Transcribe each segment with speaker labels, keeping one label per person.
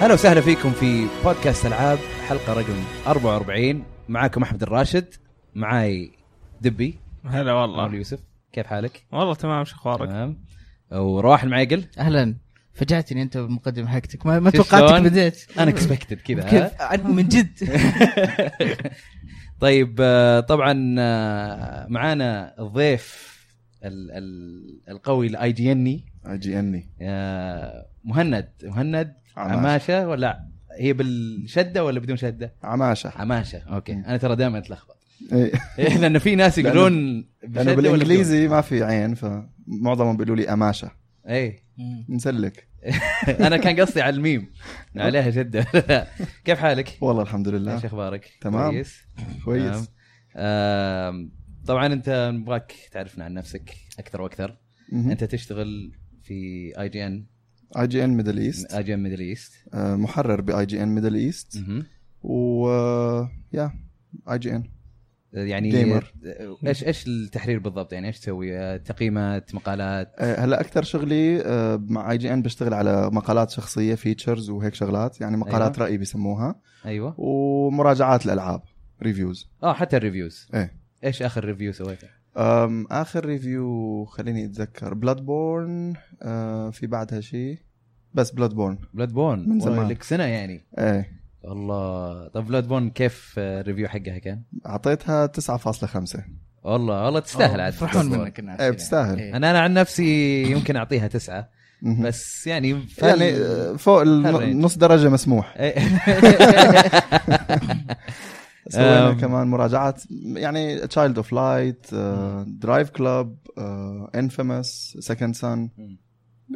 Speaker 1: هلا وسهلا فيكم في بودكاست العاب حلقه رقم 44 معاكم احمد الراشد معاي دبي
Speaker 2: هلا
Speaker 1: عمر
Speaker 2: والله
Speaker 1: يوسف كيف حالك؟
Speaker 2: والله تمام شو اخبارك؟
Speaker 1: تمام ورواح المعيقل
Speaker 3: اهلا فجعتني انت بالمقدمه حقتك ما, ما
Speaker 1: شوف
Speaker 3: توقعتك
Speaker 1: شلون؟
Speaker 3: بديت
Speaker 1: ان اكسبكتد كذا ها؟
Speaker 3: كيف أنا من جد
Speaker 1: طيب آه، طبعا آه، معانا الضيف ال- ال- القوي الاي جي اني
Speaker 4: اي جي اني
Speaker 1: آه، مهند مهند
Speaker 4: عماشه
Speaker 1: عماشه ولا هي بالشده ولا بدون شده؟
Speaker 4: عماشه
Speaker 1: عماشه اوكي انا ترى دائما اتلخبط
Speaker 4: إيه،
Speaker 1: إيه، لان في ناس
Speaker 4: لأنه-
Speaker 1: يقولون بشدة
Speaker 4: لانه
Speaker 1: ولا بدون.
Speaker 4: بالانجليزي ما في عين فمعظمهم بيقولوا لي اماشه
Speaker 1: اي
Speaker 4: نسلك
Speaker 1: انا إيه. كان قصدي على الميم عليها جده كيف حالك؟
Speaker 4: والله الحمد لله
Speaker 1: ايش اخبارك؟
Speaker 4: تمام.
Speaker 1: كويس تمام.
Speaker 4: كويس
Speaker 1: آم، طبعا انت نبغاك تعرفنا عن نفسك اكثر واكثر انت تشتغل في اي جي ان
Speaker 4: اي جي ان ميدل ايست
Speaker 1: اي جي ان ميدل ايست
Speaker 4: آه، محرر باي جي ان ميدل ايست و آه، يا اي جي ان
Speaker 1: يعني
Speaker 4: Gamer.
Speaker 1: ايش ايش التحرير بالضبط يعني ايش تسوي آه، تقييمات مقالات
Speaker 4: آه، هلا اكثر شغلي آه، مع اي جي ان بشتغل على مقالات شخصيه فيتشرز وهيك شغلات يعني مقالات راي بيسموها
Speaker 1: ايوه
Speaker 4: ومراجعات الالعاب ريفيوز
Speaker 1: اه حتى الريفيوز
Speaker 4: إيه.
Speaker 1: ايش اخر ريفيو سويته؟
Speaker 4: أم، اخر ريفيو خليني اتذكر بلاد بورن في بعدها شيء بس بلاد بورن
Speaker 1: بلاد بون
Speaker 4: من زمان.
Speaker 1: لك سنه يعني
Speaker 4: ايه
Speaker 1: الله طب بلاد بون كيف آه، الريفيو حقها كان؟
Speaker 4: اعطيتها 9.5
Speaker 1: والله والله تستاهل عاد
Speaker 3: آه، فرحون
Speaker 1: Bloodborne.
Speaker 3: منك الناس
Speaker 4: ايه
Speaker 3: يعني.
Speaker 4: بتستاهل
Speaker 3: إيه.
Speaker 1: انا انا عن نفسي يمكن اعطيها تسعه
Speaker 4: مهم.
Speaker 1: بس يعني فل-
Speaker 4: يعني آه، فوق
Speaker 1: هالرينج.
Speaker 4: الن- نص درجه مسموح سوينا
Speaker 1: أم.
Speaker 4: كمان مراجعات يعني تشايلد اوف لايت درايف كلاب آه، انفيمس سكند سان
Speaker 1: مم.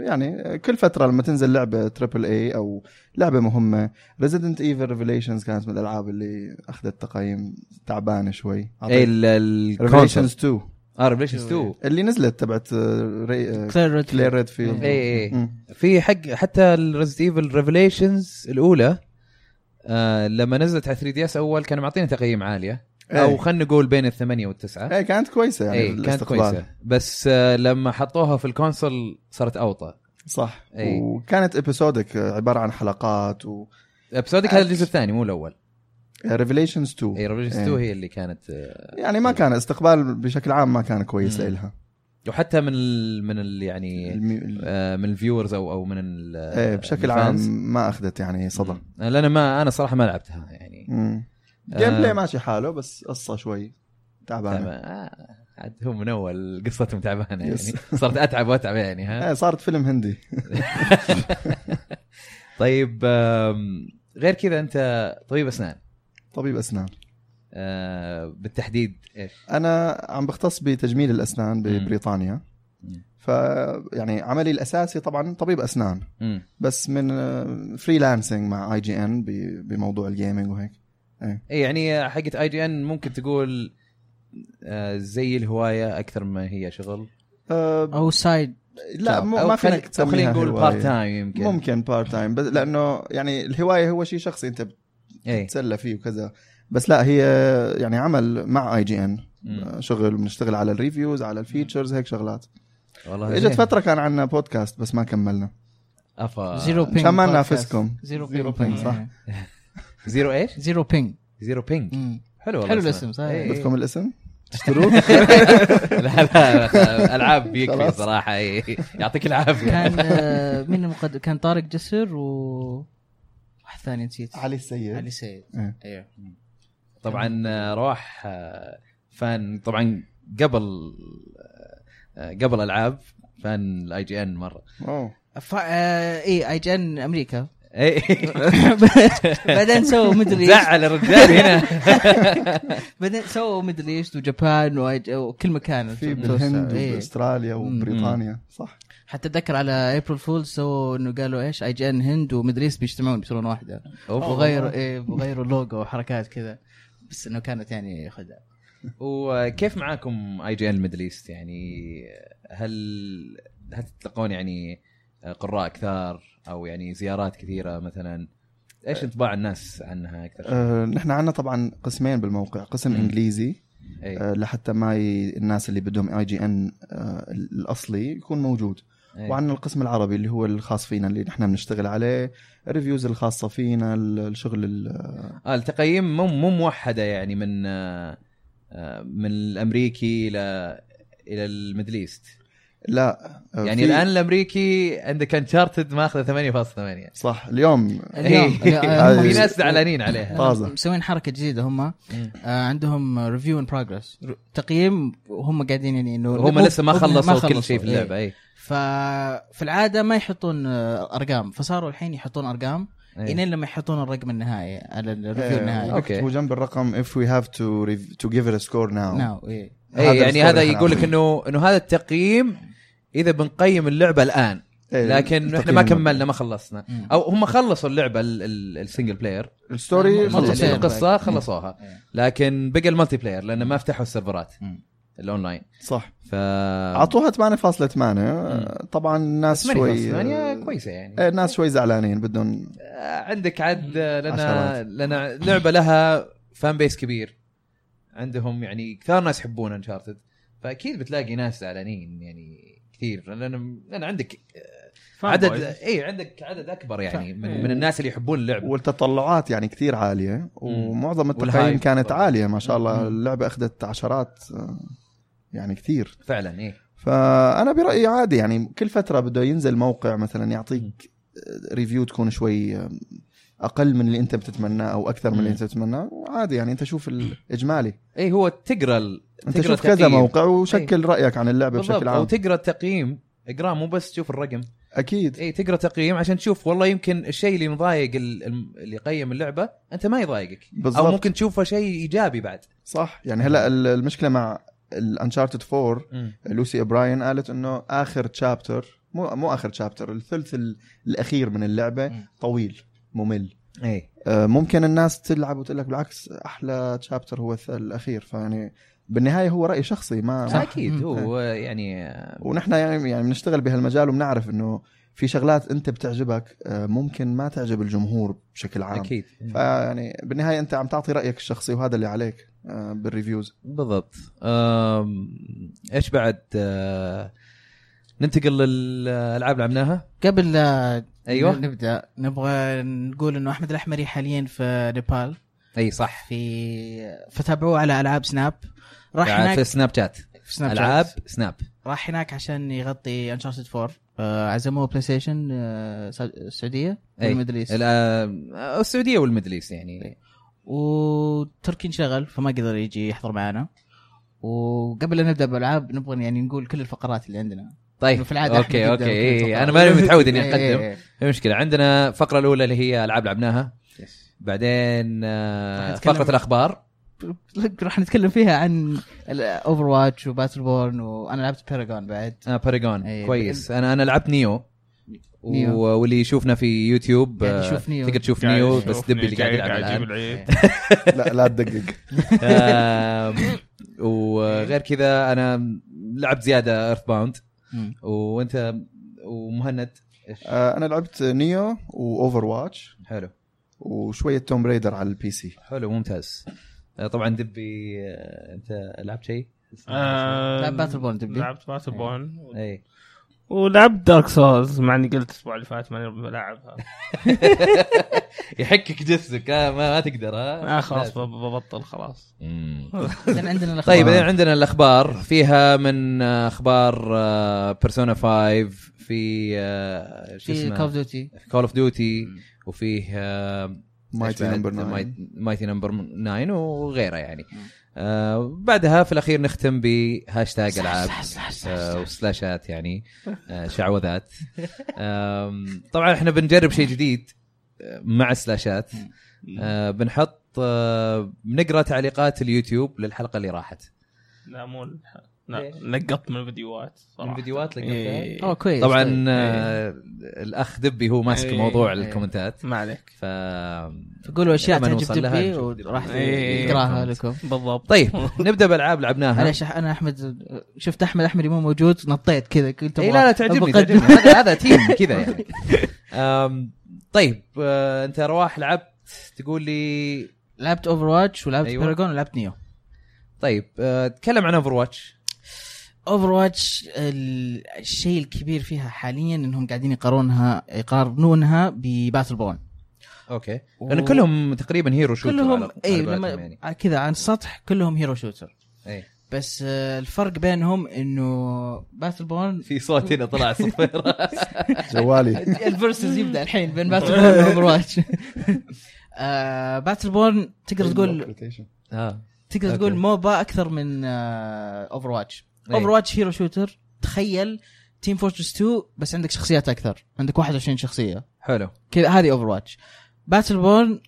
Speaker 4: يعني آه، كل فتره لما تنزل لعبه تريبل اي او لعبه مهمه ريزيدنت ايفل ريفيليشنز كانت من الالعاب اللي اخذت تقييم تعبانه شوي
Speaker 1: اي الكونسل
Speaker 4: ريفيليشنز 2
Speaker 1: اه ريفليشنز 2
Speaker 4: اللي نزلت تبعت آه، ري- آه،
Speaker 3: كلير ريد
Speaker 4: كلير
Speaker 1: اي
Speaker 4: ريدفيلد
Speaker 1: اي
Speaker 4: مم.
Speaker 1: إيه، في حق حتى الريزد ايفل ريفليشنز الاولى آه لما نزلت على 3 دي اس اول كانوا معطينا تقييم عاليه او
Speaker 4: إيه.
Speaker 1: خلينا نقول بين الثمانيه والتسعه
Speaker 4: ايه كانت كويسه يعني
Speaker 1: اي إيه، كانت
Speaker 4: الاستقبال.
Speaker 1: كويسه بس آه لما حطوها في الكونسل صارت اوطى
Speaker 4: صح
Speaker 1: إيه.
Speaker 4: وكانت ابيسودك عباره عن حلقات و
Speaker 1: ابسودك هذا الجزء الثاني مو الاول
Speaker 4: ريفيليشنز 2
Speaker 1: اي ريفليشنز
Speaker 4: إيه.
Speaker 1: 2 هي اللي كانت آه
Speaker 4: يعني ما كان استقبال بشكل عام ما كان كويس
Speaker 1: مم.
Speaker 4: لها
Speaker 1: وحتى من ال من ال يعني
Speaker 4: المي... ال-
Speaker 1: آه، من الفيورز او او من ال
Speaker 4: ايه بشكل عام ما اخذت يعني صدى
Speaker 1: لان ما انا صراحه ما لعبتها يعني
Speaker 4: مم.
Speaker 1: آه.
Speaker 4: جيم بلاي ماشي حاله بس قصه شوي
Speaker 1: تعبان.
Speaker 4: تعبانه
Speaker 1: آه، عاد هو من اول قصتهم تعبانه يعني
Speaker 4: يس.
Speaker 1: صرت اتعب واتعب يعني ها
Speaker 4: ايه صارت فيلم هندي
Speaker 1: طيب آم، غير كذا انت طبيب اسنان
Speaker 4: طبيب اسنان
Speaker 1: آه، بالتحديد ايش؟
Speaker 4: انا عم بختص بتجميل الاسنان ببريطانيا
Speaker 1: مم.
Speaker 4: ف يعني عملي الاساسي طبعا طبيب اسنان
Speaker 1: مم.
Speaker 4: بس من فريلانسنج مع اي جي ان بموضوع الجيمنج وهيك
Speaker 1: اي يعني حقت اي جي ان ممكن تقول آه، زي الهوايه اكثر ما هي شغل
Speaker 4: أه
Speaker 3: او سايد
Speaker 4: لا
Speaker 1: Job.
Speaker 4: مو
Speaker 1: أو
Speaker 4: ما
Speaker 1: خل-
Speaker 4: فينك
Speaker 1: أو خلينا
Speaker 4: تسميها
Speaker 1: نقول
Speaker 4: هواية.
Speaker 1: بارت تايم يمكن
Speaker 4: ممكن بارت تايم بس لانه يعني الهوايه هو شيء شخصي انت
Speaker 1: إيه. اي
Speaker 4: بتتسلى فيه وكذا بس لا هي يعني عمل مع اي جي ان
Speaker 1: مم.
Speaker 4: آه، شغل بنشتغل على الريفيوز على الفيتشرز هيك شغلات
Speaker 1: والله
Speaker 4: اجت فتره كان عندنا بودكاست بس ما كملنا
Speaker 1: افا
Speaker 3: زيرو بينج
Speaker 4: عشان ما ننافسكم.
Speaker 3: زيرو
Speaker 4: زيرو
Speaker 3: بينج
Speaker 4: ping، صح.
Speaker 3: صح
Speaker 1: زيرو ايش؟
Speaker 3: زيرو بينج
Speaker 1: زيرو بينج
Speaker 3: Mm.
Speaker 1: حلو والله
Speaker 3: حلو الاسم، صحيح.
Speaker 1: إي، إي.
Speaker 4: بدكم الاسم
Speaker 1: إيه.
Speaker 4: تشتروه
Speaker 1: لا لا العاب يكفي
Speaker 4: خلاص.
Speaker 1: صراحه إي. يعطيك العافيه
Speaker 3: كان آه، مين المقدم كان طارق جسر و واحد ثاني نسيت
Speaker 4: علي السيد
Speaker 3: علي سيد
Speaker 4: إيه.
Speaker 3: ايوه
Speaker 1: طبعا آه، رواح آه، فان طبعا قبل آه، قبل العاب فان الاي جي ان مره
Speaker 4: أوه.
Speaker 3: ف... آه، اي اي جي ان امريكا
Speaker 1: إي.
Speaker 3: بعدين سووا مدري إيش.
Speaker 1: إيه. زعل الرجال هنا
Speaker 3: بعدين سووا ميدل ايست وجابان وأج- وكل مكان
Speaker 4: في
Speaker 3: متوسع.
Speaker 4: بالهند
Speaker 3: إيه.
Speaker 4: واستراليا وبريطانيا صح
Speaker 3: حتى اتذكر على ابريل فول سووا انه قالوا ايش اي جي ان هند وميدل ايست بيجتمعون بيصيرون واحده
Speaker 1: أوف.
Speaker 3: وغيروا ايه وغيروا لوجو وحركات كذا بس انه كانت يعني خدع
Speaker 1: وكيف معاكم اي جي ان ميدل ايست يعني هل هل تتلقون يعني قراء كثار او يعني زيارات كثيره مثلا ايش انطباع الناس عنها اكثر؟ شيء؟
Speaker 4: أه نحن عندنا طبعا قسمين بالموقع قسم
Speaker 1: مم. إيه.
Speaker 4: انجليزي
Speaker 1: إي.
Speaker 4: أه، آه، لحتى ما ي... الناس اللي بدهم اي جي ان الاصلي آه، يكون موجود
Speaker 1: إيه.
Speaker 4: وعن القسم العربي اللي هو الخاص فينا اللي نحن بنشتغل عليه الريفيوز الخاصه فينا ال- الشغل ال-
Speaker 1: آه التقييم مو مو موحده يعني من آه آه، من الامريكي الى الى الميدل ايست
Speaker 4: لا آه،
Speaker 1: يعني
Speaker 4: أه، في-
Speaker 1: الان الامريكي عندك انشارتد ماخذه 8.8
Speaker 4: صح اليوم
Speaker 3: اليوم-
Speaker 1: إيه.
Speaker 4: هم-
Speaker 1: في ناس زعلانين عليها
Speaker 4: طازة.
Speaker 3: مسوين حركه جديده هم آه، عندهم ريفيو ان بروجرس تقييم وهم قاعدين يعني انه
Speaker 1: هم
Speaker 3: مو-
Speaker 1: لسه ما
Speaker 3: مو-
Speaker 1: خلصوا كل شيء في
Speaker 3: إيه.
Speaker 1: اللعبه اي
Speaker 3: ففي العاده ما يحطون آه، ارقام فصاروا الحين يحطون ارقام الين لما يحطون الرقم النهائي على الريفيو النهائي
Speaker 1: إيه. أوكي.
Speaker 4: اوكي وجنب آه، الرقم if we have to rev- to give it a score now
Speaker 3: ناو ايه
Speaker 1: اي يعني
Speaker 4: السكور
Speaker 1: هذا
Speaker 4: اللي إحنا
Speaker 1: يقول لك
Speaker 4: عاملينه.
Speaker 1: انه انه هذا التقييم اذا بنقيم اللعبه الان
Speaker 4: إيه،
Speaker 1: لكن احنا
Speaker 4: التقييم
Speaker 1: ما
Speaker 4: المبدئي.
Speaker 1: كملنا ما خلصنا
Speaker 3: مم.
Speaker 1: او هم خلصوا اللعبه ال- ال- السنجل بلاير
Speaker 4: الستوري
Speaker 3: خلصوا.
Speaker 4: خلص
Speaker 1: ال-
Speaker 3: السيرفر.
Speaker 1: القصه خلصوها
Speaker 3: إيه.
Speaker 1: لكن بقى الملتي بلاير لان ما فتحوا السيرفرات
Speaker 3: مم.
Speaker 1: الاونلاين
Speaker 4: صح
Speaker 1: ف
Speaker 4: اعطوها 8.8 طبعا الناس شوي
Speaker 1: 8 كويسه يعني
Speaker 4: إيه، الناس شوي زعلانين بدهم
Speaker 1: آه، عندك عد آه، لنا
Speaker 4: عشرات.
Speaker 1: لنا لعبه لها فان بيس كبير عندهم يعني كثار ناس يحبون انشارتد فاكيد بتلاقي ناس زعلانين يعني كثير لان لان عندك
Speaker 2: فان
Speaker 1: عدد
Speaker 2: بويز. إيه.
Speaker 1: اي عندك عدد اكبر يعني
Speaker 3: ف-
Speaker 1: من, من الناس اللي يحبون اللعبه
Speaker 4: والتطلعات يعني كثير عاليه ومعظم التقييم
Speaker 1: والهايب
Speaker 4: كانت
Speaker 1: طبعاً.
Speaker 4: عاليه ما شاء الله
Speaker 3: مم.
Speaker 4: اللعبه اخذت عشرات آه، يعني كثير
Speaker 1: فعلا اي
Speaker 4: فانا برايي عادي يعني كل فتره بده ينزل موقع مثلا يعطيك ريفيو تكون شوي آه، اقل من اللي انت بتتمناه او اكثر من اللي
Speaker 1: مم.
Speaker 4: انت بتتمناه وعادي يعني انت شوف الاجمالي
Speaker 1: اي إيه، هو تقرا ال-
Speaker 4: انت
Speaker 1: تقرأ
Speaker 4: شوف كذا
Speaker 1: تقييم.
Speaker 4: موقع وشكل رايك عن اللعبه
Speaker 1: إيه. بالضبط
Speaker 4: بشكل
Speaker 1: او
Speaker 4: عام
Speaker 1: تقرا التقييم اقراه مو بس تشوف الرقم
Speaker 4: اكيد
Speaker 1: اي تقرا تقييم عشان تشوف والله يمكن الشيء اللي مضايق ال- الم- اللي يقيم اللعبه انت ما يضايقك او
Speaker 4: بالضبط
Speaker 1: ممكن تشوفه شيء ايجابي بعد
Speaker 4: صح يعني هلا ال- المشكله مع الانشارتد 4 لوسي ابراين قالت انه اخر تشابتر مو مو اخر تشابتر الثلث ال- الاخير من اللعبه
Speaker 3: مم.
Speaker 4: طويل ممل
Speaker 1: اي
Speaker 4: آه، ممكن الناس تلعب وتقول لك بالعكس احلى تشابتر هو الث- الاخير فيعني بالنهايه هو راي شخصي ما
Speaker 1: اكيد
Speaker 3: مم.
Speaker 1: هو
Speaker 4: إيه.
Speaker 1: يعني آه،
Speaker 4: ونحن يعني يعني بنشتغل بهالمجال وبنعرف انه في شغلات انت بتعجبك آه، ممكن ما تعجب الجمهور بشكل عام
Speaker 1: اكيد
Speaker 4: فيعني بالنهايه انت عم تعطي رايك الشخصي وهذا اللي عليك آه، بالريفيوز
Speaker 1: بالضبط أم، ايش بعد آه، ننتقل للالعاب اللي لعبناها
Speaker 3: قبل لا
Speaker 1: ايوه
Speaker 3: نبدا نبغى نقول انه احمد الاحمري حاليا في نيبال
Speaker 1: اي صح
Speaker 3: في فتابعوه على العاب سناب راح
Speaker 1: في
Speaker 3: هناك
Speaker 1: سناب شات
Speaker 3: في سناب شات.
Speaker 1: العاب سناب
Speaker 3: راح هناك عشان يغطي انشارتد 4 آه، عزموه بلاي ستيشن آه، سع- السعوديه
Speaker 1: أي.
Speaker 3: والميدل ايست
Speaker 1: الآ- السعوديه آه، والميدل ايست
Speaker 3: إيه.
Speaker 1: يعني
Speaker 3: وتركي انشغل فما قدر يجي يحضر معنا وقبل لا نبدا بالالعاب نبغى يعني نقول كل الفقرات اللي عندنا
Speaker 1: طيب
Speaker 3: إنه في العاده أحمد
Speaker 1: اوكي
Speaker 3: يبدأ
Speaker 1: اوكي
Speaker 3: بكل
Speaker 1: إيه.
Speaker 3: الفقرات.
Speaker 1: انا ماني متعود اني
Speaker 3: إيه، إيه،
Speaker 1: اقدم
Speaker 3: إيه.
Speaker 1: في مشكله عندنا الفقره الاولى اللي هي العاب لعبناها بعدين آه،
Speaker 3: راح نتكلم-
Speaker 1: فقره الاخبار
Speaker 3: راح نتكلم فيها عن اوفر واتش وباتل بورن وانا لعبت بيراجون بعد
Speaker 1: آه باريجون
Speaker 3: إيه.
Speaker 1: كويس انا انا لعبت نيو
Speaker 3: نيو.
Speaker 1: و- واللي يشوفنا في يوتيوب
Speaker 3: يعني
Speaker 1: آه،
Speaker 3: شوف إيه. نيو.
Speaker 1: تقدر تشوف
Speaker 2: قاعد
Speaker 1: نيو بس
Speaker 2: يشوفني،
Speaker 1: دبي اللي قاعد يلعب الآن.
Speaker 2: يجيب العيد
Speaker 4: لا لا تدقق
Speaker 1: آم، وغير كذا انا لعبت زياده ايرث باوند
Speaker 3: مم.
Speaker 1: وانت ومهند إيش؟
Speaker 4: آه، انا لعبت نيو واوفر واتش
Speaker 1: حلو
Speaker 4: وشويه توم ريدر على البي سي
Speaker 1: حلو ممتاز آه، طبعا دبي آه، انت لعبت شيء؟
Speaker 2: آه،
Speaker 3: لعب باتل بورن تبي؟
Speaker 2: لعبت باتل بون
Speaker 1: اي
Speaker 2: ولعبت دارك سولز مع اني قلت الاسبوع اللي فات ماني بلعبها
Speaker 1: يحكك جسمك آه، ما, ما تقدر ها
Speaker 2: آه خلاص بب- ببطل خلاص
Speaker 1: مم.
Speaker 3: بعدين عندنا الأخبار.
Speaker 1: طيب بعدين عندنا الاخبار فيها من آه، اخبار بيرسونا 5 في آه، شو
Speaker 3: في كول
Speaker 1: اسمه
Speaker 3: اوف ديوتي
Speaker 1: كول اوف ديوتي وفيه آه،
Speaker 4: مايتي نمبر 9
Speaker 1: مايتي نمبر 9 وغيره يعني
Speaker 3: مم.
Speaker 1: آه بعدها في الاخير نختم بهاشتاج العاب آه، وسلاشات يعني آه شعوذات آم، طبعا احنا بنجرب شيء جديد آه، مع سلاشات آه بنحط آه بنقرا تعليقات اليوتيوب للحلقه اللي راحت
Speaker 2: لا مو الح- لا
Speaker 1: ليش؟
Speaker 2: نقطت من الفيديوهات صراحه
Speaker 1: من فيديوهات لقطتها؟
Speaker 2: إيه.
Speaker 3: اوه كويس
Speaker 1: طبعا آه الاخ دبي هو ماسك
Speaker 2: إيه.
Speaker 1: موضوع
Speaker 3: طيب؟ إيه.
Speaker 1: الكومنتات
Speaker 2: ما عليك
Speaker 1: ف
Speaker 3: تقولوا اشياء
Speaker 1: لما
Speaker 3: تعجب
Speaker 1: نوصل لها
Speaker 3: دبي
Speaker 1: نشوف دبي.
Speaker 3: وراح
Speaker 2: إيه.
Speaker 3: يقراها لكم
Speaker 2: بالضبط
Speaker 1: طيب نبدا بالعاب لعبناها
Speaker 3: معلش انا احمد شفت احمد احمد مو موجود نطيت كذا قلت
Speaker 1: اي
Speaker 3: أبغى-
Speaker 1: إيه، لا لا تعجبني
Speaker 3: أبغى
Speaker 1: تعجبني
Speaker 3: أقدم.
Speaker 1: هذا هذا تيم كذا يعني أم، طيب آه، انت رواح لعبت تقول لي
Speaker 3: لعبت اوفر واتش ولعبت
Speaker 1: أيوة.
Speaker 3: بيراجون ولعبت نيو
Speaker 1: طيب آه، تكلم عن اوفر واتش
Speaker 3: اوفر واتش الشيء الكبير فيها حاليا انهم قاعدين يقارنها يقارنونها بباتل بون
Speaker 1: اوكي لان كلهم تقريبا هيرو شوتر
Speaker 3: كلهم
Speaker 1: على-
Speaker 3: اي
Speaker 1: على
Speaker 3: لما
Speaker 1: قولتهم يعني
Speaker 3: كذا عن السطح كلهم هيرو شوتر
Speaker 1: إيه.
Speaker 3: بس آه، الفرق بينهم انه باتل بون
Speaker 1: في صوت هنا طلع صفير
Speaker 4: جوالي
Speaker 3: الفيرسز يبدا الحين بين باتل بورن واوفر واتش باتل بورن آه، تقدر تقول
Speaker 1: اه
Speaker 3: تقدر
Speaker 1: أوكي.
Speaker 3: تقول موبا اكثر من آه، اوفر واتش
Speaker 1: إيه.
Speaker 3: اوفر واتش هيرو شوتر تخيل تيم فورترس 2 بس عندك شخصيات اكثر عندك 21 شخصيه
Speaker 1: حلو
Speaker 3: كذا هذه اوفر واتش باتل بورن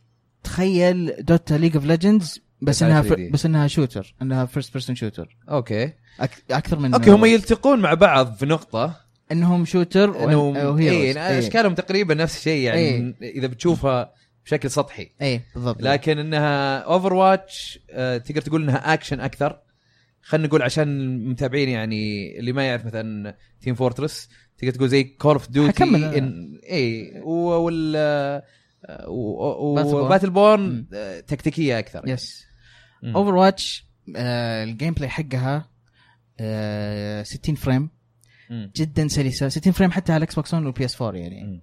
Speaker 3: تخيل دوتا ليج اوف ليجندز بس
Speaker 1: بس على
Speaker 3: انها
Speaker 1: 3D.
Speaker 3: فر... بس انها شوتر انها فيرست بيرسون شوتر
Speaker 1: اوكي
Speaker 3: أك... اكثر من
Speaker 1: اوكي هم يلتقون مع بعض في نقطه
Speaker 3: انهم شوتر
Speaker 1: انهم
Speaker 3: وهيروز
Speaker 1: اي اشكالهم تقريبا نفس الشيء يعني
Speaker 3: oh, إيه.
Speaker 1: اذا بتشوفها بشكل سطحي
Speaker 3: اي إيه، بالضبط
Speaker 1: لكن انها اوفر واتش تقدر تقول انها اكشن اكثر خلينا نقول عشان المتابعين يعني اللي ما يعرف مثلا تيم فورترس تقدر تقول زي كول اوف ديوتي
Speaker 3: حكمل أنا.
Speaker 1: اي إيه، و- وال آه، و-
Speaker 3: Battleborn.
Speaker 1: و- آه، وباتل بورن
Speaker 3: مم.
Speaker 1: تكتيكيه اكثر
Speaker 3: يس
Speaker 1: يعني. مم.
Speaker 3: اوفر واتش الجيم بلاي آه، حقها آه، 60 فريم
Speaker 1: مم.
Speaker 3: جدا سلسه 60 فريم حتى على الاكس بوكس 1 والبي اس 4 يعني
Speaker 1: مم.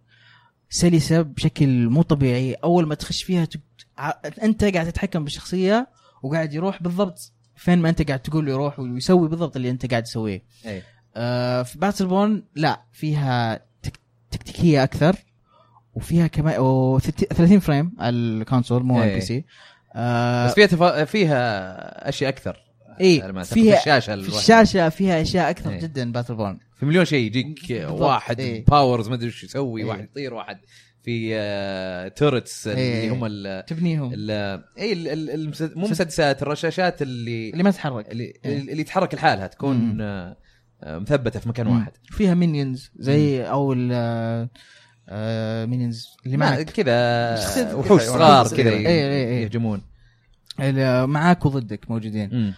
Speaker 3: سلسه بشكل مو طبيعي اول ما تخش فيها تب... ع- انت قاعد تتحكم بالشخصيه وقاعد يروح بالضبط فين ما انت قاعد تقول له يروح ويسوي بالضبط اللي انت قاعد تسويه
Speaker 1: إيه.
Speaker 3: آه، في باتل بون لا فيها تك... تكتيكيه اكثر وفيها كمان و 30 فريم على الكونسول مو على
Speaker 1: إيه.
Speaker 3: البي سي آه،
Speaker 1: بس فيها تفا... فيها اشياء اكثر على ما
Speaker 3: اي
Speaker 1: أعتقد. في
Speaker 3: فيها
Speaker 1: الشاشه
Speaker 3: في
Speaker 1: الواحدة.
Speaker 3: الشاشه فيها اشياء اكثر
Speaker 1: إيه.
Speaker 3: أيه. جدا باتل بون
Speaker 1: في مليون شيء يجيك
Speaker 3: بالضبط،
Speaker 1: واحد
Speaker 3: إيه.
Speaker 1: باورز ما ادري وش يسوي
Speaker 3: إيه.
Speaker 1: واحد يطير واحد في تورتس اللي
Speaker 3: إيه.
Speaker 1: هم ال
Speaker 3: تبنيهم
Speaker 1: آه، ال اي ال- ال- المسد- مو مسدسات الرشاشات اللي
Speaker 3: اللي ما تتحرك
Speaker 1: اللي,
Speaker 3: إيه.
Speaker 1: اللي تتحرك لحالها تكون
Speaker 3: مم.
Speaker 1: آه، آه، مثبته في مكان
Speaker 3: مم.
Speaker 1: واحد
Speaker 3: فيها مينيونز زي او ال مينيونز اللي
Speaker 1: ما-
Speaker 3: معك
Speaker 1: آه، كذا
Speaker 3: شخصية-
Speaker 1: وحوش
Speaker 4: كذا
Speaker 1: صغار
Speaker 4: حيوانات
Speaker 1: كذا
Speaker 4: صغيرة.
Speaker 1: ي-
Speaker 3: إيه، إيه، إيه.
Speaker 1: يهجمون
Speaker 3: اللي معاك وضدك موجودين
Speaker 1: مم.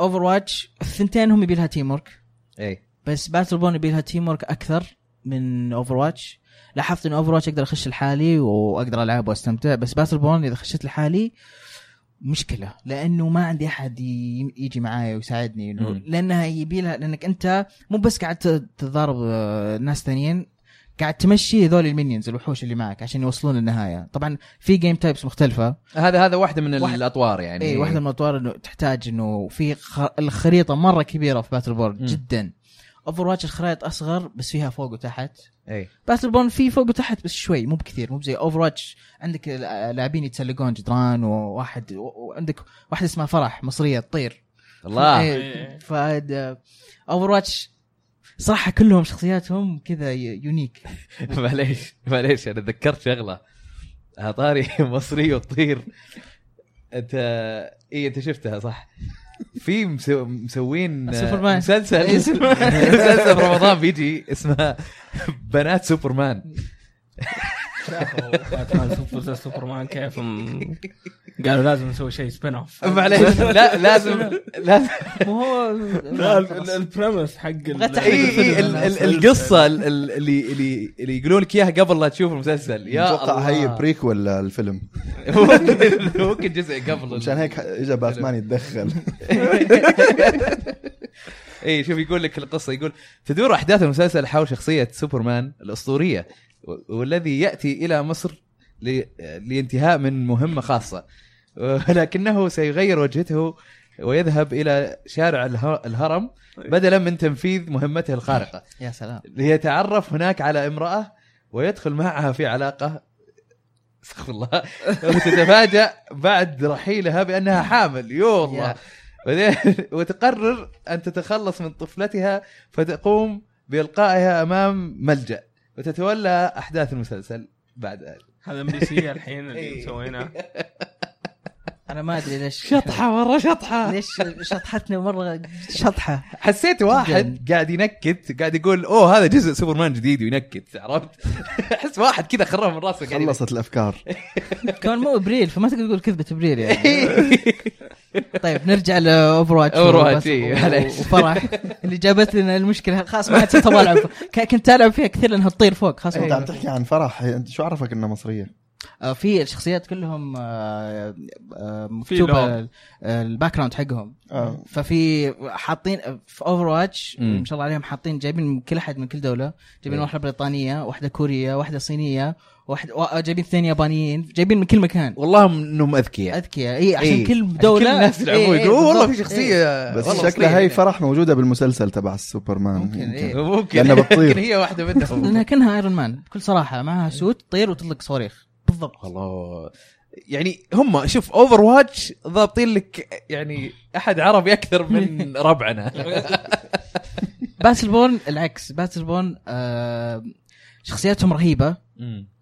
Speaker 3: اوفر واتش الثنتين هم يبي لها تيم ورك
Speaker 1: اي
Speaker 3: بس باتل بون يبي لها تيم ورك اكثر من اوفر واتش لاحظت ان اوفر واتش اقدر اخش لحالي واقدر العب واستمتع بس باتل بون اذا خشيت لحالي مشكله لانه ما عندي احد ي- يجي معايا ويساعدني إنه-
Speaker 1: مم.
Speaker 3: لانها يبي لها لانك انت مو بس قاعد ت- تتضارب آه، ناس ثانيين قاعد تمشي هذول المينيونز الوحوش اللي معك عشان يوصلون للنهايه طبعا في جيم تايبس مختلفه
Speaker 1: هذا هذا واحده من
Speaker 3: واحد-
Speaker 1: الاطوار يعني
Speaker 3: اي واحده إيه، من الاطوار انه تحتاج انه في خ... الخريطه مره كبيره في باتل بورد
Speaker 1: مم.
Speaker 3: جدا اوفر واتش الخرائط اصغر بس فيها فوق وتحت
Speaker 1: اي
Speaker 3: باتل بورن في فوق وتحت بس شوي مو بكثير مو بزي اوفر واتش عندك الع- لاعبين يتسلقون جدران وواحد و- وعندك واحده اسمها فرح مصريه تطير
Speaker 1: الله
Speaker 3: إيه، ف اوفر واتش صراحه كلهم شخصياتهم كذا ي- يونيك
Speaker 1: معليش معليش انا تذكرت شغله هطاري مصري وطير انت اي انت شفتها صح في مسو... مسوين آه،
Speaker 3: سوبرمان.
Speaker 1: مسلسل
Speaker 3: إيه، سوبرمان.
Speaker 1: مسلسل في رمضان بيجي اسمه بنات سوبرمان
Speaker 2: سوبرمان كيف م- قالوا لازم نسوي شيء سبين اوف
Speaker 1: معليش لا لازم لازم
Speaker 3: مو هو
Speaker 2: لا ال- ال- البريمس حق ال-
Speaker 3: بغيت
Speaker 1: اي اي ال- إيه، ال-
Speaker 2: الفيلم.
Speaker 1: القصه ال- ال- اللي اللي اللي يقولون لك اياها قبل لا تشوف المسلسل يا
Speaker 4: اتوقع هي
Speaker 1: الله
Speaker 4: بريك ولا الفيلم
Speaker 1: ممكن- ممكن جزء قبل
Speaker 4: مشان هيك اجى باتمان يتدخل
Speaker 1: اي إيه، شوف يقول لك القصه يقول تدور احداث المسلسل حول شخصيه سوبرمان الاسطوريه و- والذي ياتي الى مصر ل- لانتهاء من مهمه خاصه ولكنه سيغير وجهته ويذهب الى شارع اله- الهرم بدلا من تنفيذ مهمته الخارقه
Speaker 3: يا سلام
Speaker 1: ليتعرف هناك على امراه ويدخل معها في علاقه استغفر الله وتتفاجأ بعد رحيلها بانها حامل يو الله
Speaker 3: يا.
Speaker 1: بعدين وتقرر ان تتخلص من طفلتها فتقوم بالقائها امام ملجا وتتولى احداث المسلسل بعد ذلك
Speaker 2: هذا ام بي سي الحين اللي
Speaker 1: إيه.
Speaker 2: سويناه
Speaker 3: انا ما ادري ليش
Speaker 1: شطحه مره شطحه
Speaker 3: ليش شطحتنا مره شطحه
Speaker 1: حسيت واحد قاعد ينكت قاعد يقول اوه هذا جزء سوبرمان جديد وينكت عرفت احس واحد كذا خرب من راسه قاعد ينكت.
Speaker 4: خلصت الافكار
Speaker 1: إيه.
Speaker 3: كمان مو ابريل فما تقدر تقول كذبه ابريل يعني طيب نرجع لاوفر واتش
Speaker 1: أوفر واتش،
Speaker 3: وبس-
Speaker 1: إيه،
Speaker 3: و-
Speaker 1: معليش.
Speaker 3: وفرح اللي جابت لنا المشكله خلاص ما عاد
Speaker 1: إيه.
Speaker 3: صرت ابغى العب ك- كنت العب فيها كثير لانها تطير فوق خلاص
Speaker 4: انت عم
Speaker 3: ما
Speaker 4: تحكي عن فرح هي- انت شو عرفك انها مصريه؟
Speaker 3: آه، في الشخصيات كلهم آه، آه، مكتوب
Speaker 2: لور.
Speaker 3: ال- الباك جراوند حقهم
Speaker 4: آه.
Speaker 3: ففي حاطين في اوفر واتش
Speaker 1: مم.
Speaker 3: ما شاء الله عليهم حاطين جايبين من كل احد من كل دوله جايبين
Speaker 1: إيه.
Speaker 3: واحده بريطانيه واحده كوريه واحده صينيه واحد وا- جايبين اثنين يابانيين جايبين من كل مكان
Speaker 1: والله انهم اذكياء
Speaker 3: اذكياء اي عشان
Speaker 1: إيه.
Speaker 3: كل دوله
Speaker 1: كل الناس يلعبون
Speaker 3: إيه، إيه،
Speaker 1: يقولوا والله في
Speaker 3: بالضبط.
Speaker 1: شخصيه
Speaker 4: بس
Speaker 1: آه، والله
Speaker 4: شكلها
Speaker 1: أصلية.
Speaker 4: هي فرح موجوده بالمسلسل تبع السوبرمان
Speaker 3: ممكن، إيه.
Speaker 1: ممكن
Speaker 4: لأنها بتطير.
Speaker 1: ممكن هي واحده
Speaker 3: إيه.
Speaker 1: منهم
Speaker 3: لانها كانها ايرون مان بكل صراحه معها سوت تطير وتطلق صواريخ بالضبط
Speaker 1: إيه. والله يعني هم شوف اوفر واتش ضابطين لك يعني احد عربي اكثر من ربعنا
Speaker 3: باتل بورن العكس باتل بورن آه شخصياتهم رهيبه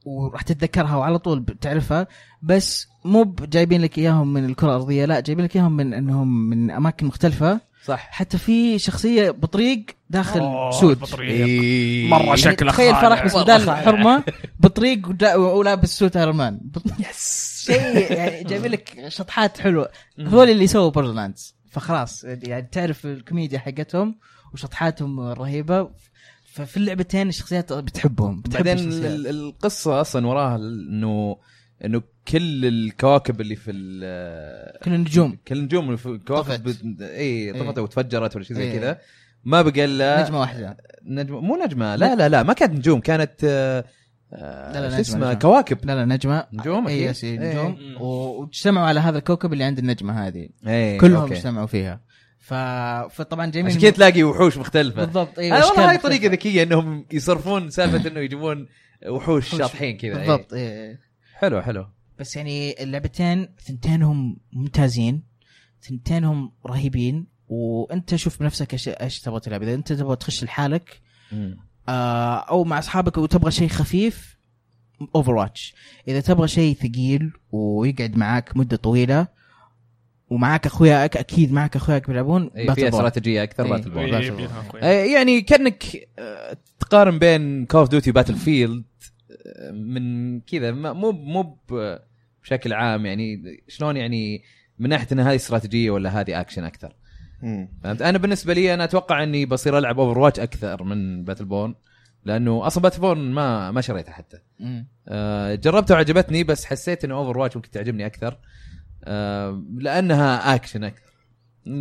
Speaker 3: وراح تتذكرها وعلى طول بتعرفها بس مو جايبين لك اياهم من الكره الارضيه لا جايبين لك اياهم من انهم من اماكن مختلفه
Speaker 1: صح
Speaker 3: حتى في شخصيه بطريق داخل
Speaker 2: أوه،
Speaker 3: سود
Speaker 2: البطريق.
Speaker 1: إيه.
Speaker 2: مرة
Speaker 3: يعني
Speaker 2: شكله
Speaker 3: تخيل
Speaker 2: خالع.
Speaker 3: فرح بس
Speaker 1: والله
Speaker 3: بدال
Speaker 1: خالع.
Speaker 3: حرمه بطريق ودا- ولابس سوت ايرون مان
Speaker 1: يس
Speaker 3: يعني شيء يعني جايبين لك شطحات حلوه هذول اللي سووا بوردرلاندز فخلاص يعني تعرف الكوميديا حقتهم وشطحاتهم الرهيبه ففي اللعبتين الشخصيات بتحبهم بتحب
Speaker 1: بعدين
Speaker 3: الشخصيات.
Speaker 1: ال- ال- القصه اصلا وراها ال- انه انه كل الكواكب اللي في ال-
Speaker 3: كل النجوم
Speaker 1: كل النجوم اللي في الكواكب
Speaker 3: طفت.
Speaker 1: بت- اي طفت
Speaker 3: إيه.
Speaker 1: وتفجرت ولا شيء زي
Speaker 3: إيه.
Speaker 1: كذا ما بقى الا
Speaker 3: نجمه واحده
Speaker 1: نجمة مو نجمة لا لا لا ما كانت نجوم كانت آه، آه،
Speaker 3: لا، لا،
Speaker 1: شو
Speaker 3: نجمة،
Speaker 1: اسمها
Speaker 3: نجمة.
Speaker 1: كواكب
Speaker 3: لا لا نجمة
Speaker 1: نجوم
Speaker 3: اي
Speaker 1: أكيد.
Speaker 3: يس إي،
Speaker 1: إيه.
Speaker 3: نجوم و- واجتمعوا على هذا الكوكب اللي عند النجمة هذه
Speaker 1: ايه
Speaker 3: كلهم
Speaker 1: أوكي.
Speaker 3: اجتمعوا فيها ف... فطبعا جميل
Speaker 1: عشان كذا تلاقي وحوش مختلفة
Speaker 3: بالضبط إيه، اي
Speaker 1: هذا والله هاي طريقة ذكية انهم يصرفون سالفة انه يجيبون وحوش
Speaker 3: وحوش.
Speaker 1: شاطحين كذا إيه.
Speaker 3: بالضبط اي
Speaker 1: حلو حلو
Speaker 3: بس يعني اللعبتين ثنتينهم ممتازين ثنتينهم رهيبين وانت شوف بنفسك ايش ايش تبغى تلعب اذا انت تبغى تخش لحالك آه، او مع اصحابك وتبغى شيء خفيف اوفر واتش اذا تبغى شيء ثقيل ويقعد معاك مده طويله ومعاك اخوياك اكيد معك اخوياك بيلعبون
Speaker 1: إيه، فيها
Speaker 3: Battle Ball.
Speaker 1: استراتيجية اكثر
Speaker 3: إيه.
Speaker 1: باتل بول
Speaker 3: إيه.
Speaker 1: يعني كانك آه، تقارن بين كول اوف ديوتي باتل فيلد آه، من كذا ما- مو مو ب- بشكل عام يعني شلون يعني من ناحيه ان هذه استراتيجيه ولا هذه اكشن اكثر
Speaker 4: مم.
Speaker 1: فهمت انا بالنسبه لي انا اتوقع اني بصير العب اوفر واتش اكثر من باتل بورن لانه اصلا باتل بورن ما ما شريتها حتى
Speaker 3: مم.
Speaker 1: أه جربتها وعجبتني بس حسيت ان اوفر واتش ممكن تعجبني اكثر أه لانها اكشن اكثر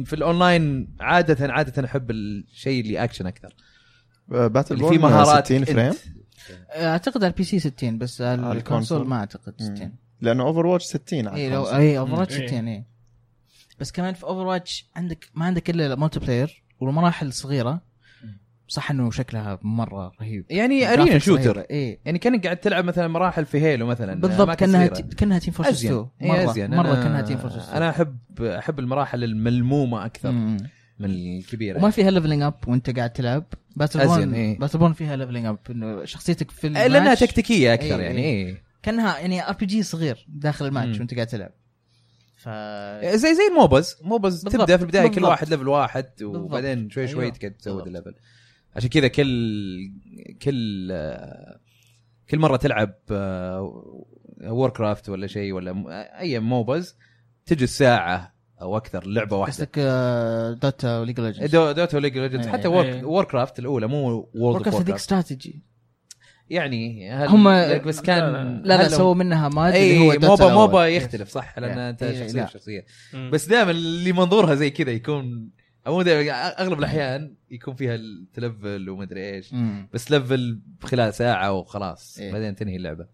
Speaker 1: في الاونلاين عاده عاده احب الشيء اللي اكشن اكثر
Speaker 4: باتل
Speaker 1: اللي فيه
Speaker 4: بورن
Speaker 1: يعني مهارات
Speaker 4: 60
Speaker 1: أنت.
Speaker 4: فريم
Speaker 3: اعتقد آه، على البي سي 60 بس
Speaker 4: على
Speaker 3: الكونسول
Speaker 4: الكونسول.
Speaker 3: ما اعتقد
Speaker 4: مم.
Speaker 3: 60
Speaker 4: لانه اوفر واتش 60 على
Speaker 3: اي لو
Speaker 4: الكونسول.
Speaker 3: اي اوفر واتش
Speaker 2: إيه.
Speaker 3: 60 اي بس كمان في اوفر واتش عندك ما عندك الا المالتي بلاير والمراحل صغيره صح انه شكلها مره رهيب
Speaker 1: يعني ارينا شوتر
Speaker 3: اي
Speaker 1: يعني كانك قاعد تلعب مثلا مراحل في هيلو مثلا
Speaker 3: بالضبط
Speaker 1: أماكن
Speaker 3: كانها
Speaker 1: صغيرة.
Speaker 3: ت- كانها تيم فورتس 2
Speaker 1: ازين هي
Speaker 3: مره
Speaker 1: ازين
Speaker 3: مره
Speaker 1: إيه، أنا-
Speaker 3: كانها تيم فورتس 2
Speaker 1: انا احب احب المراحل الملمومه اكثر
Speaker 3: مم.
Speaker 1: من الكبيره
Speaker 3: وما فيها ليفلنج اب وانت قاعد تلعب باتل
Speaker 1: أزين،
Speaker 3: بون
Speaker 1: إيه.
Speaker 3: باتل بون فيها ليفلنج اب انه شخصيتك
Speaker 1: آه،
Speaker 3: في الماتش
Speaker 1: لانها تكتيكيه اكثر
Speaker 3: إيه،
Speaker 1: يعني إيه.
Speaker 3: كانها يعني ار بي جي صغير داخل الماتش
Speaker 1: مم.
Speaker 3: وانت قاعد تلعب ف
Speaker 1: آه، زي زي الموبز موبز
Speaker 3: بالضبط،
Speaker 1: تبدا في البدايه كل
Speaker 3: بالضبط.
Speaker 1: واحد ليفل واحد وبعدين شوي شوي
Speaker 3: أيوة.
Speaker 1: تقعد تزود
Speaker 3: بالضبط.
Speaker 1: الليفل عشان كذا كل كل آه، كل مره تلعب وور كرافت ولا شيء ولا م- اي موبز تجي الساعه او اكثر لعبه واحده
Speaker 3: قصدك آه، دوتا وليج اوف ليجندز
Speaker 1: دو- دوتا وليج ليجندز
Speaker 3: إيه.
Speaker 1: حتى
Speaker 2: إيه.
Speaker 1: وور كرافت الاولى مو وورد
Speaker 3: وركبت
Speaker 1: اوف
Speaker 3: هذيك استراتيجي
Speaker 1: يعني هل
Speaker 3: هم-
Speaker 1: لك بس كان
Speaker 2: لا، لا.
Speaker 3: لا لا
Speaker 1: هل-
Speaker 3: سووا منها ماد اللي هو
Speaker 1: اي
Speaker 3: دوتا
Speaker 1: موبا
Speaker 3: الأول.
Speaker 1: موبا يختلف صح لان
Speaker 3: يعني.
Speaker 1: انت
Speaker 3: إيه،
Speaker 1: شخصيه
Speaker 3: لا.
Speaker 1: شخصيه بس دائما اللي منظورها زي كذا يكون او مو دائما اغلب الاحيان يكون فيها التلفل ومدري ايش
Speaker 3: مم.
Speaker 1: بس لفل خلال ساعه وخلاص
Speaker 3: إيه.
Speaker 1: بعدين تنهي اللعبه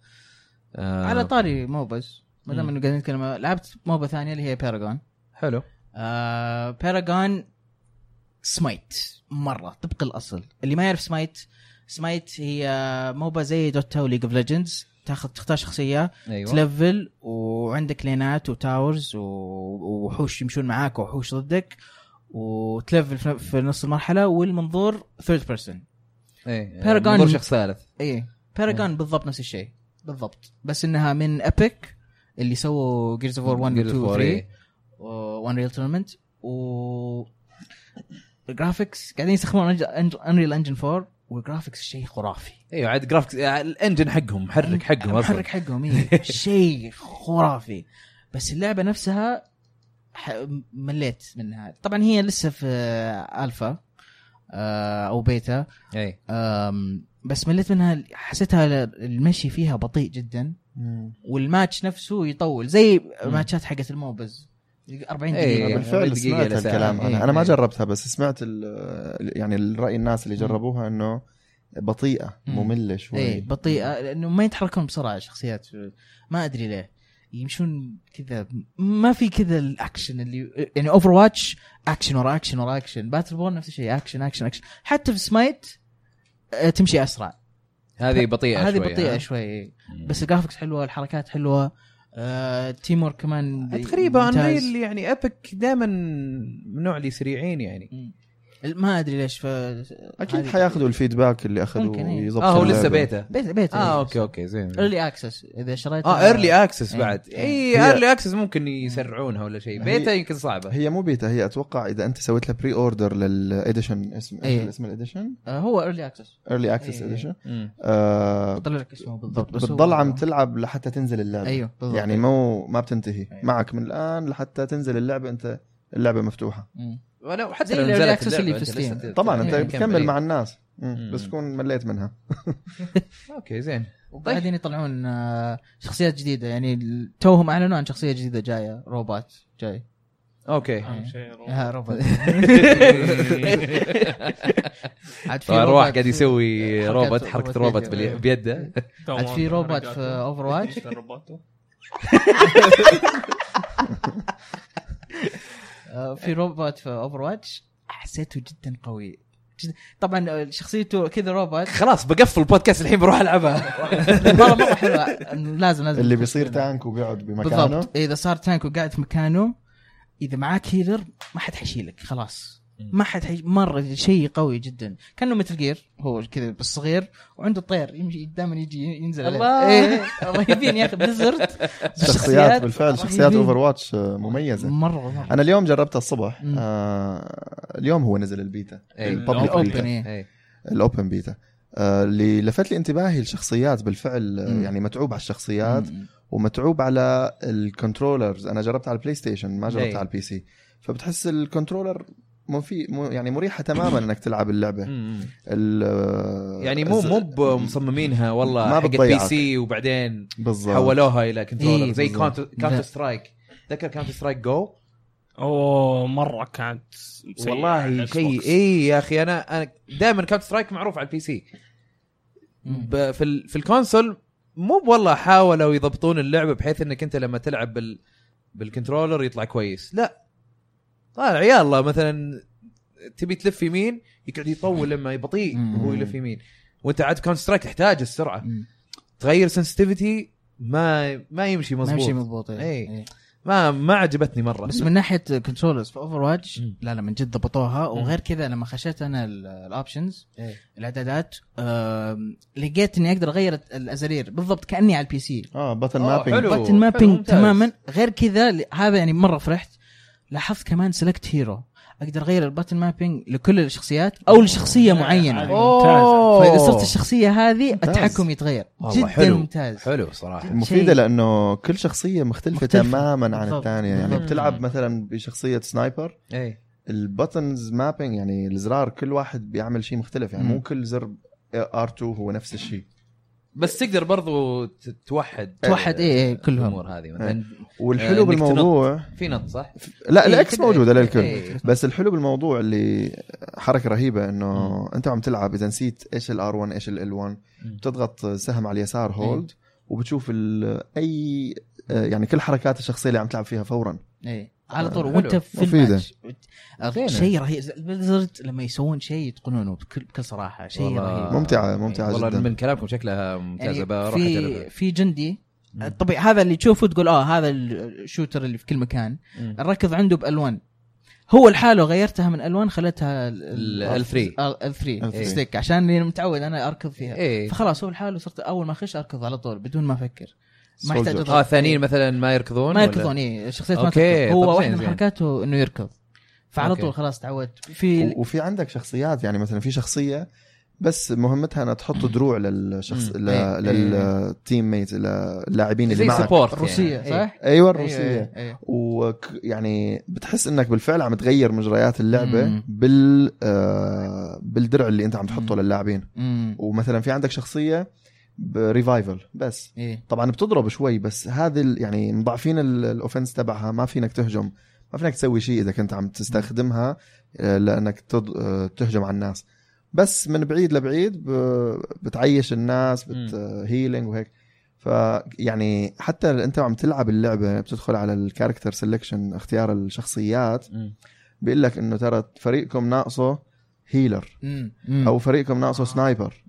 Speaker 1: آه
Speaker 3: على طاري موبز ما دام
Speaker 1: مم.
Speaker 3: انه قاعدين نتكلم لعبت موبا ثانيه اللي هي باراجون
Speaker 1: حلو
Speaker 3: آه باراجون سمايت مره طبق الاصل اللي ما يعرف سمايت سمايت هي آه، موبا زي دوتا وليج اوف ليجندز تاخذ تختار شخصيه
Speaker 1: ايوه
Speaker 3: تلفل وعندك لينات وتاورز و- ووحوش يمشون معاك ووحوش ضدك وتلفل في- في نص المرحله والمنظور ثيرد بيرسون
Speaker 1: إيه.
Speaker 3: Paragon-
Speaker 1: منظور شخص ثالث
Speaker 3: اي
Speaker 1: إيه.
Speaker 3: باراجون بالضبط نفس الشيء بالضبط بس انها من ابيك اللي سووا جيرز اوف 1
Speaker 1: Gears of
Speaker 3: 2
Speaker 1: War،
Speaker 3: 3
Speaker 1: إيه.
Speaker 3: وان ريل تورنمنت و الجرافيكس قاعدين يستخدمون انريل انجن 4 والجرافيكس شيء خرافي
Speaker 1: ايوه عاد جرافكس آه، الانجن حقهم محرك حقهم أصلاً.
Speaker 3: محرك حقهم إيه. شيء خرافي بس اللعبه نفسها ح- مليت منها طبعا هي لسه في الفا آه، او بيتا
Speaker 1: اي
Speaker 3: أم، بس مليت منها حسيتها ل- المشي فيها بطيء جدا والماتش نفسه يطول زي
Speaker 1: مم.
Speaker 3: ماتشات حقت الموبز 40
Speaker 1: إيه.
Speaker 3: دقيقه
Speaker 4: بالفعل
Speaker 1: دقيقة
Speaker 4: سمعت
Speaker 1: إلى ساعة.
Speaker 4: الكلام
Speaker 1: إيه.
Speaker 4: انا انا ما
Speaker 1: إيه.
Speaker 4: جربتها بس سمعت ال- يعني الراي الناس اللي جربوها انه بطيئه
Speaker 3: مم. إيه،
Speaker 4: ممله شوي
Speaker 3: اي بطيئه لانه آه، ما يتحركون بسرعه الشخصيات ما ادري ليه يمشون كذا ما في كذا الاكشن اللي يعني اوفر واتش اكشن ورا اكشن ورا اكشن باتل بون نفس الشيء اكشن اكشن اكشن حتى في سمايت آه، تمشي اسرع
Speaker 1: هذه بطيئه
Speaker 3: هذه
Speaker 1: شوي،
Speaker 3: بطيئه
Speaker 1: ها؟
Speaker 3: شوي إيه.
Speaker 1: مم.
Speaker 3: بس الجرافكس حلوه الحركات حلوه آه، التيم ورك كمان
Speaker 1: تقريبا
Speaker 3: ممتاز.
Speaker 1: انريل يعني ابك دائما من نوع اللي سريعين يعني
Speaker 3: مم. ما ادري ليش ف
Speaker 4: اكيد
Speaker 3: هذه-
Speaker 4: حياخذوا الفيدباك اللي اخذوه
Speaker 3: ممكن، إيه.
Speaker 4: ويظبطوا
Speaker 1: اه هو لسه
Speaker 4: اللعبة.
Speaker 1: بيتا
Speaker 3: بيت بيت
Speaker 4: آه،
Speaker 1: اه اوكي اوكي زين
Speaker 3: ايرلي اكسس اذا شريت
Speaker 1: اه ايرلي اكسس
Speaker 3: إيه.
Speaker 1: بعد
Speaker 3: إيه.
Speaker 1: اي
Speaker 4: هي-
Speaker 1: ايرلي اكسس ممكن يسرعونها ولا شيء
Speaker 4: هي-
Speaker 1: بيتا يمكن صعبه
Speaker 4: هي مو بيتا هي اتوقع اذا انت سويت لها بري اوردر للاديشن اسم
Speaker 3: إيه.
Speaker 4: ايش اسم الاديشن
Speaker 3: آه، هو ايرلي اكسس
Speaker 4: ايرلي اكسس
Speaker 3: إيه.
Speaker 4: اديشن
Speaker 1: مم.
Speaker 3: بطلع لك اسمه بالضبط بس هو-
Speaker 4: آه، بتضل عم تلعب لحتى تنزل اللعبه
Speaker 3: ايوه بالضبط
Speaker 4: يعني مو ما بتنتهي
Speaker 3: أيوة.
Speaker 4: معك من الان لحتى تنزل اللعبه انت اللعبه مفتوحه
Speaker 3: مم.
Speaker 1: وانا وحتى
Speaker 3: زي
Speaker 1: لو
Speaker 3: ال Early
Speaker 1: نزلت
Speaker 3: Access اللي
Speaker 1: اللعبة،
Speaker 3: في
Speaker 1: أنت
Speaker 3: Steam.
Speaker 1: لسه ت-
Speaker 4: طبعا
Speaker 1: ت-
Speaker 4: انت
Speaker 1: يعني
Speaker 4: بتكمل مع الناس
Speaker 1: مم.
Speaker 4: مم. بس تكون مليت منها
Speaker 1: اوكي زين
Speaker 3: وبعدين يطلعون آه، شخصيات جديده يعني ال- توهم اعلنوا عن شخصيه جديده جايه روبوت جاي
Speaker 1: اوكي
Speaker 2: اهم شيء روح.
Speaker 3: آه، روبوت عاد في
Speaker 1: طبعا
Speaker 3: روبوت
Speaker 1: رواح قاعد يسوي
Speaker 3: حركة
Speaker 1: روبوت إيه. حركه
Speaker 3: روبوت
Speaker 1: روبوت
Speaker 3: بيده.
Speaker 1: بالي- بيده
Speaker 3: عاد في روبوت في اوفر واتش
Speaker 2: روبوت
Speaker 1: إيه،
Speaker 3: آه، في روبوت في اوفر واتش حسيته جدا قوي جداً- طبعا آه، شخصيته كذا روبوت
Speaker 1: خلاص بقفل البودكاست الحين بروح العبها
Speaker 3: مره مره حلوه لازم لازم
Speaker 4: اللي بيصير تانك وبيقعد بمكانه
Speaker 3: بالضبط اذا صار تانك وقاعد في مكانه اذا معاك هيلر ما حد حيشيلك خلاص ما حد حي... مره شيء قوي جدا كانه مثل جير هو كذا بالصغير وعنده طير يمشي دائما يجي ينزل عليه.
Speaker 1: الله.
Speaker 3: إيه، الله يهديني يا اخي بليزرد
Speaker 4: شخصيات بالفعل شخصيات اوفر واتش مميزه
Speaker 3: مره مره
Speaker 4: انا اليوم جربتها الصبح
Speaker 3: مم.
Speaker 4: آه اليوم هو نزل البيتا
Speaker 1: إيه.
Speaker 4: الببليك
Speaker 2: الأوبن.
Speaker 4: بيتا.
Speaker 3: إيه.
Speaker 1: إيه.
Speaker 4: الاوبن بيتا آه، اللي لفت لي انتباهي الشخصيات بالفعل آه،
Speaker 3: مم.
Speaker 4: يعني متعوب على الشخصيات
Speaker 3: مم.
Speaker 4: ومتعوب على الكنترولرز انا جربت على البلاي ستيشن ما جربت
Speaker 1: أي.
Speaker 4: على البي سي فبتحس الكنترولر مو في مو يعني مريحه تماما انك تلعب اللعبه
Speaker 1: مم.
Speaker 4: ال- آه،
Speaker 1: يعني مو
Speaker 4: الز-
Speaker 1: مو بمصممينها والله
Speaker 4: ما
Speaker 1: حق بي
Speaker 4: بتضيعك.
Speaker 1: سي وبعدين
Speaker 4: بالضبط
Speaker 1: حولوها الى كنترولر
Speaker 3: إيه،
Speaker 1: زي
Speaker 4: بالضبط.
Speaker 1: كاونتر
Speaker 3: لا.
Speaker 1: كاونتر سترايك تذكر كاونتر سترايك جو
Speaker 2: اوه مره كانت سيئة على
Speaker 1: والله
Speaker 2: الإكس
Speaker 1: شيء إيه،
Speaker 2: بوكس.
Speaker 1: اي يا اخي انا انا دائما كاونتر سترايك معروف على البي سي
Speaker 3: مم.
Speaker 1: ب- في ال- في الكونسول مو والله حاولوا يضبطون اللعبه بحيث انك انت لما تلعب بال بالكنترولر يطلع كويس لا طالع يا الله مثلا تبي تلف يمين يقعد يطول لما بطيء
Speaker 3: مم.
Speaker 1: هو يلف يمين وانت عاد كاونتر سترايك تحتاج السرعه
Speaker 3: مم.
Speaker 1: تغير سنسيتيفيتي ما ما يمشي
Speaker 3: ما يمشي
Speaker 1: مضبوط
Speaker 3: مضبوط إيه.
Speaker 1: إيه.
Speaker 3: إيه.
Speaker 1: ما ما عجبتني مره
Speaker 3: بس من ناحيه كنترولرز في اوفر واتش
Speaker 1: مم.
Speaker 3: لا لا من جد ضبطوها
Speaker 1: مم.
Speaker 3: وغير كذا لما خشيت انا الاوبشنز
Speaker 1: إيه.
Speaker 3: الاعدادات آم، لقيت اني اقدر اغير الازرير بالضبط كاني على البي سي
Speaker 4: اه بطن
Speaker 1: آه،
Speaker 4: مابينج
Speaker 1: حلو.
Speaker 3: باتن مابينج
Speaker 1: ممتاز.
Speaker 3: تماما غير كذا ل- هذا يعني مره فرحت لاحظت كمان سلكت هيرو اقدر اغير الباتن مابينج لكل الشخصيات او لشخصيه
Speaker 1: إيه،
Speaker 2: لا،
Speaker 3: معينه
Speaker 2: عادي. ممتاز.
Speaker 3: فاذا طيب، صرت الشخصيه هذه
Speaker 4: ممتاز.
Speaker 3: التحكم يتغير
Speaker 1: والله
Speaker 3: جدا
Speaker 1: حلو.
Speaker 3: ممتاز
Speaker 1: حلو صراحه
Speaker 4: مفيدة
Speaker 3: شيء.
Speaker 4: لأنه كل شخصية مختلفة,
Speaker 3: مختلفة.
Speaker 4: تماما عن
Speaker 3: بالضبط.
Speaker 4: الثانية يعني
Speaker 3: بالضبط.
Speaker 4: بتلعب مثلا بشخصية سنايبر
Speaker 1: اي
Speaker 4: البتنز مابينج يعني الزرار كل واحد بيعمل شيء مختلف يعني
Speaker 3: مم.
Speaker 4: مو كل زر ار2 هو نفس الشيء
Speaker 1: بس تقدر برضو ت- توحد
Speaker 3: توحد ايه إيه كلهم
Speaker 1: الامور هذه مثلا
Speaker 4: والحلو
Speaker 1: آه، إنك
Speaker 4: بالموضوع
Speaker 1: في نط صح؟
Speaker 4: لا
Speaker 3: إيه،
Speaker 4: الاكس
Speaker 3: كده.
Speaker 4: موجودة للكل
Speaker 1: إيه.
Speaker 4: بس الحلو بالموضوع اللي حركة رهيبة انه انت عم تلعب اذا نسيت ايش الار 1 ايش ال 1
Speaker 1: مم.
Speaker 4: بتضغط سهم على اليسار
Speaker 3: إيه.
Speaker 4: هولد وبتشوف ال- اي آه، يعني كل حركات الشخصية اللي عم تلعب فيها فورا
Speaker 3: ايه على طول
Speaker 1: آه، حلو.
Speaker 3: وانت في
Speaker 4: مفيدة.
Speaker 3: الماتش
Speaker 1: زينة.
Speaker 3: شيء رهيب البليزرد لما يسوون شيء يتقنونه بكل بكل صراحه شيء
Speaker 1: والله.
Speaker 3: رهيب
Speaker 4: ممتعة
Speaker 3: إيه.
Speaker 4: ممتعة
Speaker 1: والله
Speaker 4: جدا
Speaker 1: من كلامكم شكلها ممتازه
Speaker 3: يعني
Speaker 1: بروح
Speaker 3: في
Speaker 1: اجربها
Speaker 3: في جندي
Speaker 1: مم.
Speaker 3: طبيعي هذا اللي تشوفه تقول اه هذا الشوتر اللي في كل مكان
Speaker 1: مم.
Speaker 3: الركض عنده بالوان هو لحاله غيرتها من الوان خلتها آه،
Speaker 1: ال- الفري.
Speaker 3: ال3
Speaker 4: الفري.
Speaker 3: ستيك عشان إني متعود انا اركض فيها
Speaker 1: ايه
Speaker 3: فخلاص هو لحاله صرت اول ما اخش اركض على طول بدون ما افكر ما
Speaker 4: Soldier.
Speaker 3: يحتاج
Speaker 1: اه ثانيين مثلا ما يركضون
Speaker 3: ما
Speaker 1: ولا؟
Speaker 3: يركضون إيه. اي شخصيات ما
Speaker 1: أوكي،
Speaker 3: تركض
Speaker 1: طب
Speaker 3: هو
Speaker 1: زين،
Speaker 3: واحده من
Speaker 1: زين.
Speaker 3: حركاته انه يركض فعلى
Speaker 1: أوكي.
Speaker 3: طول خلاص تعودت في
Speaker 4: و- وفي عندك شخصيات يعني مثلا في شخصيه بس مهمتها انها تحط دروع للشخص
Speaker 1: مم.
Speaker 3: إيه.
Speaker 4: ل- للتيم ميت للاعبين اللي
Speaker 1: زي
Speaker 4: معك
Speaker 1: سبورت
Speaker 3: الروسيه
Speaker 1: يعني.
Speaker 3: صح؟
Speaker 4: ايوه
Speaker 3: أيوة،
Speaker 4: الروسيه
Speaker 1: إيه.
Speaker 3: أيوة.
Speaker 4: ويعني يعني بتحس انك بالفعل عم تغير مجريات اللعبه
Speaker 3: مم.
Speaker 4: بال آه بالدرع اللي انت عم تحطه للاعبين
Speaker 3: أمم.
Speaker 4: ومثلا في عندك شخصيه بريفايفل بس
Speaker 3: ايه
Speaker 4: طبعا بتضرب شوي بس هذه ال- يعني مضاعفين ال- الاوفنس تبعها ما فينك تهجم ما فينك تسوي شيء اذا كنت عم تستخدمها آه، لانك تض- آه، تهجم على الناس بس من بعيد لبعيد ب- بتعيش الناس بت هيلينج وهيك ف يعني حتى انت عم تلعب اللعبه بتدخل على الكاركتر سelection اختيار الشخصيات
Speaker 1: مم.
Speaker 4: بيقول لك انه ترى فريقكم ناقصه هيلر او
Speaker 3: او
Speaker 4: فريقكم ناقصه
Speaker 1: آه.
Speaker 4: سنايبر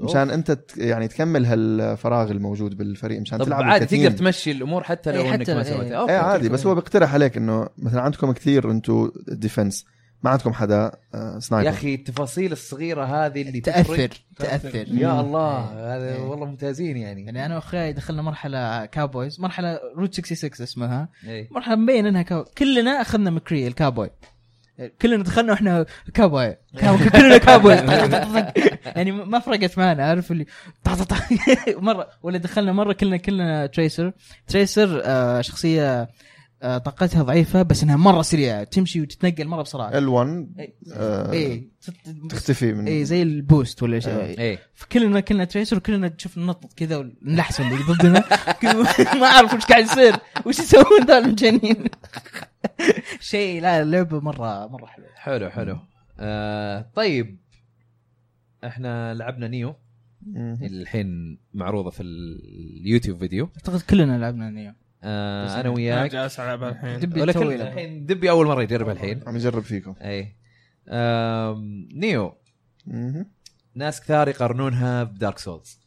Speaker 4: مشان انت ت- يعني تكمل هالفراغ الموجود بالفريق مشان
Speaker 1: طب
Speaker 4: تلعب
Speaker 1: عادي
Speaker 4: كتيم.
Speaker 1: تقدر تمشي الامور حتى لو
Speaker 3: إيه،
Speaker 1: انك
Speaker 3: حتى
Speaker 1: ما
Speaker 3: لو-
Speaker 1: سويتها
Speaker 3: إيه.
Speaker 1: اوكي
Speaker 4: ايه عادي بس هو بيقترح عليك انه مثلا عندكم كثير انتم ديفنس ما عندكم حدا آه،
Speaker 1: يا
Speaker 4: سنايبر
Speaker 1: اخي التفاصيل الصغيره هذه اللي
Speaker 3: تاثر
Speaker 1: تفرق.
Speaker 3: تاثر
Speaker 1: يا
Speaker 4: مم.
Speaker 1: الله
Speaker 3: إيه.
Speaker 1: هذا
Speaker 3: إيه.
Speaker 1: والله ممتازين يعني
Speaker 3: يعني انا واخوياي دخلنا مرحله كاوبويز مرحله روت 66 اسمها
Speaker 1: إيه.
Speaker 3: مرحله مبين انها كاو... كلنا اخذنا مكري الكاوبوي كلنا دخلنا واحنا كاوبوي كاو- كلنا كاوبوي طق- طق- طق. يعني ما فرقت معنا عارف اللي طق- طق- طق. مره ولا دخلنا مره كلنا كلنا تريسر تريسر آه شخصيه آه طاقتها ضعيفه بس انها مره سريعه تمشي وتتنقل مره بسرعه
Speaker 4: ال1
Speaker 3: إيه.
Speaker 4: آه،
Speaker 3: اي تت-
Speaker 4: تختفي من
Speaker 1: إيه،
Speaker 3: اي زي البوست ولا شيء
Speaker 1: ايه
Speaker 3: فكلنا كلنا تريسر وكلنا نشوف ننطط كذا ونلحسن اللي ضدنا كل- ما اعرف وش قاعد يصير وش يسوون ذول المجانين شيء لا اللعبه مره مره حلوه
Speaker 1: حلو حلو آه طيب احنا لعبنا نيو
Speaker 4: مم.
Speaker 1: اللي الحين معروضه في اليوتيوب فيديو
Speaker 3: اعتقد كلنا لعبنا نيو
Speaker 1: آه انا
Speaker 2: انا
Speaker 1: وياك
Speaker 2: جالس العبها الحين
Speaker 3: دبي
Speaker 1: ولكن
Speaker 3: توي لعبنا.
Speaker 1: الحين دبي اول مره يجربها الحين
Speaker 4: عم يجرب فيكم
Speaker 1: اي آم، نيو
Speaker 4: مم.
Speaker 1: ناس كثار يقارنونها بدارك سولز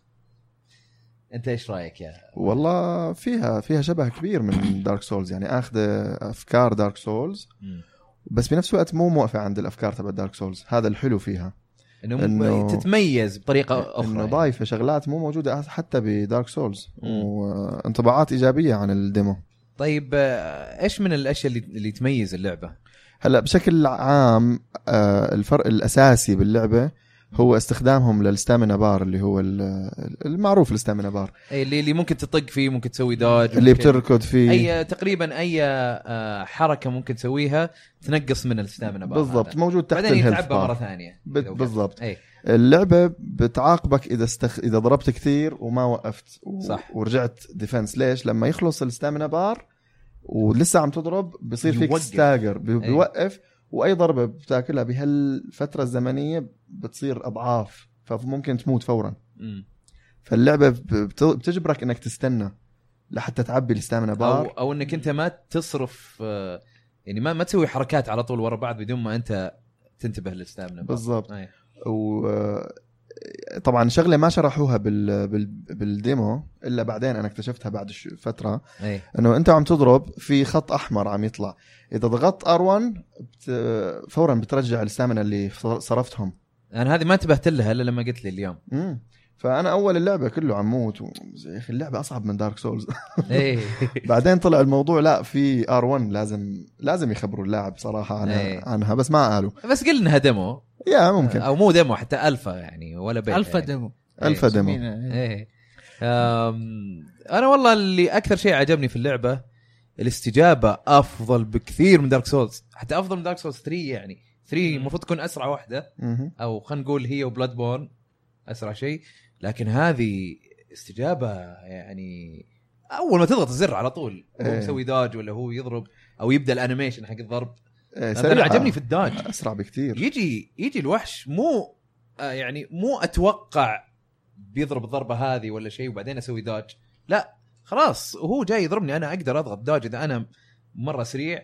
Speaker 1: انت ايش رايك يا
Speaker 4: والله فيها فيها شبه كبير من دارك سولز يعني اخذه افكار دارك سولز بس بنفس الوقت مو موقفه عند الافكار تبع دارك سولز هذا الحلو فيها
Speaker 1: انه
Speaker 4: إنه-
Speaker 1: م- تتميز بطريقه اخرى
Speaker 4: انه
Speaker 1: يعني.
Speaker 4: ضايفه شغلات مو موجوده حتى بدارك سولز
Speaker 1: مم.
Speaker 4: وانطباعات ايجابيه عن الديمو
Speaker 1: طيب آه، ايش من الاشياء اللي, اللي تميز اللعبه؟
Speaker 4: هلا بشكل عام آه، الفرق الاساسي باللعبه هو استخدامهم للستامينا بار اللي هو ال- المعروف الستامينا بار
Speaker 1: أي اللي, اللي ممكن تطق فيه ممكن تسوي دوج
Speaker 4: اللي
Speaker 1: ممكن-
Speaker 4: بتركض فيه
Speaker 1: اي تقريبا اي آه، حركه ممكن تسويها تنقص من الستامنا بار
Speaker 4: بالضبط
Speaker 1: هذا.
Speaker 4: موجود تحت
Speaker 1: بعدين
Speaker 4: الهيلث
Speaker 1: يتعبى مره
Speaker 4: بار
Speaker 1: ثانيه
Speaker 4: بت- بالضبط
Speaker 1: اي
Speaker 4: اللعبه بتعاقبك اذا استخ... اذا ضربت كثير وما وقفت و...
Speaker 1: صح.
Speaker 4: ورجعت ديفنس ليش لما يخلص الستامينا بار ولسه عم تضرب بصير فيك
Speaker 1: يوقف.
Speaker 4: ستاجر بي...
Speaker 1: أيوة.
Speaker 4: بيوقف واي ضربه بتاكلها بهالفتره الزمنيه بتصير اضعاف فممكن تموت فورا
Speaker 1: مم.
Speaker 4: فاللعبه بت- بتجبرك انك تستنى لحتى تعبي الستامنا
Speaker 1: او
Speaker 4: بار
Speaker 1: او انك انت ما تصرف آه، يعني ما ما تسوي حركات على طول ورا بعض بدون ما انت تنتبه إيه. للستامنا بار
Speaker 4: بالضبط
Speaker 1: أي.
Speaker 4: وطبعا شغله ما شرحوها بال... بال... بالديمو الا بعدين انا اكتشفتها بعد ش- فتره
Speaker 1: اي
Speaker 4: انه انت عم تضرب في خط احمر عم يطلع اذا ضغطت ار1 بت... فورا بترجع الستامنا اللي صرفتهم
Speaker 1: انا هذه ما انتبهت لها الا لما قلت لي اليوم
Speaker 4: امم فانا اول اللعبه كله عم موت و... يا اخي اللعبه اصعب من دارك سولز
Speaker 1: اي
Speaker 4: بعدين طلع الموضوع لا في ار1 لازم لازم يخبروا اللاعب صراحه
Speaker 1: إيه. آه.
Speaker 4: عنها, عنها بس ما قالوا
Speaker 1: بس قل انها ديمو
Speaker 4: يا ممكن
Speaker 1: او مو ديمو حتى الفا يعني ولا بيتا
Speaker 3: الفا
Speaker 1: يعني.
Speaker 3: ديمو
Speaker 4: الفا ديمو
Speaker 3: مين-
Speaker 1: ايه أم، انا والله اللي اكثر شيء عجبني في اللعبه الاستجابه افضل بكثير من دارك سولز حتى افضل من دارك سولز 3 يعني 3 المفروض تكون اسرع واحده
Speaker 4: مهم.
Speaker 1: او خلينا نقول هي وبلاد بورن اسرع شيء لكن هذه استجابه يعني اول ما تضغط الزر على طول هو
Speaker 4: إيه.
Speaker 1: مسوي داج ولا هو يضرب او يبدا الانيميشن حق الضرب
Speaker 4: إيه،
Speaker 1: انا
Speaker 4: سريعة.
Speaker 1: عجبني في الداج
Speaker 4: اسرع
Speaker 1: إيه.
Speaker 4: بكثير
Speaker 1: يجي يجي الوحش مو آه يعني مو اتوقع بيضرب الضربه هذه ولا شيء وبعدين اسوي داج لا خلاص وهو جاي يضربني انا اقدر اضغط داج اذا انا مره سريع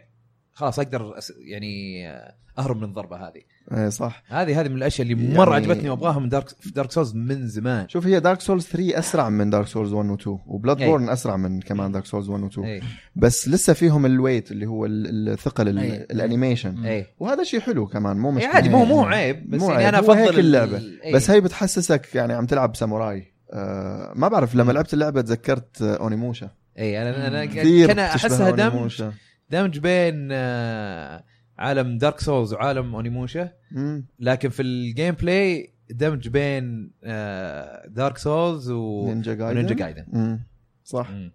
Speaker 1: خلاص اقدر أس يعني آه، اهرب من الضربه هذه
Speaker 4: إيه، صح
Speaker 1: هذه هذه من الاشياء اللي مره
Speaker 4: يعني-
Speaker 1: عجبتني وابغاها من دارك في دارك سولز من زمان
Speaker 4: شوف هي دارك سولز 3 اسرع من دارك سولز 1 و 2 وبلاد
Speaker 1: إيه.
Speaker 4: بورن اسرع من كمان دارك سولز 1 و 2
Speaker 1: اي
Speaker 4: بس لسه فيهم الويت اللي هو ال- الثقل ال-
Speaker 3: أي.
Speaker 4: الانيميشن
Speaker 1: اي
Speaker 4: وهذا شيء حلو كمان مو
Speaker 1: إي
Speaker 4: مشكله
Speaker 1: إيه. عادي مو مو عيب بس
Speaker 4: مو
Speaker 1: يعني
Speaker 4: عيب،
Speaker 1: انا
Speaker 4: هو
Speaker 1: افضل
Speaker 4: هيك
Speaker 1: ال- إيه.
Speaker 4: اللعبة.
Speaker 1: إي.
Speaker 4: بس هي بتحسسك يعني عم تلعب ساموراي آه ما بعرف
Speaker 1: إيه.
Speaker 4: لما لعبت اللعبه تذكرت آه، اونيموشا
Speaker 1: اي انا انا
Speaker 4: كثير
Speaker 1: إيه، يعني كان
Speaker 4: بتشبه
Speaker 1: احسها دمج
Speaker 4: أونيموشا.
Speaker 1: دمج بين آه، عالم دارك سولز وعالم اونيموشا
Speaker 4: مم.
Speaker 1: لكن في الجيم بلاي دمج بين دارك سولز و
Speaker 4: نينجا جايدن
Speaker 1: ونينجا جايدن
Speaker 4: مم. صح
Speaker 1: مم.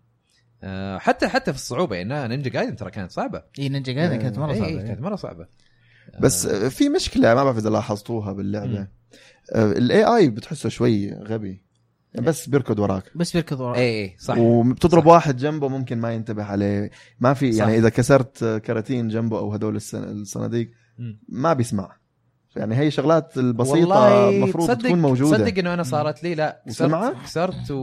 Speaker 1: آه، حتى حتى في الصعوبه يعني نينجا جايدن ترى كانت صعبه
Speaker 3: اي نينجا جايدن كانت مره
Speaker 1: إيه،
Speaker 3: صعبه
Speaker 1: إيه، كانت مره صعبه آه،
Speaker 4: بس آه، في مشكله ما بعرف اذا لاحظتوها باللعبه
Speaker 1: مم.
Speaker 4: الاي اي بتحسه شوي غبي
Speaker 1: إيه.
Speaker 4: يعني بس بيركض وراك
Speaker 3: بس بيركض وراه
Speaker 1: اي اي آه، إيه، صح
Speaker 4: وبتضرب
Speaker 1: صح.
Speaker 4: واحد جنبه ممكن ما ينتبه عليه ما في يعني
Speaker 1: صح.
Speaker 4: اذا كسرت كراتين جنبه او هذول السن- الصناديق
Speaker 1: مم.
Speaker 4: ما بيسمع يعني هي شغلات البسيطه
Speaker 1: والله
Speaker 4: المفروض
Speaker 1: تصدق-
Speaker 4: تكون موجوده
Speaker 1: تصدق انه انا صارت لي لا كسرت
Speaker 4: وسمعة؟
Speaker 1: كسرت و...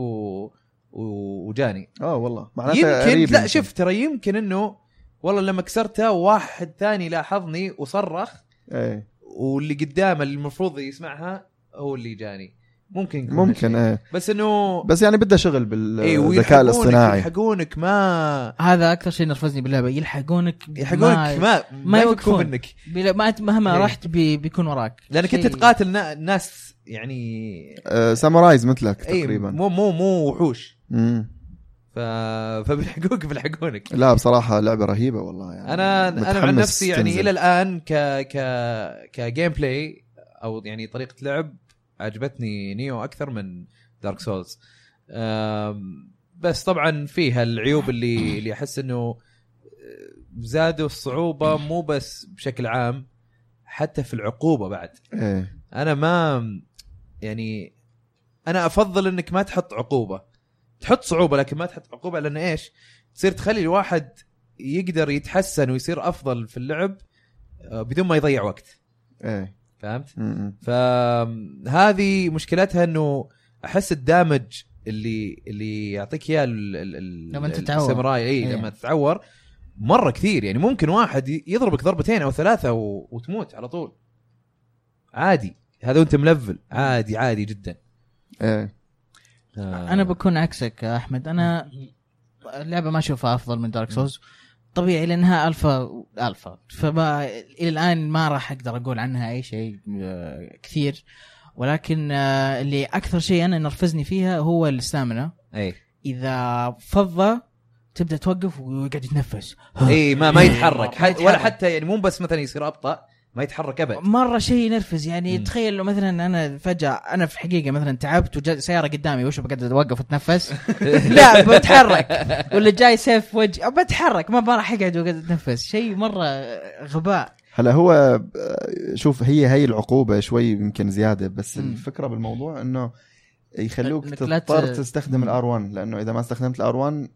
Speaker 1: و- وجاني
Speaker 4: اه والله معناتها
Speaker 1: يمكن لا
Speaker 4: يمكن.
Speaker 1: شوف ترى يمكن انه والله لما كسرتها واحد ثاني لاحظني وصرخ
Speaker 4: ايه
Speaker 1: واللي قدامه اللي المفروض يسمعها هو اللي جاني ممكن يكون
Speaker 4: ممكن
Speaker 1: هالشيء.
Speaker 4: ايه
Speaker 1: بس انه
Speaker 4: بس يعني بدها شغل
Speaker 1: إيه،
Speaker 4: بالذكاء الاصطناعي
Speaker 1: يلحقونك ما
Speaker 3: هذا اكثر شيء نرفزني باللعبه يلحقونك
Speaker 1: يلحقونك ما ما يفكون
Speaker 3: يوقفون.
Speaker 1: منك
Speaker 3: بلا- ما أنت مهما
Speaker 1: إيه.
Speaker 3: رحت بي بيكون وراك
Speaker 1: لانك انت
Speaker 3: شيء-
Speaker 1: تقاتل نا- ناس يعني
Speaker 4: آه سامورايز مثلك
Speaker 1: اي
Speaker 4: تقريبا
Speaker 1: إيه، مو مو مو وحوش
Speaker 4: مم.
Speaker 1: ف... فبيلحقوك بيلحقونك
Speaker 4: لا بصراحه لعبه رهيبه والله يعني
Speaker 1: انا انا عن
Speaker 4: متحمس
Speaker 1: نفسي يعني
Speaker 4: تنزل.
Speaker 1: الى الان ك ك كجيم بلاي او يعني طريقه لعب عجبتني نيو اكثر من دارك سولز بس طبعا فيها العيوب اللي اللي احس انه زادوا الصعوبه مو بس بشكل عام حتى في العقوبه بعد
Speaker 4: ايه
Speaker 1: انا ما يعني انا افضل انك ما تحط عقوبه تحط صعوبه لكن ما تحط عقوبه لان ايش تصير تخلي الواحد يقدر يتحسن ويصير افضل في اللعب آه، بدون ما يضيع وقت
Speaker 4: ايه
Speaker 1: فهمت
Speaker 4: مم.
Speaker 1: فهذه مشكلتها انه احس الدامج اللي اللي يعطيك اياه ال- ال- ال-
Speaker 3: لما أنت تتعور.
Speaker 1: الساموراي اي
Speaker 3: إيه.
Speaker 1: لما تتعور مره كثير يعني ممكن واحد ي- يضربك ضربتين او ثلاثه و... وتموت على طول عادي هذا وانت ملفل عادي عادي جدا
Speaker 4: ايه
Speaker 1: آه.
Speaker 3: انا بكون عكسك يا احمد انا اللعبه ما اشوفها افضل من دارك سولز طبيعي لانها الفا الفا فما الى الان ما راح اقدر اقول عنها اي شيء آه، كثير ولكن آه، اللي اكثر شيء انا نرفزني فيها هو الستامنا
Speaker 1: اي
Speaker 3: اذا فضه تبدا توقف ويقعد يتنفس
Speaker 1: اي ما ما يتحرك
Speaker 3: ما
Speaker 1: حت...
Speaker 3: يتحرك.
Speaker 1: ولا حتى يعني مو بس مثلا يصير ابطا ما يتحرك ابد
Speaker 3: مره شيء ينرفز يعني
Speaker 1: طيب. مم.
Speaker 3: تخيل لو مثلا انا فجاه انا في الحقيقه مثلا تعبت وجا سياره قدامي وش بقعد اتوقف اتنفس لا بتحرك ولا جاي سيف في وجهي بتحرك ما راح اقعد وقعد اتنفس شيء مره غباء
Speaker 4: هلا هو آه، شوف هي هي العقوبه شوي يمكن زياده بس
Speaker 3: مم.
Speaker 4: الفكره بالموضوع انه يخلوك
Speaker 3: إنك لا
Speaker 4: تضطر
Speaker 3: ت-
Speaker 4: تستخدم الار 1 لانه اذا ما استخدمت الار 1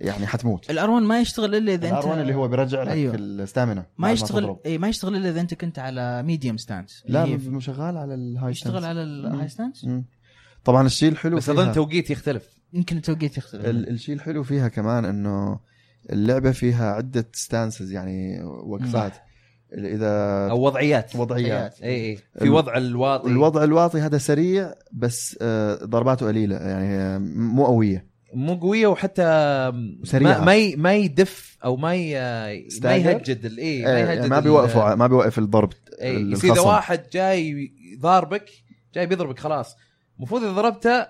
Speaker 4: يعني حتموت
Speaker 3: الارون ما يشتغل الا اذا انت
Speaker 4: الار 1 اللي هو بيرجع لك
Speaker 3: أيوه.
Speaker 4: أيوه. الستامنا
Speaker 3: ما يشتغل اي ما يشتغل الا اذا انت كنت على ميديوم ستانس
Speaker 4: لا مو شغال على الهاي
Speaker 3: إيه. يشتغل على الهاي ستانس
Speaker 4: مم. طبعا الشيء الحلو
Speaker 1: بس
Speaker 4: فيها-
Speaker 1: اظن توقيت يختلف
Speaker 3: يمكن التوقيت يختلف
Speaker 4: ال- الشيء الحلو فيها كمان انه اللعبه فيها عده ستانسز يعني وقفات اذا
Speaker 1: او وضعيات
Speaker 4: وضعيات
Speaker 1: اي اي في
Speaker 4: ال-
Speaker 1: وضع الواطي
Speaker 4: الوضع الواطي هذا سريع بس آه، ضرباته قليله يعني آه، مو قويه
Speaker 1: مو قويه وحتى
Speaker 4: سريعة.
Speaker 1: ما ما, ي... ما يدف او ما ي... ما
Speaker 4: ستاجر.
Speaker 1: يهجد الاي
Speaker 4: آه، يعني ما بيوقفوا ع- ما بيوقف الضرب
Speaker 1: اي
Speaker 4: ال-
Speaker 1: يصير اذا
Speaker 4: الخصم.
Speaker 1: إيه، واحد جاي ضاربك جاي بيضربك خلاص المفروض اذا ضربته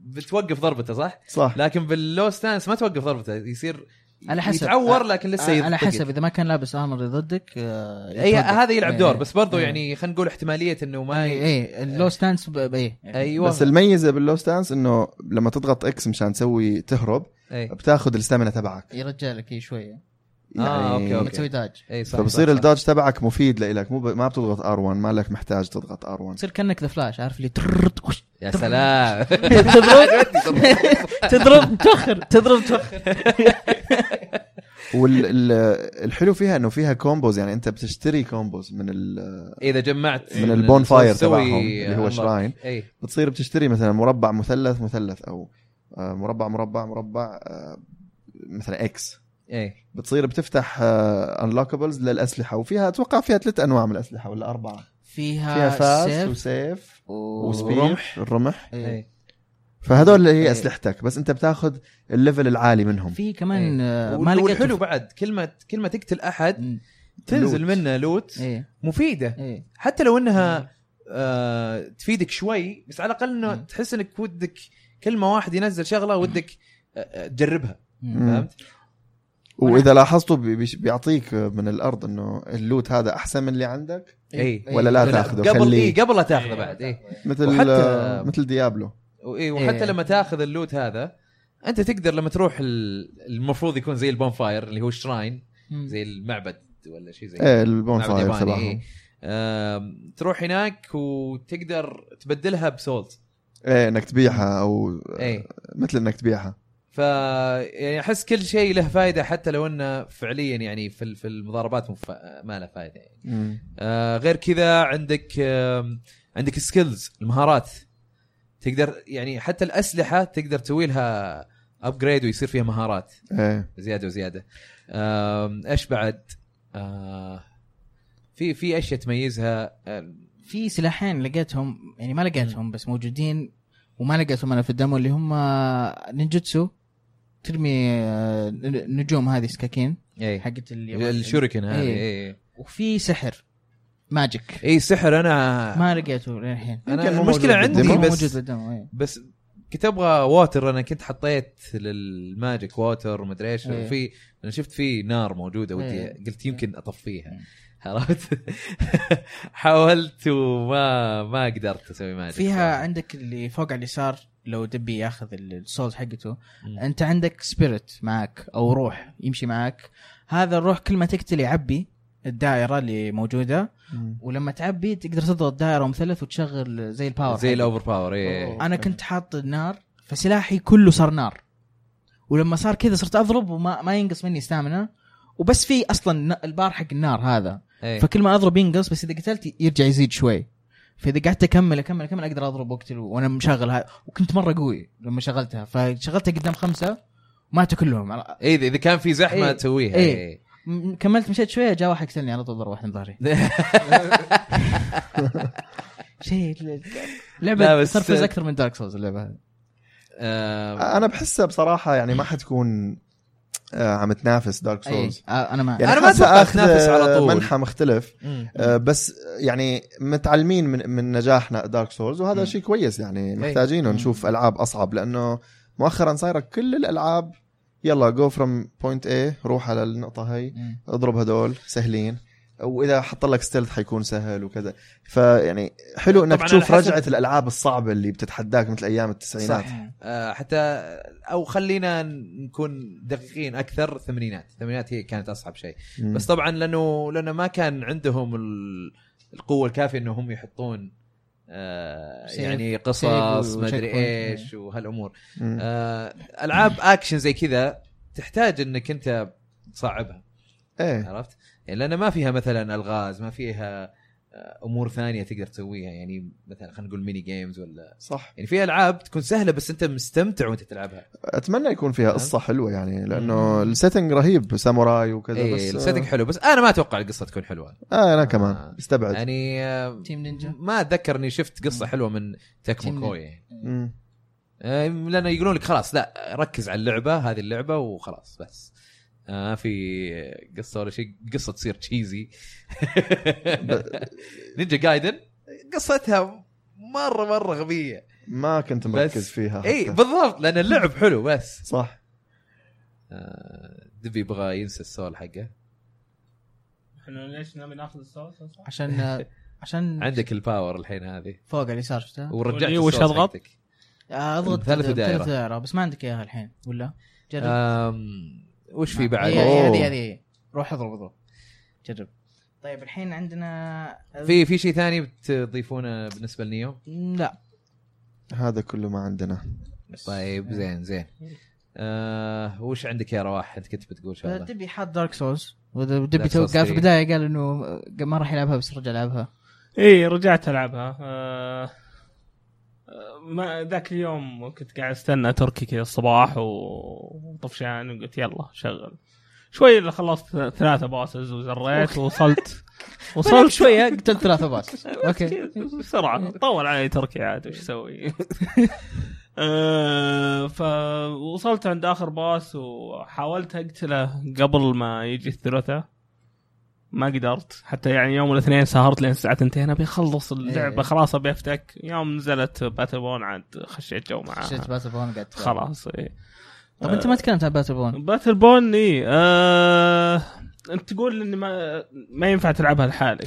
Speaker 1: بتوقف ضربته صح؟
Speaker 4: صح
Speaker 1: لكن باللو ستانس ما توقف ضربته يصير
Speaker 3: على حسب. آه،
Speaker 1: يتعور لكن لسه
Speaker 3: على
Speaker 1: يضطقك.
Speaker 3: حسب اذا ما كان لابس ارمر ضدك
Speaker 1: اي هذا يلعب دور بس برضو
Speaker 3: إيه.
Speaker 1: يعني خلينا نقول احتماليه انه ما ي...
Speaker 3: اي اللو ستانس اي
Speaker 1: ايوه
Speaker 4: بس الميزه باللو ستانس انه لما تضغط اكس مشان تسوي تهرب
Speaker 1: اي
Speaker 4: بتاخذ الستامنا تبعك يعني
Speaker 3: يرجع لك إيه شويه
Speaker 1: آه، أوكي،
Speaker 3: لما
Speaker 1: أوكي.
Speaker 3: تسوي داج
Speaker 1: اي إيه، صح
Speaker 4: فبصير
Speaker 1: صح، صح.
Speaker 4: الدوج تبعك مفيد لإلك مو ب... ما بتضغط ار1 ما لك محتاج تضغط ار1
Speaker 3: تصير كانك ذا فلاش عارف اللي ترررت، وش-
Speaker 1: يا سلام
Speaker 3: تضرب تضرب تخر تضرب تخر
Speaker 4: والحلو فيها انه فيها كومبوز يعني انت بتشتري كومبوز من ال...
Speaker 1: اذا جمعت
Speaker 4: من البون فاير
Speaker 1: تسوي-
Speaker 4: تبعهم اللي هو
Speaker 1: الله.
Speaker 4: شراين
Speaker 1: اي
Speaker 4: بتصير بتشتري مثلا مربع مثلث مثلث او آه، مربع مربع مربع آه، مثلا اكس
Speaker 1: اي
Speaker 4: بتصير بتفتح انلوكبلز للاسلحه وفيها اتوقع فيها ثلاث انواع من الاسلحه ولا اربعه فيها
Speaker 3: فيها
Speaker 4: فاس
Speaker 3: سيف إيه.
Speaker 4: وسيف
Speaker 3: وسبيد
Speaker 4: وسبير الرمح
Speaker 1: اي
Speaker 4: فهذول اللي هي
Speaker 1: إيه.
Speaker 4: اسلحتك بس انت بتاخذ الليفل العالي منهم
Speaker 3: في
Speaker 4: إيه.
Speaker 3: كمان آه، ما لقيت
Speaker 1: والحلو بعد كل ما كل ما تقتل احد
Speaker 3: مم.
Speaker 1: تنزل
Speaker 4: لوت.
Speaker 1: منه لوت
Speaker 3: ايه
Speaker 1: مفيده
Speaker 3: ايه
Speaker 1: حتى لو انها آه تفيدك شوي بس على الاقل انه
Speaker 3: مم.
Speaker 1: تحس انك ودك كل ما واحد ينزل شغله ودك آه، آه، تجربها
Speaker 4: مم.
Speaker 1: فهمت؟
Speaker 4: واذا لاحظتوا بي- بيش- بيعطيك من الارض انه اللوت هذا احسن من اللي عندك
Speaker 3: إيه،
Speaker 1: اي
Speaker 4: ولا لا تاخذه
Speaker 1: قبل
Speaker 4: خليه
Speaker 1: اي قبل لا تاخذه بعد إيه. اي
Speaker 4: مثل
Speaker 1: وحتى-
Speaker 4: مثل ديابلو
Speaker 1: وايه وحتى
Speaker 3: إيه.
Speaker 1: لما تاخذ اللوت هذا انت تقدر لما تروح ال- المفروض يكون زي البون فاير اللي هو الشراين زي المعبد ولا شيء زي
Speaker 3: إيه.
Speaker 1: كذا.
Speaker 4: ايه البون
Speaker 1: معبد
Speaker 4: فاير
Speaker 1: ياباني،
Speaker 4: تبعهم
Speaker 1: إيه. آم، تروح هناك وتقدر تبدلها إيه. بسولز
Speaker 4: ايه انك تبيعها او
Speaker 1: اي
Speaker 4: مثل انك تبيعها
Speaker 1: ف يعني احس كل شيء له فائده حتى لو انه فعليا يعني في ال- في المضاربات مف... ما له فائده يعني.
Speaker 4: مم.
Speaker 1: آه غير كذا عندك آه عندك سكيلز المهارات تقدر يعني حتى الاسلحه تقدر تسوي لها ابجريد ويصير فيها مهارات
Speaker 4: ايه
Speaker 1: زياده وزياده آم، ايش بعد آه، في في اشياء تميزها آه،
Speaker 3: في سلاحين لقيتهم يعني ما لقيتهم بس موجودين وما لقيتهم انا في الدمو اللي هم نينجوتسو ترمي آه، نجوم هذه سكاكين
Speaker 4: إيه.
Speaker 1: اي
Speaker 3: حقت اليابان.
Speaker 1: الشوريكن إيه، هذه
Speaker 3: إيه.
Speaker 1: اي اي
Speaker 3: وفي سحر
Speaker 4: إيه.
Speaker 3: ماجيك
Speaker 1: اي سحر انا
Speaker 3: ما لقيته للحين
Speaker 1: انا
Speaker 4: يمكن مو
Speaker 1: المشكله
Speaker 4: موجود
Speaker 1: عندي
Speaker 4: بالديمو.
Speaker 3: هو موجود
Speaker 1: بس
Speaker 3: بالدمو إيه.
Speaker 1: بس كنت ابغى ووتر انا كنت حطيت للماجيك ووتر ومدري ايش
Speaker 3: إيه.
Speaker 1: وفي انا شفت في نار موجوده ودي
Speaker 3: إيه.
Speaker 1: قلت يمكن اطفيها
Speaker 3: إيه.
Speaker 1: عرفت حاولت وما ما قدرت اسوي ماجيك
Speaker 3: فيها
Speaker 1: صراحة.
Speaker 3: عندك اللي فوق على اليسار لو دبي ياخذ السولز حقته
Speaker 1: مم.
Speaker 3: انت عندك سبيريت معك او روح يمشي معك هذا الروح كل ما تقتل يعبي الدائره اللي موجوده
Speaker 4: مم.
Speaker 3: ولما تعبي تقدر تضغط دائره مثلث وتشغل زي الباور
Speaker 1: زي إيه.
Speaker 3: حقك.
Speaker 1: الاوفر باور اي
Speaker 3: انا كنت حاط النار فسلاحي كله صار نار ولما صار كذا صرت اضرب وما ما ينقص مني استامنا وبس في اصلا ن- البار حق النار هذا
Speaker 1: اي
Speaker 3: فكل ما اضرب ينقص بس اذا قتلت يرجع يزيد شوي فاذا قعدت اكمل اكمل اكمل اقدر اضرب واقتل وانا مشغل ها- وكنت مره قوي لما شغلتها فشغلتها قدام خمسه ماتوا كلهم
Speaker 1: إيه، اذا إذا كان في زحمه
Speaker 3: إيه.
Speaker 1: تسويها
Speaker 3: إيه.
Speaker 1: إيه.
Speaker 3: م- كملت مشيت شويه جاء واحد قتلني على طول ضربه واحده من ظهري شيء
Speaker 1: لا،
Speaker 3: لعبه
Speaker 1: بس-
Speaker 3: ترفز اكثر من دارك سولز اللعبه هذه
Speaker 1: آه،
Speaker 4: انا بحسها بصراحه يعني ما حتكون آه، عم تنافس دارك
Speaker 3: أي،
Speaker 4: سولز
Speaker 3: آه، انا معك
Speaker 4: يعني
Speaker 1: إيه. أنا ما
Speaker 4: حاسة
Speaker 1: أتوقع
Speaker 4: آخذ
Speaker 1: تنافس على طول.
Speaker 4: منحى مختلف
Speaker 1: مم.
Speaker 4: آه، بس يعني متعلمين من من نجاحنا دارك سولز وهذا شيء كويس
Speaker 1: إيه.
Speaker 4: يعني محتاجينه
Speaker 3: مم.
Speaker 4: نشوف العاب اصعب لانه مؤخرا صايره كل الالعاب يلا جو فروم بوينت اي روح على النقطه هي
Speaker 3: مم.
Speaker 4: اضرب هدول سهلين واذا حط لك ستيلث حيكون سهل وكذا فيعني حلو انك
Speaker 1: طبعاً
Speaker 4: تشوف
Speaker 1: على حسب-
Speaker 4: رجعه الالعاب الصعبه اللي بتتحداك مثل ايام التسعينات
Speaker 1: صح. آه، حتى او خلينا نكون دقيقين اكثر الثمانينات الثمانينات هي كانت اصعب شيء
Speaker 4: مم.
Speaker 1: بس طبعا لانه لانه ما كان عندهم ال- القوه الكافيه انهم يحطون آه،
Speaker 3: سيف-
Speaker 1: يعني
Speaker 3: سيف
Speaker 1: قصص
Speaker 3: و-
Speaker 1: ما
Speaker 3: checkpoint.
Speaker 1: ادري ايش وهالامور
Speaker 4: مم.
Speaker 1: آه، العاب اكشن زي كذا تحتاج انك انت تصعبها
Speaker 4: ايه
Speaker 1: عرفت؟ يعني لان ما فيها مثلا الغاز ما فيها آه، امور ثانيه تقدر تسويها يعني مثلا خلينا نقول ميني جيمز ولا
Speaker 4: صح
Speaker 1: يعني في العاب تكون سهله بس انت مستمتع وانت تلعبها
Speaker 4: اتمنى يكون
Speaker 1: آه.
Speaker 4: فيها قصه حلوه يعني لانه
Speaker 3: مم.
Speaker 4: السيتنج رهيب ساموراي وكذا
Speaker 1: اي
Speaker 4: بس
Speaker 1: صدق إيه، حلو بس انا ما اتوقع القصه تكون حلوه
Speaker 4: آه انا كمان
Speaker 1: آه.
Speaker 4: استبعد
Speaker 1: يعني آه،
Speaker 3: تيم نينجا
Speaker 1: ما اتذكر اني شفت قصه حلوه من تكمو
Speaker 3: مم.
Speaker 1: كوي يعني.
Speaker 4: مم.
Speaker 1: آه، لانه يقولون لك خلاص لا ركز على اللعبه هذه اللعبه وخلاص بس آه، ما في قصه ولا شيء قصه تصير تشيزي نينجا جايدن قصتها مره مره غبيه
Speaker 4: ما كنت مركز فيها
Speaker 1: اي
Speaker 4: حتى.
Speaker 1: إيه، بالضبط لان اللعب حلو بس
Speaker 4: صح
Speaker 1: آه، دبي يبغى ينسى السؤال حقه
Speaker 2: احنا ليش نبي ناخذ الصوت أصلاً؟
Speaker 3: عشان عشان
Speaker 1: عندك الباور الحين هذه
Speaker 3: فوق على اليسار شفتها
Speaker 1: ورجعت
Speaker 2: واللي وش
Speaker 1: الصوت
Speaker 2: أضغط؟
Speaker 1: حقتك.
Speaker 3: آه، اضغط
Speaker 1: ثالث دائرة. آه،
Speaker 3: ثالث دائره بس ما عندك اياها الحين ولا جرب
Speaker 1: أم، وش في بعد؟
Speaker 3: هي- هي-
Speaker 4: أوه.
Speaker 3: هذه هذه روح اضرب اضرب جرب طيب الحين عندنا
Speaker 1: في في شيء ثاني بتضيفونه بالنسبه لنيو؟
Speaker 3: لا
Speaker 4: هذا كله ما عندنا
Speaker 3: بس-
Speaker 1: طيب زين زين. آه وش عندك يا رواح؟ انت كنت بتقول شغله.
Speaker 3: دبي حاط دارك سولز ودبي
Speaker 1: Dark
Speaker 3: تو
Speaker 1: Souls
Speaker 3: قال
Speaker 1: 3.
Speaker 3: في البدايه قال انه ما راح يلعبها بس رجع لعبها
Speaker 2: ايه رجعت العبها آه آه، ما ذاك اليوم كنت قاعد استنى تركي كذا الصباح و- وطفشان وقلت يلا شغل شوي اللي خلصت ثلاثة باسز وزريت ووصلت
Speaker 3: وصلت
Speaker 2: وصلت
Speaker 3: شويه قتلت ثلاثه باص اوكي
Speaker 2: اوكي بسرعه طول علي تركي عاد وش اسوي آه، فوصلت عند اخر باص وحاولت اقتله قبل ما يجي الثلاثاء ما قدرت حتى يعني يوم الاثنين سهرت لين الساعه 2 ابي اخلص
Speaker 3: إيه.
Speaker 2: اللعبه خلاص ابي افتك يوم نزلت باتل بون عاد خشيت جو
Speaker 1: آه.
Speaker 2: معاها
Speaker 3: شفت باتل بون قاعد تلعب.
Speaker 2: خلاص إيه.
Speaker 3: طب انت ما تكلمت عن باتل بون
Speaker 2: باتل بون اي آه انت تقول ان ما ما ينفع تلعبها لحالك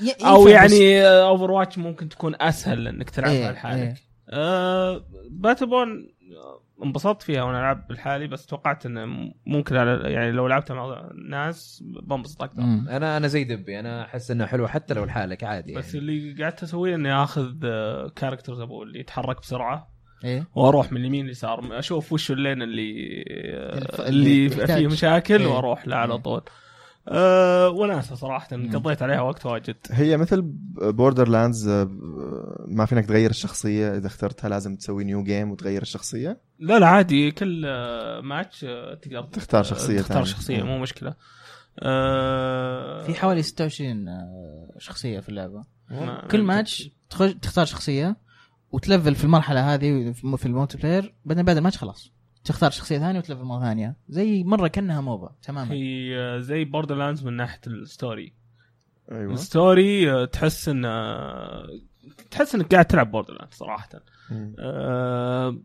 Speaker 3: ي-
Speaker 2: او
Speaker 3: ينفع بس-
Speaker 2: يعني اوفر واتش ممكن تكون اسهل انك تلعبها
Speaker 3: إيه،
Speaker 2: لحالك آه باتل بون انبسطت فيها وانا العب بالحالي بس توقعت انه ممكن على يعني لو لعبتها مع ناس بنبسط اكثر
Speaker 3: مم.
Speaker 1: انا انا زي دبي انا احس انها حلوه حتى لو لحالك عادي يعني.
Speaker 2: بس اللي قعدت اسويه اني اخذ كاركترز ابو اللي يتحرك بسرعه
Speaker 3: ايه
Speaker 2: واروح من اليمين لليسار اشوف وش اللين اللي آه،
Speaker 3: الف-
Speaker 2: اللي
Speaker 3: اللي يحتاج.
Speaker 2: فيه مشاكل
Speaker 3: إيه.
Speaker 2: واروح له على
Speaker 3: إيه.
Speaker 2: طول أه وناسه صراحه
Speaker 3: مم.
Speaker 2: قضيت عليها وقت واجد
Speaker 4: هي مثل بوردر لاندز ما فينك تغير الشخصيه اذا اخترتها لازم تسوي نيو جيم وتغير الشخصيه
Speaker 2: لا لا عادي كل آه، ماتش آه، تقدر
Speaker 4: تختار شخصية
Speaker 2: تختار
Speaker 4: ثانية.
Speaker 2: شخصيه مو مشكله أه
Speaker 3: في حوالي 26 آه، شخصيه في اللعبه
Speaker 2: ما-
Speaker 3: كل ماتش تخش تختار شخصيه وتلفل في المرحله هذه في في المولتي بلاير بعدين بعد الماتش خلاص تختار شخصيه ثانيه وتلفل مره ثانيه زي مره كانها موبا تماما
Speaker 2: هي آه، زي بوردر لاندز من ناحيه الستوري
Speaker 4: ايوه
Speaker 2: الستوري آه، تحس ان آه، تحس انك قاعد تلعب بوردر لاندز صراحه
Speaker 4: مم.
Speaker 2: آه،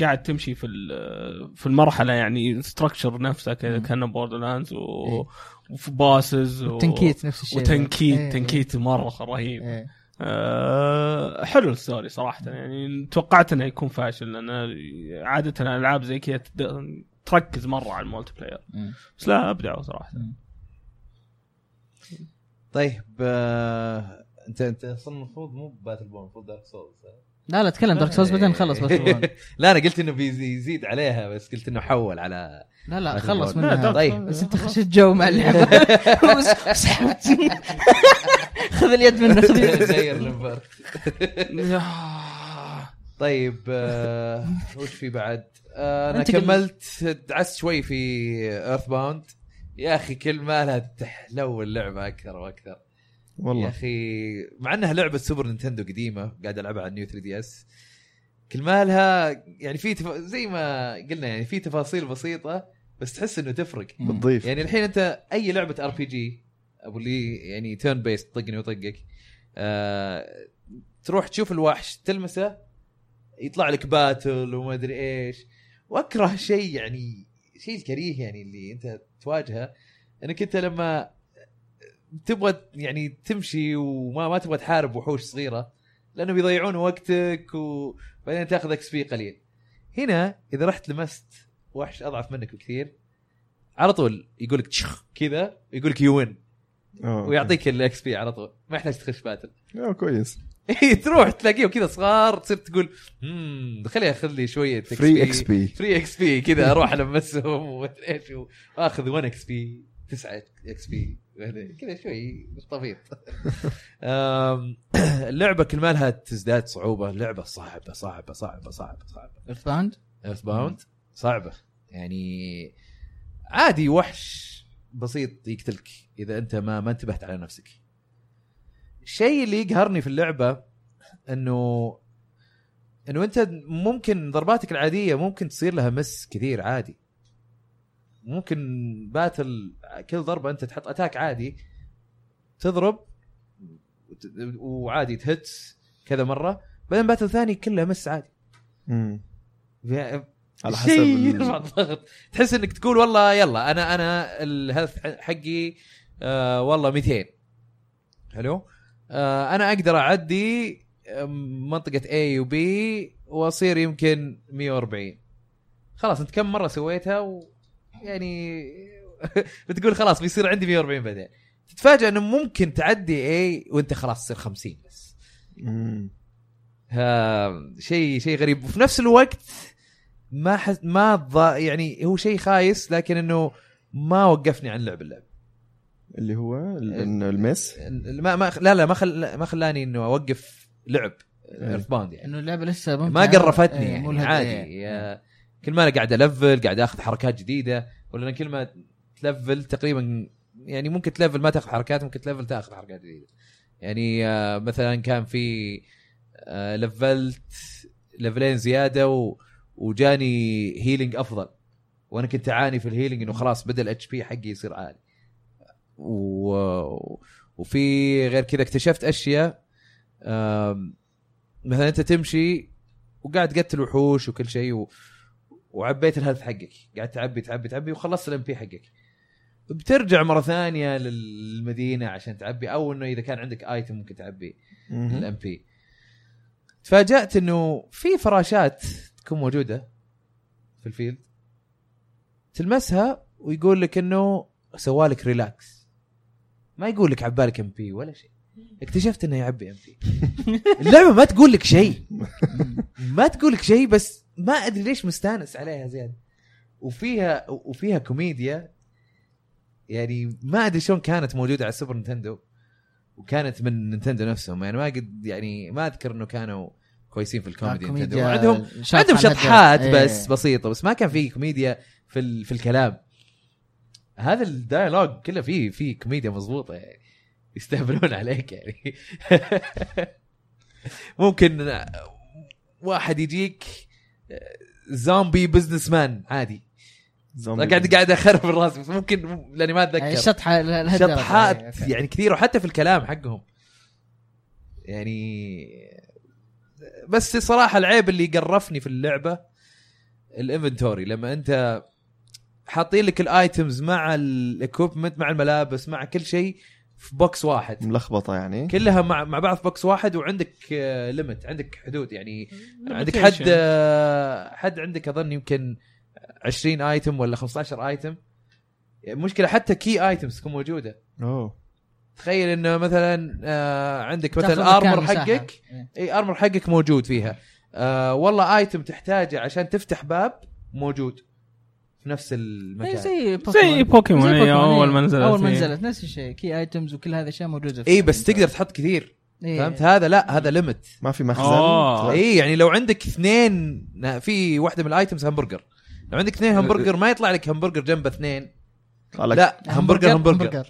Speaker 2: قاعد تمشي في ال- آه، في المرحله يعني ستراكشر نفسها كذا
Speaker 3: مم.
Speaker 2: كانه بوردر لاندز و...
Speaker 3: إيه.
Speaker 2: وفي باسز و...
Speaker 3: تنكيت نفس الشيء
Speaker 2: وتنكيت
Speaker 3: إيه،
Speaker 2: تنكيت مره رهيب
Speaker 3: إيه.
Speaker 2: أه حلو الستوري صراحه يعني توقعت انه يكون فاشل لان عاده الالعاب زي كذا تد- تركز مره على المولتي بلاير
Speaker 3: إيه.
Speaker 2: بس لا ابدعوا صراحه
Speaker 1: طيب آه، انت انت اصلا المفروض مو باتل بون المفروض دارك سولز
Speaker 3: لا لا تكلم دارك سولز بعدين خلص
Speaker 1: إيه.
Speaker 3: بس
Speaker 1: لا انا قلت انه بيزيد عليها بس قلت انه حول على
Speaker 3: لا لا
Speaker 1: Battle Bond.
Speaker 3: خلص
Speaker 1: لا،
Speaker 3: منها
Speaker 1: Dark طيب.
Speaker 3: بس انت خشيت جو مع اللعبه وس- وسحبت خذ اليد منه خذ اليد
Speaker 1: زي الانفرت طيب آه، وش في بعد؟ آه، انا
Speaker 3: أنت قل-
Speaker 1: كملت دعست شوي في ايرث باوند يا اخي كل ما لها تحلو اللعبه اكثر واكثر يا
Speaker 4: والله
Speaker 1: اخي مع انها لعبه سوبر نينتندو قديمه قاعد العبها على النيو 3 دي اس كل ما لها يعني في تف... زي ما قلنا يعني في تفاصيل بسيطه بس تحس انه تفرق
Speaker 4: بتضيف
Speaker 1: يعني الحين انت اي لعبه ار بي جي ابو اللي يعني تيرن بيس طقني وطقك آه تروح تشوف الوحش تلمسه يطلع لك باتل وما ادري ايش واكره شيء يعني شيء الكريه يعني اللي انت تواجهه انك انت لما تبغى يعني تمشي وما ما تبغى تحارب وحوش صغيره لانه بيضيعون وقتك وبعدين تاخذ اكس بي قليل هنا اذا رحت لمست وحش اضعف منك بكثير على طول يقول لك تشخ كذا يقول لك يو وين
Speaker 4: آه، أوكي.
Speaker 1: ويعطيك الاكس بي على طول ما يحتاج تخش باتل
Speaker 4: آه، كويس
Speaker 1: تروح تلاقيهم كذا صغار تصير تقول امم خليني اخذ لي شويه
Speaker 4: فري اكس بي
Speaker 1: فري اكس بي كذا اروح المسهم ومدري ايش واخذ 1 اكس بي 9 اكس بي يعني كذا شوي مش طبيب أم، اللعبه كل ما لها تزداد صعوبه اللعبه صعبه صعبه صعبه صعبه صعبه
Speaker 3: ايرث باوند
Speaker 1: ايرث باوند صعبه يعني عادي وحش بسيط يقتلك اذا انت ما ما انتبهت على نفسك الشيء اللي يقهرني في اللعبه انه انه انت ممكن ضرباتك العاديه ممكن تصير لها مس كثير عادي ممكن باتل كل ضربه انت تحط اتاك عادي تضرب وت- وعادي تهت كذا مره بعدين باتل ثاني كله مس عادي
Speaker 4: مم. على حسب
Speaker 1: شيء
Speaker 4: ال-
Speaker 1: يرفع الضغط تحس انك تقول والله يلا انا انا الهيلث حقي آه والله 200 حلو آه انا اقدر اعدي آم، منطقه آه، A و B واصير يمكن 140 خلاص انت كم مره سويتها و يعني بتقول خلاص بيصير عندي 140 بعدين تتفاجئ انه ممكن تعدي A وانت خلاص تصير 50 بس
Speaker 4: مم.
Speaker 1: آه، شيء شيء غريب وفي نفس الوقت ما حس ما ض... يعني هو شيء خايس لكن انه ما وقفني عن لعب اللعب
Speaker 4: اللي هو ال- إن المس
Speaker 1: ما ما لا لا ما خل... ما خلاني انه اوقف لعب ايرث باوند يعني
Speaker 3: انه اللعبه لسه ممتعة.
Speaker 1: ما قرفتني
Speaker 3: إيه،
Speaker 1: يعني
Speaker 3: ملهمة.
Speaker 1: عادي
Speaker 3: إيه.
Speaker 1: آه، كل ما انا قاعد الفل قاعد اخذ حركات جديده ولا أنا كل ما تلفل تقريبا يعني ممكن تلفل ما تاخذ حركات ممكن تلفل تاخذ حركات جديده يعني آه، مثلا كان في آه، لفلت لفلين زياده و... وجاني هيلينج افضل وانا كنت اعاني في الهيلينج انه خلاص بدا الاتش بي حقي يصير عالي و... وفي غير كذا اكتشفت اشياء آم، مثلا انت تمشي وقاعد تقتل وحوش وكل شيء و... وعبيت الهيلث حقك قاعد تعبي تعبي تعبي وخلصت الام بي حقك بترجع مره ثانيه للمدينه عشان تعبي او انه اذا كان عندك ايتم ممكن تعبي
Speaker 4: مم.
Speaker 1: الام بي تفاجات انه في فراشات تكون موجوده في الفيلد تلمسها ويقول لك انه سوالك ريلاكس ما يقول لك عبالك ام بي ولا شيء اكتشفت انه يعبي ام بي اللعبه ما تقول لك شيء ما تقول لك شيء بس ما ادري ليش مستانس عليها زياده وفيها وفيها كوميديا يعني ما ادري شلون كانت موجوده على السوبر نينتندو وكانت من نينتندو نفسهم يعني ما قد يعني ما اذكر انه كانوا كويسين في الكوميدي نينتندو عندهم عندهم شطحات
Speaker 3: إيه.
Speaker 1: بس بسيطه بس ما كان في كوميديا في ال... في الكلام هذا الدايلوج كله فيه فيه كوميديا مضبوطه يعني يستهبلون عليك يعني ممكن واحد يجيك زومبي بزنس مان عادي أنا قاعد قاعد اخرب الراس بس ممكن لاني ما اتذكر
Speaker 3: يعني شطحه لهالدرجة. أي،
Speaker 1: شطحات
Speaker 3: أوكي.
Speaker 1: يعني كثير وحتى في الكلام حقهم يعني بس صراحة العيب اللي قرفني في اللعبة الانفنتوري لما انت حاطين لك الايتمز مع الاكوبمنت مع الملابس مع كل شيء في بوكس واحد
Speaker 4: ملخبطه يعني
Speaker 1: كلها مع مع بعض في بوكس واحد وعندك ليمت عندك حدود يعني عندك حد آه، حد عندك اظن يمكن 20 ايتم ولا 15 ايتم المشكله حتى كي ايتمز تكون موجوده
Speaker 4: اوه
Speaker 1: تخيل انه مثلا آه، عندك مثلا
Speaker 3: تاخذ مكان
Speaker 1: الارمر
Speaker 3: مساحة.
Speaker 1: حقك
Speaker 3: إيه.
Speaker 1: اي ارمر حقك موجود فيها آه والله ايتم تحتاجه عشان تفتح باب موجود في نفس
Speaker 3: إيه،
Speaker 1: المكان
Speaker 3: زي
Speaker 2: زي بوكيمون
Speaker 3: زي
Speaker 2: أي،
Speaker 3: بوكيمون،
Speaker 2: اول
Speaker 3: إيه.
Speaker 2: ما نزلت
Speaker 3: اول ما
Speaker 2: إيه.
Speaker 3: نزلت نفس الشيء كي ايتمز وكل هذا الاشياء موجوده في
Speaker 1: اي إيه، بس
Speaker 3: الإنترنت.
Speaker 1: تقدر تحط كثير
Speaker 3: إيه.
Speaker 1: فهمت هذا لا هذا ليمت
Speaker 4: ما في مخزن
Speaker 2: آه.
Speaker 4: إيه.
Speaker 1: اي يعني لو عندك اثنين في واحده من الايتمز همبرجر لو عندك اثنين همبرجر ما يطلع لك همبرجر جنب اثنين
Speaker 4: طلع لك
Speaker 1: لا همبرجر همبرجر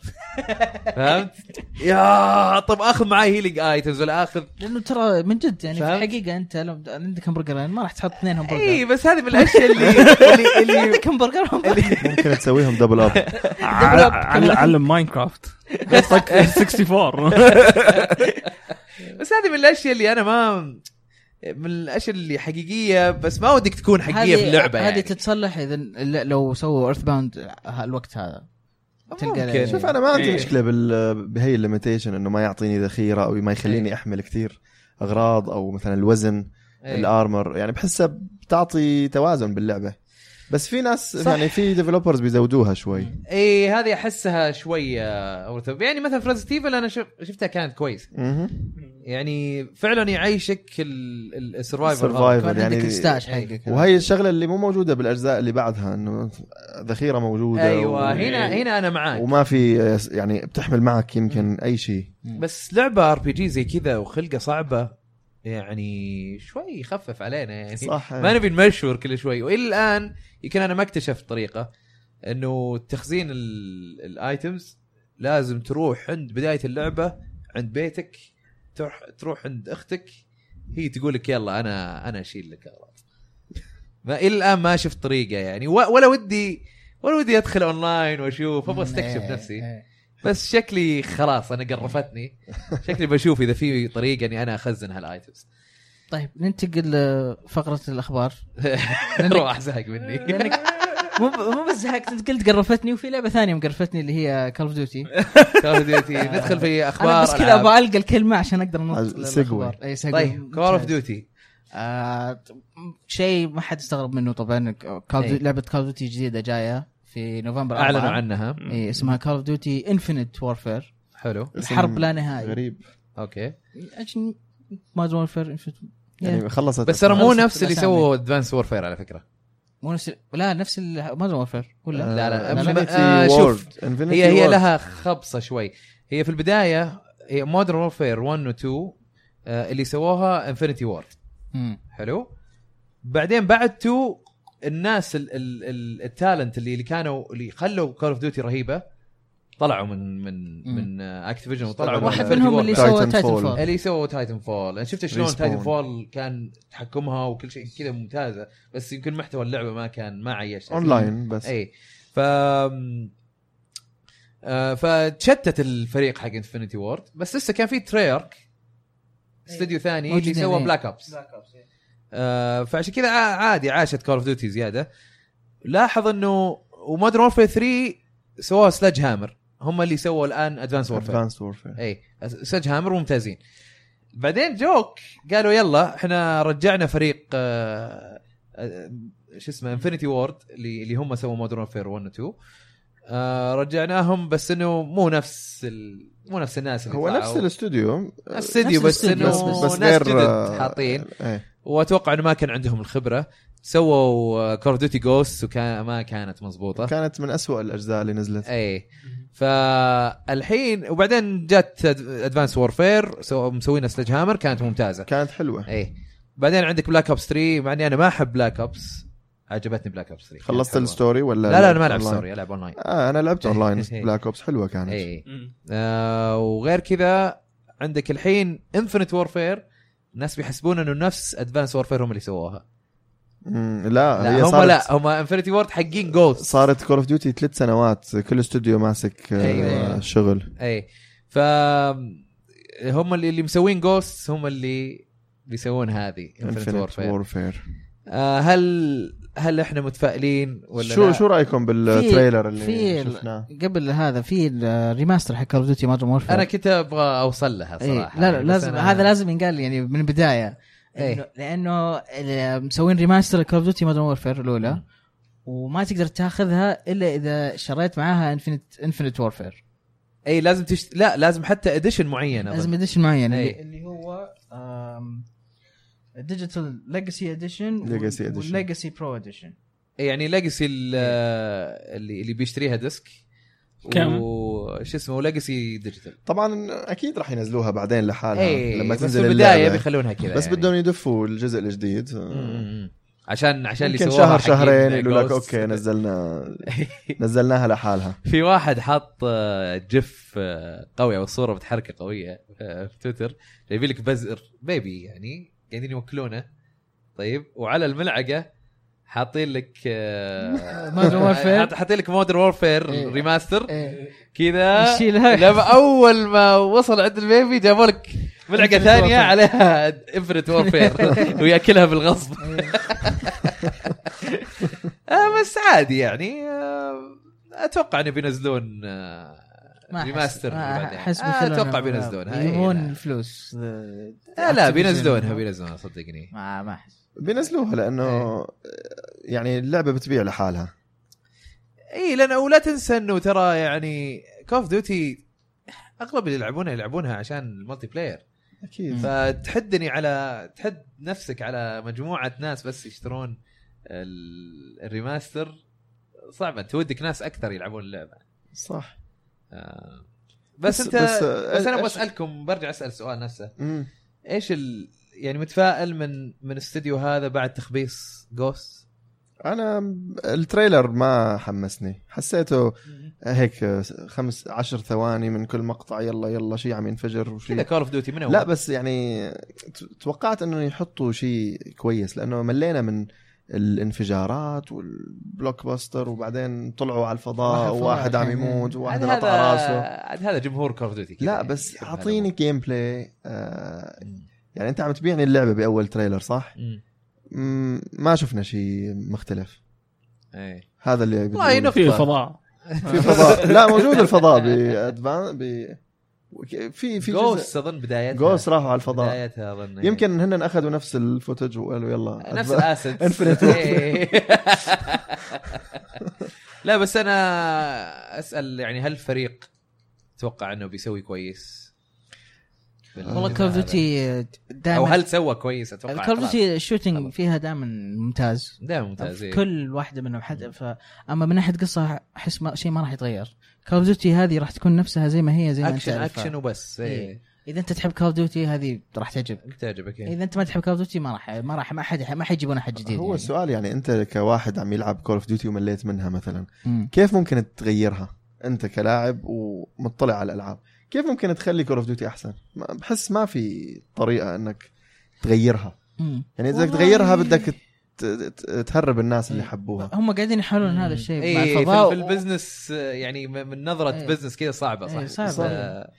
Speaker 1: فهمت يا طب اخذ معي هيلينج ايتمز ولا اخذ
Speaker 3: لانه ترى من جد يعني في
Speaker 1: فهمت؟
Speaker 3: الحقيقه انت لو عندك همبرجرين ما راح تحط اثنين همبرجر
Speaker 1: اي إيه، بس هذه من الاشياء اللي اللي, اللي
Speaker 3: عندك همبرجر همبرجر
Speaker 4: ممكن تسويهم دبل اب
Speaker 2: ع- عل- علم ماينكرافت قصك 64
Speaker 1: بس هذه من الاشياء اللي انا ما من الاشياء اللي حقيقيه بس ما ودك تكون حقيقيه في اللعبه
Speaker 3: هذه
Speaker 1: يعني
Speaker 3: تتصلح اذا ل- لو سووا ايرث باوند الوقت هذا تلقى
Speaker 1: ممكن.
Speaker 4: شوف انا ما عندي
Speaker 2: إيه.
Speaker 4: مشكله بال... بهي الليميتيشن انه ما يعطيني ذخيره او ما يخليني احمل كثير اغراض او مثلا الوزن
Speaker 1: إيه.
Speaker 4: الارمر يعني بحسها بتعطي توازن باللعبه بس في ناس
Speaker 1: صح.
Speaker 4: صح. يعني في ديفلوبرز بيزودوها شوي
Speaker 1: اي إيه، هذه احسها شويه أو- يعني مثلا فريز ستيفن انا شف- شفتها كانت كويسه
Speaker 4: مهم.
Speaker 1: يعني فعلا يعيشك ال- ال- السرفايفر هذا.
Speaker 4: Survivor.
Speaker 3: كان عندك
Speaker 4: يعني-
Speaker 3: الستاش
Speaker 1: إيه.
Speaker 3: حقك
Speaker 4: وهي الشغله اللي مو موجوده بالاجزاء اللي بعدها انه ذخيره موجوده
Speaker 1: ايوه
Speaker 4: و... يعني
Speaker 1: هنا هنا انا معاك
Speaker 4: وما في يعني بتحمل معك يمكن اي شيء
Speaker 1: بس لعبه ار بي جي زي كذا وخلقه صعبه يعني شوي يخفف علينا يعني
Speaker 4: صح
Speaker 1: ما نبي نمشور كل شوي والى الان يمكن انا ما اكتشفت طريقه انه تخزين ال- الايتمز لازم تروح عند بدايه اللعبه عند بيتك تروح تروح عند اختك هي تقول لك يلا انا انا اشيل لك اغراض ما الى الان ما شفت طريقه يعني و- ولا ودي ولا ودي ادخل اونلاين واشوف ابغى استكشف
Speaker 3: إيه،
Speaker 1: نفسي
Speaker 3: إيه.
Speaker 1: بس شكلي خلاص انا قرفتني شكلي بشوف اذا في طريقه اني انا اخزن هالايتمز
Speaker 3: طيب ننتقل لفقره الاخبار
Speaker 1: راح زهق مني
Speaker 3: لانك مو ب- مو بس زهقت انت قلت قرفتني وفي لعبه ثانيه مقرفتني اللي هي كول اوف ديوتي
Speaker 1: كول اوف ديوتي ندخل في اخبار
Speaker 3: انا بس كذا
Speaker 1: إيه، ألعاب.
Speaker 3: ابغى القى الكلمه عشان اقدر انط
Speaker 4: عز-
Speaker 3: الأخبار.
Speaker 4: سيجوي.
Speaker 3: اي سيجوي
Speaker 1: طيب كول اوف ديوتي
Speaker 3: إيه، آه، ط- شيء ما حد استغرب منه طبعا كول
Speaker 1: إيه.
Speaker 3: لعبه كول اوف ديوتي جديده جايه في نوفمبر
Speaker 1: اعلنوا
Speaker 3: أربعة.
Speaker 1: عنها
Speaker 3: إيه اسمها كول اوف ديوتي انفنت وورفير
Speaker 1: حلو
Speaker 4: اسم
Speaker 3: الحرب لا نهائي
Speaker 4: غريب
Speaker 1: اوكي
Speaker 3: مودرن وورفير انفنت
Speaker 4: يعني خلصت
Speaker 1: بس ترى مو
Speaker 3: خلصت
Speaker 1: نفس اللي
Speaker 3: الأسامي.
Speaker 1: سووا ادفانس وورفير على فكره
Speaker 3: مو نفس لا نفس مودرن وورفير ولا
Speaker 1: لا، لا، آه،
Speaker 4: انفينيتي
Speaker 1: شوف.
Speaker 4: وورد انفينيتي
Speaker 1: هي هي لها خبصه شوي هي في البدايه هي مودرن وورفير 1 و 2 آه، اللي سووها انفنتي وورد آه.
Speaker 3: مم.
Speaker 1: حلو بعدين بعد 2 الناس ال- ال- ال- التالنت اللي اللي كانوا اللي خلوا كول اوف ديوتي رهيبه طلعوا من من
Speaker 3: مم.
Speaker 1: من اكتيفيجن وطلعوا من
Speaker 4: واحد
Speaker 1: Infinity
Speaker 3: منهم اللي
Speaker 1: Ward.
Speaker 3: سوى
Speaker 4: Titanfall.
Speaker 3: تايتن فول
Speaker 1: اللي سووا تايتن فول انا شفت شلون
Speaker 4: Respawn.
Speaker 1: تايتن فول كان تحكمها وكل شيء كذا ممتازه بس يمكن محتوى اللعبه ما كان ما عيش
Speaker 4: اونلاين بس
Speaker 1: اي ف آه، فتشتت الفريق حق انفنتي وورد بس لسه كان في تريارك استوديو ثاني اللي
Speaker 3: موجودين،
Speaker 1: سوى
Speaker 3: إيه.
Speaker 1: بلاك ابس آه، فعشان كذا ع- عادي عاشت كول اوف ديوتي زياده لاحظ انه ومودرن وورفير 3 سووها سلاج هامر هم اللي سووا الان ادفانس وورفير
Speaker 4: ادفانس وورفير
Speaker 1: اي سلاج هامر ممتازين بعدين جوك قالوا يلا احنا رجعنا فريق آه، آه، شو اسمه انفنتي وورد اللي اللي هم سووا مودرن فير 1 و 2 آه، رجعناهم بس انه مو نفس ال... مو نفس الناس اللي
Speaker 4: هو
Speaker 1: طلعوا.
Speaker 4: نفس الاستوديو
Speaker 1: نفس الاستديو
Speaker 3: نفس
Speaker 1: بس انه
Speaker 3: الاستديو،
Speaker 1: بس,
Speaker 3: بس-
Speaker 1: بس,
Speaker 3: بس
Speaker 1: ناس
Speaker 4: غير- آه،
Speaker 1: جدد حاطين
Speaker 4: ايه
Speaker 1: واتوقع انه ما كان عندهم الخبره سووا آه، كور ديوتي جوست وكان ما كانت مضبوطه
Speaker 4: كانت من أسوأ الاجزاء اللي نزلت
Speaker 1: اي إيه. فالحين وبعدين جت ادفانس وورفير مسوينا سلج هامر كانت ممتازه
Speaker 4: كانت حلوه
Speaker 1: اي بعدين عندك بلاك اوبس 3 مع اني انا ما احب بلاك اوبس عجبتني بلاك اوبس 3 كانت
Speaker 4: خلصت
Speaker 1: حلوة.
Speaker 4: الستوري ولا
Speaker 1: لا لا انا ما العب
Speaker 4: أونلاين؟
Speaker 1: ستوري العب اونلاين
Speaker 4: آه انا لعبت اونلاين
Speaker 1: إيه.
Speaker 4: بلاك اوبس حلوه كانت
Speaker 1: اي
Speaker 2: مم.
Speaker 1: إيه. آه وغير كذا عندك الحين انفنت وورفير الناس بيحسبون انه نفس ادفانس وورفير هم اللي سووها
Speaker 4: مم، لا, آه، هي
Speaker 1: لا هم
Speaker 4: صارت
Speaker 1: لا هم انفنتي وورد حقين جوست
Speaker 4: صارت كول اوف ديوتي ثلاث سنوات كل استوديو ماسك آه،
Speaker 1: أيوة.
Speaker 4: شغل
Speaker 1: اي ف هم اللي, اللي مسوين جوست هم اللي بيسوون هذه انفنت
Speaker 4: انفنت
Speaker 1: وورفير
Speaker 4: وورفير
Speaker 1: آه هل هل احنا متفائلين ولا
Speaker 4: شو
Speaker 1: لا؟
Speaker 4: شو رايكم بالتريلر اللي
Speaker 3: في ال-
Speaker 4: شفناه
Speaker 3: قبل هذا في الريماستر حق كول اوف ديوتي مودرن وورفير
Speaker 1: انا كنت ابغى اوصل لها
Speaker 4: إيه،
Speaker 1: صراحه
Speaker 3: لا لا
Speaker 1: يعني، بس
Speaker 3: لازم
Speaker 1: أنا-
Speaker 3: هذا لازم ينقال يعني من البدايه
Speaker 1: إيه.
Speaker 3: إنه- لانه ال- مسوين ريماستر كول اوف ديوتي مودرن وورفير الاولى وما تقدر تاخذها الا اذا شريت معاها انفنت انفنت وورفير
Speaker 1: اي إيه، لازم تشت... لا لازم حتى اديشن معين
Speaker 3: لازم
Speaker 1: أظن.
Speaker 3: اديشن معين
Speaker 1: إيه.
Speaker 3: اللي- اللي هو ديجيتال ليجاسي اديشن
Speaker 4: Legacy Edition.
Speaker 3: والليجاسي برو اديشن
Speaker 1: إي يعني ليجسي
Speaker 4: إيه.
Speaker 1: اللي اللي بيشتريها ديسك
Speaker 2: كم؟
Speaker 1: وش اسمه وليجسي ديجيتال
Speaker 4: طبعا اكيد راح ينزلوها بعدين لحالها
Speaker 1: اي
Speaker 4: لما
Speaker 1: إيه، بس
Speaker 4: تنزل
Speaker 1: في البدايه
Speaker 4: اللعبة.
Speaker 1: بيخلونها كذا
Speaker 4: بس
Speaker 1: يعني.
Speaker 4: بدهم يدفوا الجزء الجديد آه،
Speaker 1: مم. عشان عشان اللي
Speaker 4: يمكن
Speaker 1: سووها
Speaker 4: شهر
Speaker 1: حقين
Speaker 4: شهرين يقولوا لك
Speaker 1: Ghost.
Speaker 4: اوكي نزلنا نزلناها لحالها
Speaker 1: في واحد حاط آه، جف آه، قوي او صوره متحركه قويه آه، في تويتر جايبين لك بزر بيبي يعني قاعدين يوكلونه طيب وعلى الملعقه حاطين لك آه،
Speaker 3: Modern Warfare.
Speaker 1: حاط- حاطين لك مودرن وورفير
Speaker 3: إيه.
Speaker 1: ريماستر
Speaker 3: إيه.
Speaker 1: كذا
Speaker 3: يشيلها.
Speaker 1: لما اول ما وصل عند البيبي جابوا لك ملعقه
Speaker 3: Infinite
Speaker 1: ثانيه
Speaker 3: Warfare.
Speaker 1: عليها انفنت وورفير وياكلها بالغصب آه بس عادي يعني آه اتوقع انه بينزلون آه
Speaker 3: ما أحس-
Speaker 1: ريماستر
Speaker 3: ما
Speaker 1: بعدين.
Speaker 3: أحس
Speaker 1: آه،
Speaker 3: مثل
Speaker 1: اتوقع
Speaker 3: أنا-
Speaker 1: بينزلونها إي،
Speaker 3: يبغون
Speaker 1: لا.
Speaker 3: فلوس
Speaker 1: آه إيه، لا
Speaker 3: Activision.
Speaker 1: بينزلونها بينزلونها صدقني
Speaker 3: ما ما احس
Speaker 4: بينزلوها
Speaker 1: إيه.
Speaker 4: لانه يعني اللعبه بتبيع لحالها
Speaker 1: اي لان إيه، ولا تنسى انه ترى يعني كوف ديوتي اغلب اللي يلعبونها يلعبونها عشان الملتي بلاير
Speaker 4: اكيد
Speaker 1: فتحدني على تحد نفسك على مجموعه ناس بس يشترون ال- الريماستر صعبه تودك ناس اكثر يلعبون اللعبه
Speaker 4: صح
Speaker 1: آه بس,
Speaker 4: بس-
Speaker 1: انت
Speaker 4: بس-
Speaker 1: بس, بس انا
Speaker 4: أش-
Speaker 1: بسالكم برجع اسال السؤال نفسه
Speaker 4: مم.
Speaker 1: ايش ال... يعني متفائل من من استديو هذا بعد تخبيص جوست
Speaker 4: انا التريلر ما حمسني حسيته هيك خمس عشر ثواني من كل مقطع يلا يلا شيء عم ينفجر
Speaker 1: كذا
Speaker 4: وشيء
Speaker 1: كول اوف ديوتي من اول
Speaker 4: لا بس يعني ت- توقعت انه يحطوا شيء كويس لانه ملينا من الانفجارات والبلوك باستر وبعدين طلعوا على
Speaker 3: راح
Speaker 4: الفضاء
Speaker 3: الفضاء
Speaker 4: وواحد عم
Speaker 3: الحين.
Speaker 4: يموت
Speaker 1: عاد
Speaker 4: وواحد
Speaker 1: يعني. هذا يعني؟
Speaker 4: انقطع راسه
Speaker 1: عاد هذا جمهور كول اوف ديوتي
Speaker 4: لا بس اعطيني جيم بلاي آه يعني انت عم تبيعني اللعبه باول تريلر صح؟ مم، ما شفنا شيء مختلف
Speaker 1: ايه
Speaker 4: هذا اللي بدي
Speaker 1: والله
Speaker 4: أقوله.
Speaker 3: طيب.
Speaker 2: في فضاء
Speaker 4: في فضاء لا موجود الفضاء بأدفان ب في في جزء
Speaker 1: جوست اظن بدايتها
Speaker 4: جوست راحوا على الفضاء
Speaker 1: بدايتها اظن إيه.
Speaker 4: يمكن هن اخذوا نفس الفوتج وقالوا يلا
Speaker 1: نفس
Speaker 4: أدفان-
Speaker 1: الاسد
Speaker 4: Infinite
Speaker 1: لا بس انا اسال يعني هل الفريق تتوقع انه بيسوي كويس؟
Speaker 4: آه،
Speaker 3: والله كول اوف ديوتي دائما
Speaker 1: او هل سوى كويس اتوقع
Speaker 3: الكول اوف
Speaker 1: خلاص.
Speaker 3: ديوتي
Speaker 1: خلاص.
Speaker 3: الشوتنج فيها دائما ممتاز
Speaker 1: دائما ممتاز إيه.
Speaker 3: في كل واحده منهم حتى ف... اما من ناحيه قصه احس ما... شيء ما راح يتغير كول اوف ديوتي هذه راح تكون نفسها زي ما هي زي ما انت
Speaker 1: اكشن
Speaker 3: عارفها.
Speaker 1: اكشن وبس إيه.
Speaker 3: إيه. اذا انت تحب كول اوف ديوتي هذه راح تعجبك
Speaker 1: تعجبك إيه.
Speaker 3: اذا انت ما تحب كول اوف ديوتي ما راح ما راح ما حد ما حيجيبون احد جديد
Speaker 4: هو
Speaker 3: يعني.
Speaker 4: السؤال يعني انت كواحد عم يلعب كول اوف ديوتي ومليت منها مثلا
Speaker 3: مم.
Speaker 4: كيف ممكن تغيرها انت كلاعب ومطلع على الالعاب كيف ممكن تخلي كول اوف ديوتي احسن ما- بحس ما في طريقه انك تغيرها
Speaker 3: مم.
Speaker 4: يعني اذا بدك
Speaker 3: والله-
Speaker 4: تغيرها بدك ت- ت- تهرب الناس اللي حبوها
Speaker 3: هم قاعدين يحاولون هذا الشيء مع
Speaker 1: إيه.
Speaker 3: الفضاء
Speaker 1: في, في البزنس آه، يعني م- من نظره
Speaker 3: إيه.
Speaker 1: بزنس كذا صعبه صح
Speaker 3: إيه، صعبة. إيه،
Speaker 1: بس، آه،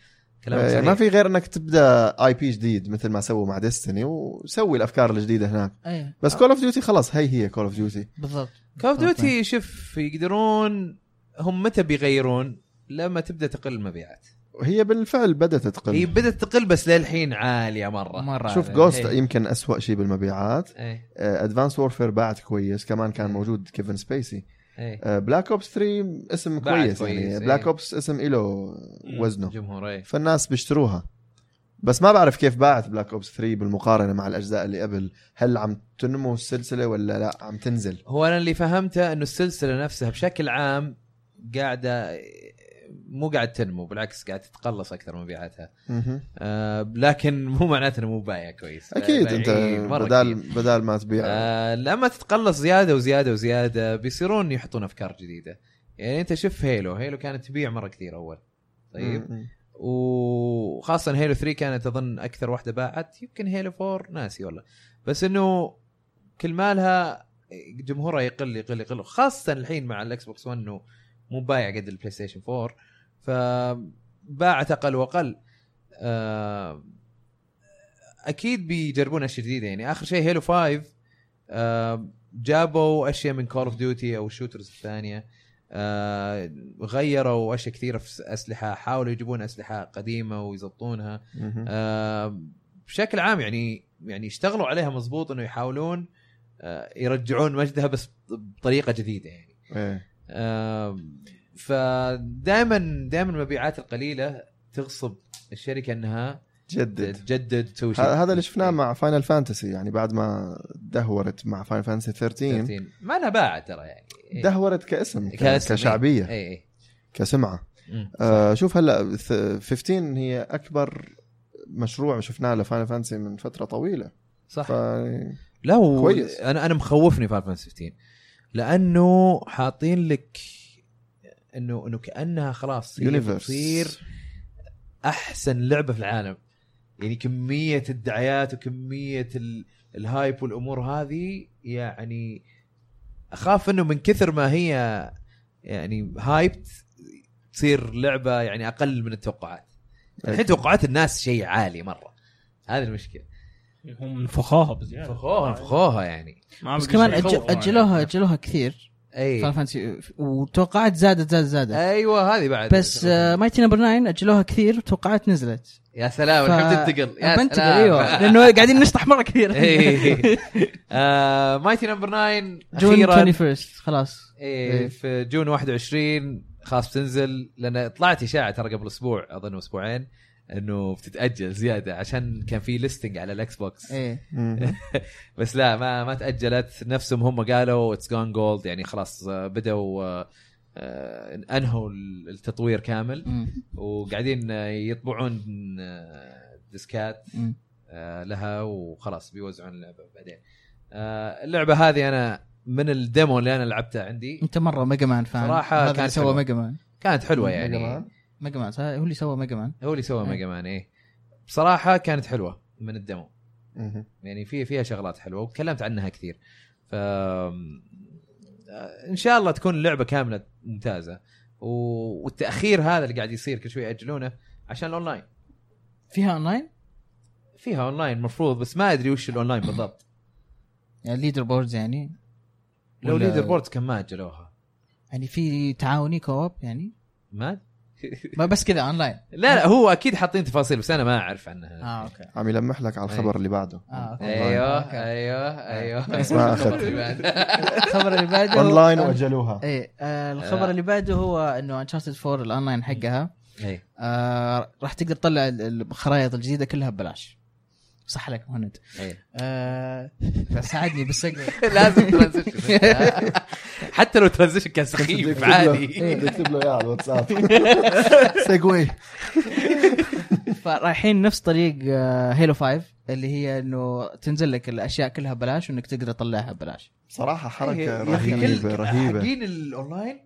Speaker 1: كلام
Speaker 4: آه،
Speaker 1: صحيح.
Speaker 4: ما في غير انك تبدا اي بي جديد مثل ما سووا مع ديستني وسوي الافكار الجديده هناك
Speaker 3: و... ايه
Speaker 4: بس كول اوف ديوتي خلاص هي هي كول اوف ديوتي
Speaker 3: بالضبط
Speaker 1: كول اوف ديوتي شوف يقدرون هم متى بيغيرون لما تبدا تقل المبيعات
Speaker 4: هي بالفعل بدات تقل
Speaker 1: هي بدات تقل بس للحين عاليه مره
Speaker 3: مره
Speaker 4: شوف
Speaker 3: هذا.
Speaker 4: جوست
Speaker 1: إيه.
Speaker 4: يمكن أسوأ شيء بالمبيعات
Speaker 1: ايه
Speaker 4: ادفانس وورفير باعت كويس كمان كان موجود آه، كيفن سبيسي
Speaker 1: ايه
Speaker 4: بلاك اوبس 3 اسم
Speaker 1: باعت
Speaker 4: كويس,
Speaker 1: كويس،
Speaker 4: يعني
Speaker 1: إيه.
Speaker 4: بلاك اوبس اسم له وزنه
Speaker 1: جمهور ايه
Speaker 4: فالناس بيشتروها بس ما بعرف كيف باعت بلاك اوبس 3 بالمقارنه مع الاجزاء اللي قبل هل عم تنمو السلسله ولا لا عم تنزل
Speaker 1: هو انا اللي فهمته انه السلسله نفسها بشكل عام قاعده مو قاعد تنمو بالعكس قاعد تتقلص اكثر مبيعاتها
Speaker 4: مهم.
Speaker 1: آه لكن مو معناته انه مو بايع كويس
Speaker 4: اكيد
Speaker 1: بايعين
Speaker 4: انت
Speaker 1: إيه، مرة
Speaker 4: بدال يعني.
Speaker 1: كثير.
Speaker 4: بدال ما تبيع
Speaker 1: آه لما تتقلص زياده وزياده وزياده بيصيرون يحطون افكار جديده يعني انت شوف هيلو هيلو كانت تبيع مره كثير اول طيب
Speaker 4: مم.
Speaker 1: وخاصه هيلو 3 كانت اظن اكثر واحده باعت يمكن هيلو 4 ناسي والله بس انه كل مالها جمهورها يقل يقل يقل خاصه الحين مع الاكس بوكس 1 انه مو بايع قد البلاي ستيشن 4 فباعت اقل واقل آه، اكيد بيجربون اشياء جديده يعني اخر شيء هيلو 5 آه، جابوا اشياء من كول اوف ديوتي او الشوترز الثانيه آه، غيروا اشياء كثيره في اسلحه حاولوا يجيبون اسلحه قديمه ويزبطونها
Speaker 4: مهم.
Speaker 1: آه، بشكل عام يعني يعني اشتغلوا عليها مضبوط انه يحاولون آه، يرجعون مجدها بس بطريقه جديده يعني
Speaker 4: إيه.
Speaker 1: فدائما دائما المبيعات القليله تغصب الشركه انها
Speaker 4: جدد
Speaker 1: تجدد تسوي شيء
Speaker 4: ه- هذا اللي شفناه مع فاينل فانتسي يعني بعد ما دهورت مع فاينل فانتسي 13
Speaker 1: 13. ايه، ما لها باع ترى يعني إيه.
Speaker 4: دهورت كاسم
Speaker 1: كاسم،
Speaker 4: كاسم
Speaker 1: إيه.
Speaker 4: كشعبيه
Speaker 1: اي اي
Speaker 4: كسمعه
Speaker 1: مم.
Speaker 4: آه شوف هلا ث- 15 هي اكبر مشروع شفناه لفاينل فانتسي من فتره طويله
Speaker 1: صح
Speaker 4: ف
Speaker 1: لا هو
Speaker 4: كويس.
Speaker 1: انا انا مخوفني فاينل فانتسي 15 لانه حاطين لك انه انه كانها خلاص هي
Speaker 4: يونيفرس
Speaker 1: بتصير احسن لعبه في العالم يعني كميه الدعايات وكميه ال... الهايب والامور هذه يعني اخاف انه من كثر ما هي يعني هايبت تصير لعبه يعني اقل من التوقعات الحين توقعات الناس شيء عالي مره هذه المشكله
Speaker 2: هم نفخوها بزياده
Speaker 1: فخوها فخوها يعني
Speaker 2: ما
Speaker 3: بس
Speaker 2: بدي
Speaker 3: كمان
Speaker 2: شيء
Speaker 3: أجل
Speaker 2: يخوف.
Speaker 3: اجلوها اجلوها كثير
Speaker 1: اي
Speaker 3: فاينل فانتسي وتوقعات زادت زادت زادت
Speaker 1: ايوه هذه بعد
Speaker 3: بس آه، مايتي نمبر 9 اجلوها كثير وتوقعات نزلت
Speaker 1: يا سلام الحين تنتقل يا
Speaker 3: بنتقل
Speaker 1: سلام.
Speaker 3: ايوه لانه قاعدين نشطح مره كثير
Speaker 1: إيه. آه، مايتي نمبر 9
Speaker 3: جون
Speaker 1: اخيرا
Speaker 3: 21 خلاص
Speaker 1: إيه، في جون 21 خلاص بتنزل لان طلعت اشاعه ترى قبل اسبوع اظن اسبوعين انه بتتاجل زياده عشان كان في ليستنج على الاكس بوكس
Speaker 3: ايه
Speaker 4: مم.
Speaker 1: بس لا ما ما تاجلت نفسهم هم قالوا اتس جون جولد يعني خلاص آه، بدوا آه، آه، انهوا التطوير كامل
Speaker 3: مم.
Speaker 1: وقاعدين آه، يطبعون آه، ديسكات
Speaker 3: مم.
Speaker 1: آه، لها وخلاص بيوزعون اللعبه بعدين آه، اللعبه هذه انا من الديمو اللي انا لعبته عندي
Speaker 3: انت مره ميجا مان فان
Speaker 1: صراحة
Speaker 3: هذا
Speaker 1: كانت حلوة.
Speaker 3: اللي سوى ميجا مان
Speaker 1: كانت حلوه
Speaker 4: ميجا
Speaker 1: يعني
Speaker 4: مان.
Speaker 3: ميجا مان هو اللي سوى ميجا مان
Speaker 1: هو اللي سوى
Speaker 3: إيه.
Speaker 1: ميجا مان ايه بصراحه كانت حلوه من الديمو
Speaker 4: مهم.
Speaker 1: يعني في فيها شغلات حلوه وتكلمت عنها كثير ف آم، آه، ان شاء الله تكون اللعبه كامله ممتازه و- والتاخير هذا اللي قاعد يصير كل شوي ياجلونه عشان الاونلاين
Speaker 3: فيها اونلاين
Speaker 1: فيها اونلاين مفروض بس ما ادري وش الاونلاين بالضبط
Speaker 3: يعني ليدر بوردز يعني
Speaker 1: لو
Speaker 3: ولا-
Speaker 1: ليدر بورد كان ما اجلوها
Speaker 3: يعني في تعاوني كواب يعني
Speaker 1: ما
Speaker 3: ما بس كذا اونلاين
Speaker 1: لا لا هو اكيد حاطين تفاصيل بس انا ما اعرف عنها
Speaker 3: اه اوكي
Speaker 4: عم يلمح لك على
Speaker 1: إيه.
Speaker 4: الخبر اللي بعده
Speaker 3: اه اوكي
Speaker 1: ايوه
Speaker 3: أوكي.
Speaker 1: ايوه ايوه
Speaker 4: بس ما أخذت.
Speaker 3: الخبر اللي بعده
Speaker 4: اونلاين واجلوها
Speaker 3: ايه آه، الخبر اللي بعده هو انه انشارتد 4 الاونلاين حقها
Speaker 1: أي.
Speaker 3: آه راح تقدر تطلع ال- الخرائط الجديده كلها ببلاش صح لك مهند
Speaker 1: أي.
Speaker 3: آه ساعدني بالسجن
Speaker 1: لازم ترانزيشن حتى لو ترانزيشن كان سخيف عادي
Speaker 4: إيه، بدي اكتب له اياه على الواتساب سيجوي
Speaker 3: فرايحين نفس طريق آه، هيلو 5 اللي هي انه تنزل لك الاشياء كلها ببلاش وانك تقدر تطلعها ببلاش
Speaker 4: صراحه
Speaker 1: يا
Speaker 4: حركه
Speaker 1: أخي
Speaker 4: رهيبه
Speaker 1: كل-
Speaker 4: رهيبه
Speaker 1: حقين الاونلاين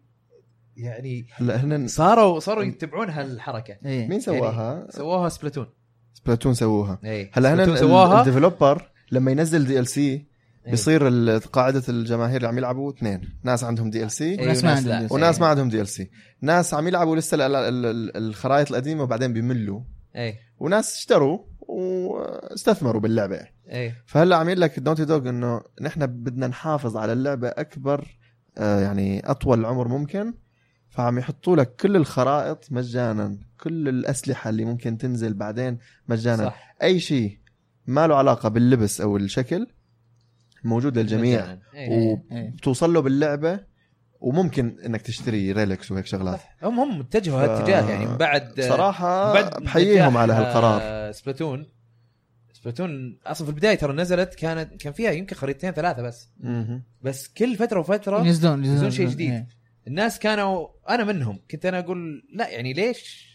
Speaker 1: يعني
Speaker 4: هلا هن
Speaker 1: صاروا صاروا يتبعون هالحركه
Speaker 3: ايه
Speaker 4: مين سواها؟
Speaker 1: سووها سبلاتون
Speaker 4: يعني سبلاتون سووها
Speaker 1: اي
Speaker 4: هلا هن
Speaker 1: إيه، سبلاتون
Speaker 4: ال-
Speaker 1: سواها
Speaker 4: الديفلوبر لما ينزل دي ال سي
Speaker 1: إيه.
Speaker 4: بيصير ال- قاعده الجماهير اللي عم يلعبوا اثنين ناس عندهم دي ال سي
Speaker 1: إيه،
Speaker 3: وناس ما
Speaker 1: وناس
Speaker 3: عندهم
Speaker 1: لا.
Speaker 3: DLC.
Speaker 4: وناس ما عندهم دي ال سي ناس عم يلعبوا لسه ال- ال- ال- الخرائط القديمه وبعدين بيملوا
Speaker 1: اي
Speaker 4: وناس اشتروا واستثمروا باللعبه
Speaker 1: اي
Speaker 4: فهلا عم يقول لك دوتي دوغ انه نحن بدنا نحافظ على اللعبه اكبر آه، يعني اطول العمر ممكن فعم يحطوا لك كل الخرائط مجانا كل الاسلحه اللي ممكن تنزل بعدين مجانا صح.
Speaker 1: صح
Speaker 4: اي شيء ما له علاقه باللبس او الشكل موجود للجميع
Speaker 1: مثلاً. إيه.
Speaker 3: إيه، إيه.
Speaker 4: وبتوصل له باللعبه وممكن انك تشتري ريلكس وهيك شغلات
Speaker 1: هم هم اتجهوا
Speaker 4: ف-
Speaker 1: هالاتجاه يعني من بعد آه،
Speaker 4: بصراحه بحييهم على هالقرار
Speaker 1: سبلاتون سبلاتون اصلا في البدايه ترى نزلت كانت كان فيها يمكن خريطتين ثلاثه بس
Speaker 4: مهم.
Speaker 1: بس كل فتره وفتره
Speaker 3: ينزلون
Speaker 1: ينزلون شيء
Speaker 3: ينزلون،
Speaker 1: جديد.
Speaker 3: إيه.
Speaker 1: الناس كانوا انا منهم كنت انا اقول لا يعني ليش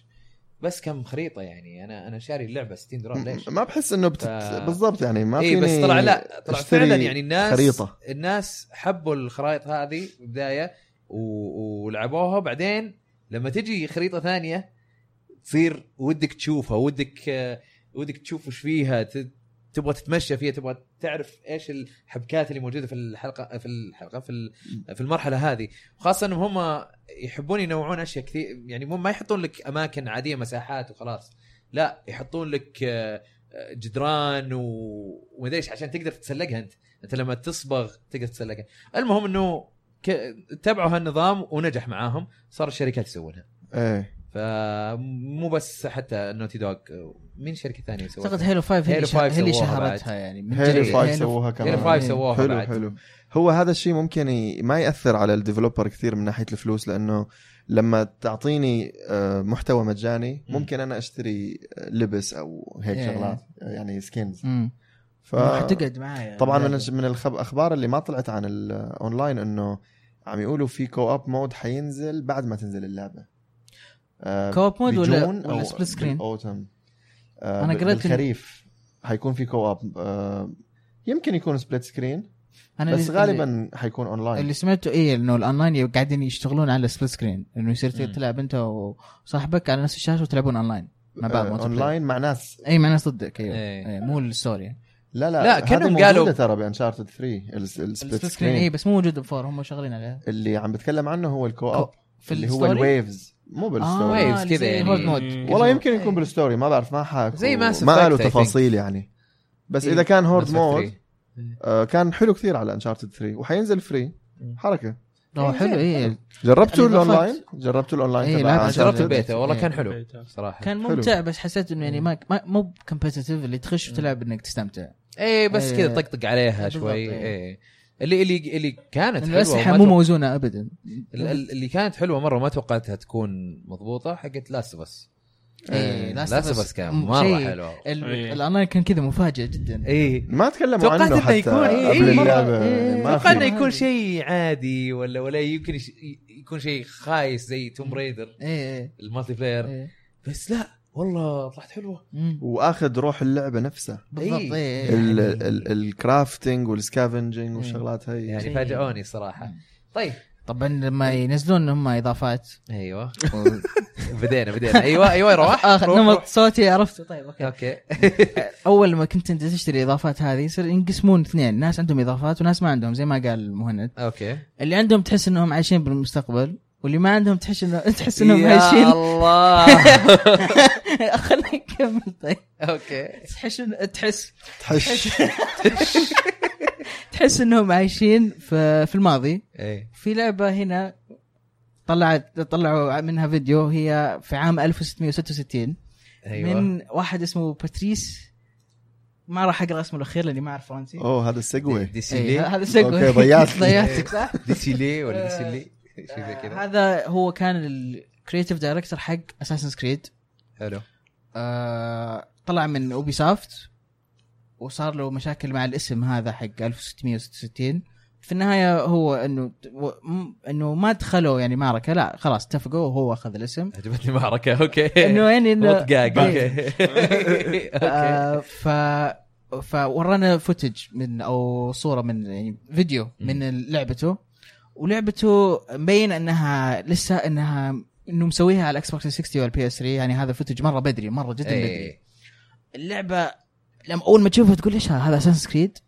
Speaker 1: بس كم خريطه يعني انا انا شاري اللعبه 60 دولار ليش؟
Speaker 4: ما بحس انه بتت...
Speaker 1: ف-
Speaker 4: بالضبط يعني ما
Speaker 1: اي بس
Speaker 4: فيني
Speaker 1: طلع لا طلع
Speaker 4: أشتري
Speaker 1: فعلا يعني الناس
Speaker 4: خريطة.
Speaker 1: الناس حبوا الخرائط هذه في البدايه و- ولعبوها بعدين لما تجي خريطه ثانيه تصير ودك تشوفها ودك آه، ودك تشوف وش فيها ت- تبغى تتمشى فيها تبغى تعرف ايش الحبكات اللي موجوده في الحلقه في الحلقه في ال- في المرحله هذه وخاصه انهم هم يحبون ينوعون اشياء كثير يعني مو ما يحطون لك اماكن عاديه مساحات وخلاص لا يحطون لك آه، آه، جدران و- ومدري ايش عشان تقدر تتسلقها انت انت لما تصبغ تقدر تتسلقها المهم انه ك... تبعوا هالنظام ونجح معاهم صار الشركات يسوونها
Speaker 4: ايه
Speaker 1: فمو بس حتى نوتي دوغ مين شركه ثانيه
Speaker 3: اعتقد
Speaker 1: يسوونها
Speaker 3: هيلو 5 هي
Speaker 1: هيلو
Speaker 3: اللي
Speaker 1: 5
Speaker 3: شا- هي اللي
Speaker 1: سووها
Speaker 3: شهرتها
Speaker 1: بعد.
Speaker 3: يعني
Speaker 4: هيلو
Speaker 3: بالتالي
Speaker 4: 5
Speaker 3: هيلو-
Speaker 4: سووها كمان
Speaker 1: هيلو 5
Speaker 3: إيه.
Speaker 1: سووها
Speaker 4: حلو
Speaker 1: بعد
Speaker 4: حلو هو هذا الشيء ممكن ي... ما ياثر على الديفلوبر كثير من ناحيه الفلوس لانه لما تعطيني آه، محتوى مجاني
Speaker 1: مم.
Speaker 4: ممكن انا اشتري آه، لبس او هيك
Speaker 3: إيه.
Speaker 4: شغلات يعني سكينز
Speaker 3: مم.
Speaker 4: ف...
Speaker 3: حتقعد معايا
Speaker 4: طبعا من الج- من الاخبار اللي ما طلعت عن الاونلاين انه عم يقولوا في كو اب مود حينزل بعد ما تنزل اللعبه آه،
Speaker 3: كوب مود ولا
Speaker 4: بجون
Speaker 3: ولا
Speaker 4: أو
Speaker 3: سبليت سكرين
Speaker 4: بالاوتم آه
Speaker 3: أنا
Speaker 4: انا
Speaker 3: قريت إن-
Speaker 4: قريت الخريف حيكون في كو اب آه يمكن يكون سبليت سكرين
Speaker 3: انا
Speaker 4: بس
Speaker 3: اللي-
Speaker 4: غالبا حيكون اونلاين
Speaker 3: اللي سمعته ايه انه الاونلاين قاعدين يشتغلون على سبليت سكرين انه يصير
Speaker 1: مم.
Speaker 3: تلعب انت وصاحبك على نفس الشاشه وتلعبون اونلاين مع بعض
Speaker 4: آه
Speaker 3: ما تبلاي.
Speaker 4: اونلاين مع ناس
Speaker 3: اي معناه ضدك ايوه
Speaker 1: إيه.
Speaker 3: إيه، مو الستوري
Speaker 4: لا لا
Speaker 1: لا،
Speaker 4: هذه
Speaker 1: كأنهم
Speaker 4: موجودة
Speaker 1: قالوا-
Speaker 4: ترى بانشارتد 3 الس- السبليت
Speaker 3: السبليت سكرين اي
Speaker 4: سكرين
Speaker 3: إيه، بس مو موجود بفور هم شغالين عليه
Speaker 4: اللي عم بتكلم عنه هو الكو اب
Speaker 3: في آه،
Speaker 4: اللي هو
Speaker 3: الستوري؟
Speaker 4: الويفز مو بالستوري
Speaker 1: Waves
Speaker 3: اللي
Speaker 1: كذا
Speaker 3: زي
Speaker 1: يعني.
Speaker 3: Horde Mode. إيه.
Speaker 2: مم.
Speaker 4: والله
Speaker 3: كذا.
Speaker 4: يمكن يكون بالستوري ما بعرف ما حكوا
Speaker 1: زي Mass
Speaker 4: ما
Speaker 1: Effect،
Speaker 4: قالوا
Speaker 1: I think.
Speaker 4: تفاصيل يعني بس
Speaker 1: إيه.
Speaker 4: اذا كان هورد
Speaker 1: Mass Effect
Speaker 4: مود
Speaker 1: 3.
Speaker 4: آه كان حلو كثير على انشارتد 3 وحينزل فري
Speaker 1: مم.
Speaker 4: حركه
Speaker 3: هو حلو إيه. اي
Speaker 4: جربتوا
Speaker 3: الإضافات.
Speaker 4: الاونلاين جربتوا الاونلاين
Speaker 3: إيه،
Speaker 4: تبع
Speaker 3: لعبة
Speaker 1: انا
Speaker 4: Uncharted؟
Speaker 1: جربت
Speaker 3: جربت.
Speaker 1: البيتا والله
Speaker 3: إيه.
Speaker 1: كان حلو صراحه
Speaker 3: كان
Speaker 4: حلو.
Speaker 3: ممتع بس حسيت انه يعني ما ما- مو كومبتتف اللي تخش وتلعب انك تستمتع
Speaker 1: اي بس
Speaker 3: إيه.
Speaker 1: كذا طقطق عليها
Speaker 3: بالضبط،
Speaker 1: شوي
Speaker 3: إيه.
Speaker 1: اي اللي اللي اللي كانت
Speaker 3: لأن
Speaker 1: حلوه
Speaker 3: الاسلحه
Speaker 1: وما
Speaker 3: مو
Speaker 1: توقع-
Speaker 3: موزونه ابدا
Speaker 1: ال- ال- اللي كانت حلوه مره ما توقعتها تكون مضبوطه حقت لاست اوف اس
Speaker 3: إيه، Last of
Speaker 1: لاست اوف
Speaker 3: Us
Speaker 1: اس كان
Speaker 3: م-
Speaker 1: مره
Speaker 3: شيء. إيه.
Speaker 1: حلو
Speaker 3: ال-
Speaker 2: إيه.
Speaker 3: الاونلاين كان كذا مفاجئ جدا
Speaker 4: إيه.
Speaker 1: اي
Speaker 4: ما تكلموا
Speaker 1: توقعت
Speaker 4: عنه
Speaker 1: إنه
Speaker 4: حتى
Speaker 1: يكون- إيه،
Speaker 4: قبل
Speaker 1: إيه،
Speaker 4: اللعبه
Speaker 3: إيه.
Speaker 4: ما
Speaker 1: اتوقع انه
Speaker 4: في
Speaker 3: في.
Speaker 1: يكون شيء عادي ولا ولا يمكن يش- ي- يكون شيء خايس زي توم ريدر
Speaker 3: ايه ايه
Speaker 1: المالتي بلاير
Speaker 3: إيه.
Speaker 1: بس لا والله طلعت حلوه
Speaker 3: مم.
Speaker 4: واخذ روح اللعبه نفسها
Speaker 3: بالضبط ايه إيه.
Speaker 4: ال- ال- الكرافتنج والسكافنجنج والشغلات هي
Speaker 1: يعني
Speaker 3: شيء.
Speaker 1: فاجئوني صراحه طيب
Speaker 3: طبعا لما ينزلون هم اضافات
Speaker 1: ايوه بدينا بدينا ايوه ايوه روح
Speaker 3: اخر
Speaker 1: روح،
Speaker 3: نمط
Speaker 1: روح.
Speaker 3: صوتي عرفته طيب اوكي
Speaker 1: اوكي
Speaker 3: اول ما كنت انت تشتري اضافات هذه يصير ينقسمون اثنين ناس عندهم اضافات وناس ما عندهم زي ما قال مهند
Speaker 1: اوكي
Speaker 3: اللي عندهم تحس انهم عايشين بالمستقبل واللي ما عندهم تحس انه تحس انهم
Speaker 1: يا
Speaker 3: عايشين
Speaker 1: الله
Speaker 3: خليني اكمل طيب
Speaker 1: اوكي
Speaker 3: تحس إن- تحس
Speaker 4: تحش
Speaker 3: تحس انهم عايشين في, في الماضي
Speaker 1: ايه
Speaker 3: في لعبه هنا طلعت طلعوا منها فيديو هي في عام 1666
Speaker 1: ايوه
Speaker 3: من واحد اسمه باتريس ما راح اقرا اسمه الاخير لاني ما اعرف فرنسي
Speaker 4: اوه هذا السيجوي
Speaker 3: إيه،
Speaker 1: ديسيلي
Speaker 3: هذا سيجوي
Speaker 4: أوكي، ضيعت.
Speaker 3: ضيعتك صح؟
Speaker 1: ديسيلي إيه. ولا ديسيلي شيء زي
Speaker 3: آه،
Speaker 1: كذا
Speaker 3: هذا هو كان الكريتيف دايركتور حق اساسن كريد
Speaker 1: حلو
Speaker 3: آه، طلع من اوبي سافت وصار له مشاكل مع الاسم هذا حق 1666 في النهايه هو انه و- م- انه ما دخلوا يعني معركه لا خلاص اتفقوا وهو اخذ الاسم
Speaker 1: عجبتني معركه اوكي
Speaker 3: انه يعني انه
Speaker 1: مطقاق
Speaker 3: إيه.
Speaker 1: اوكي اوكي
Speaker 3: آه، ف فورانا فوتج من او صوره من يعني فيديو من لعبته ولعبته مبين انها لسه انها انه مسويها على الاكس بوكس 360 والبي اس 3 يعني هذا فوتج مره بدري مره جدا بدري
Speaker 1: إيه.
Speaker 3: اللعبه لما اول ما تشوفها تقول ايش هذا؟ هذا اساسن كريد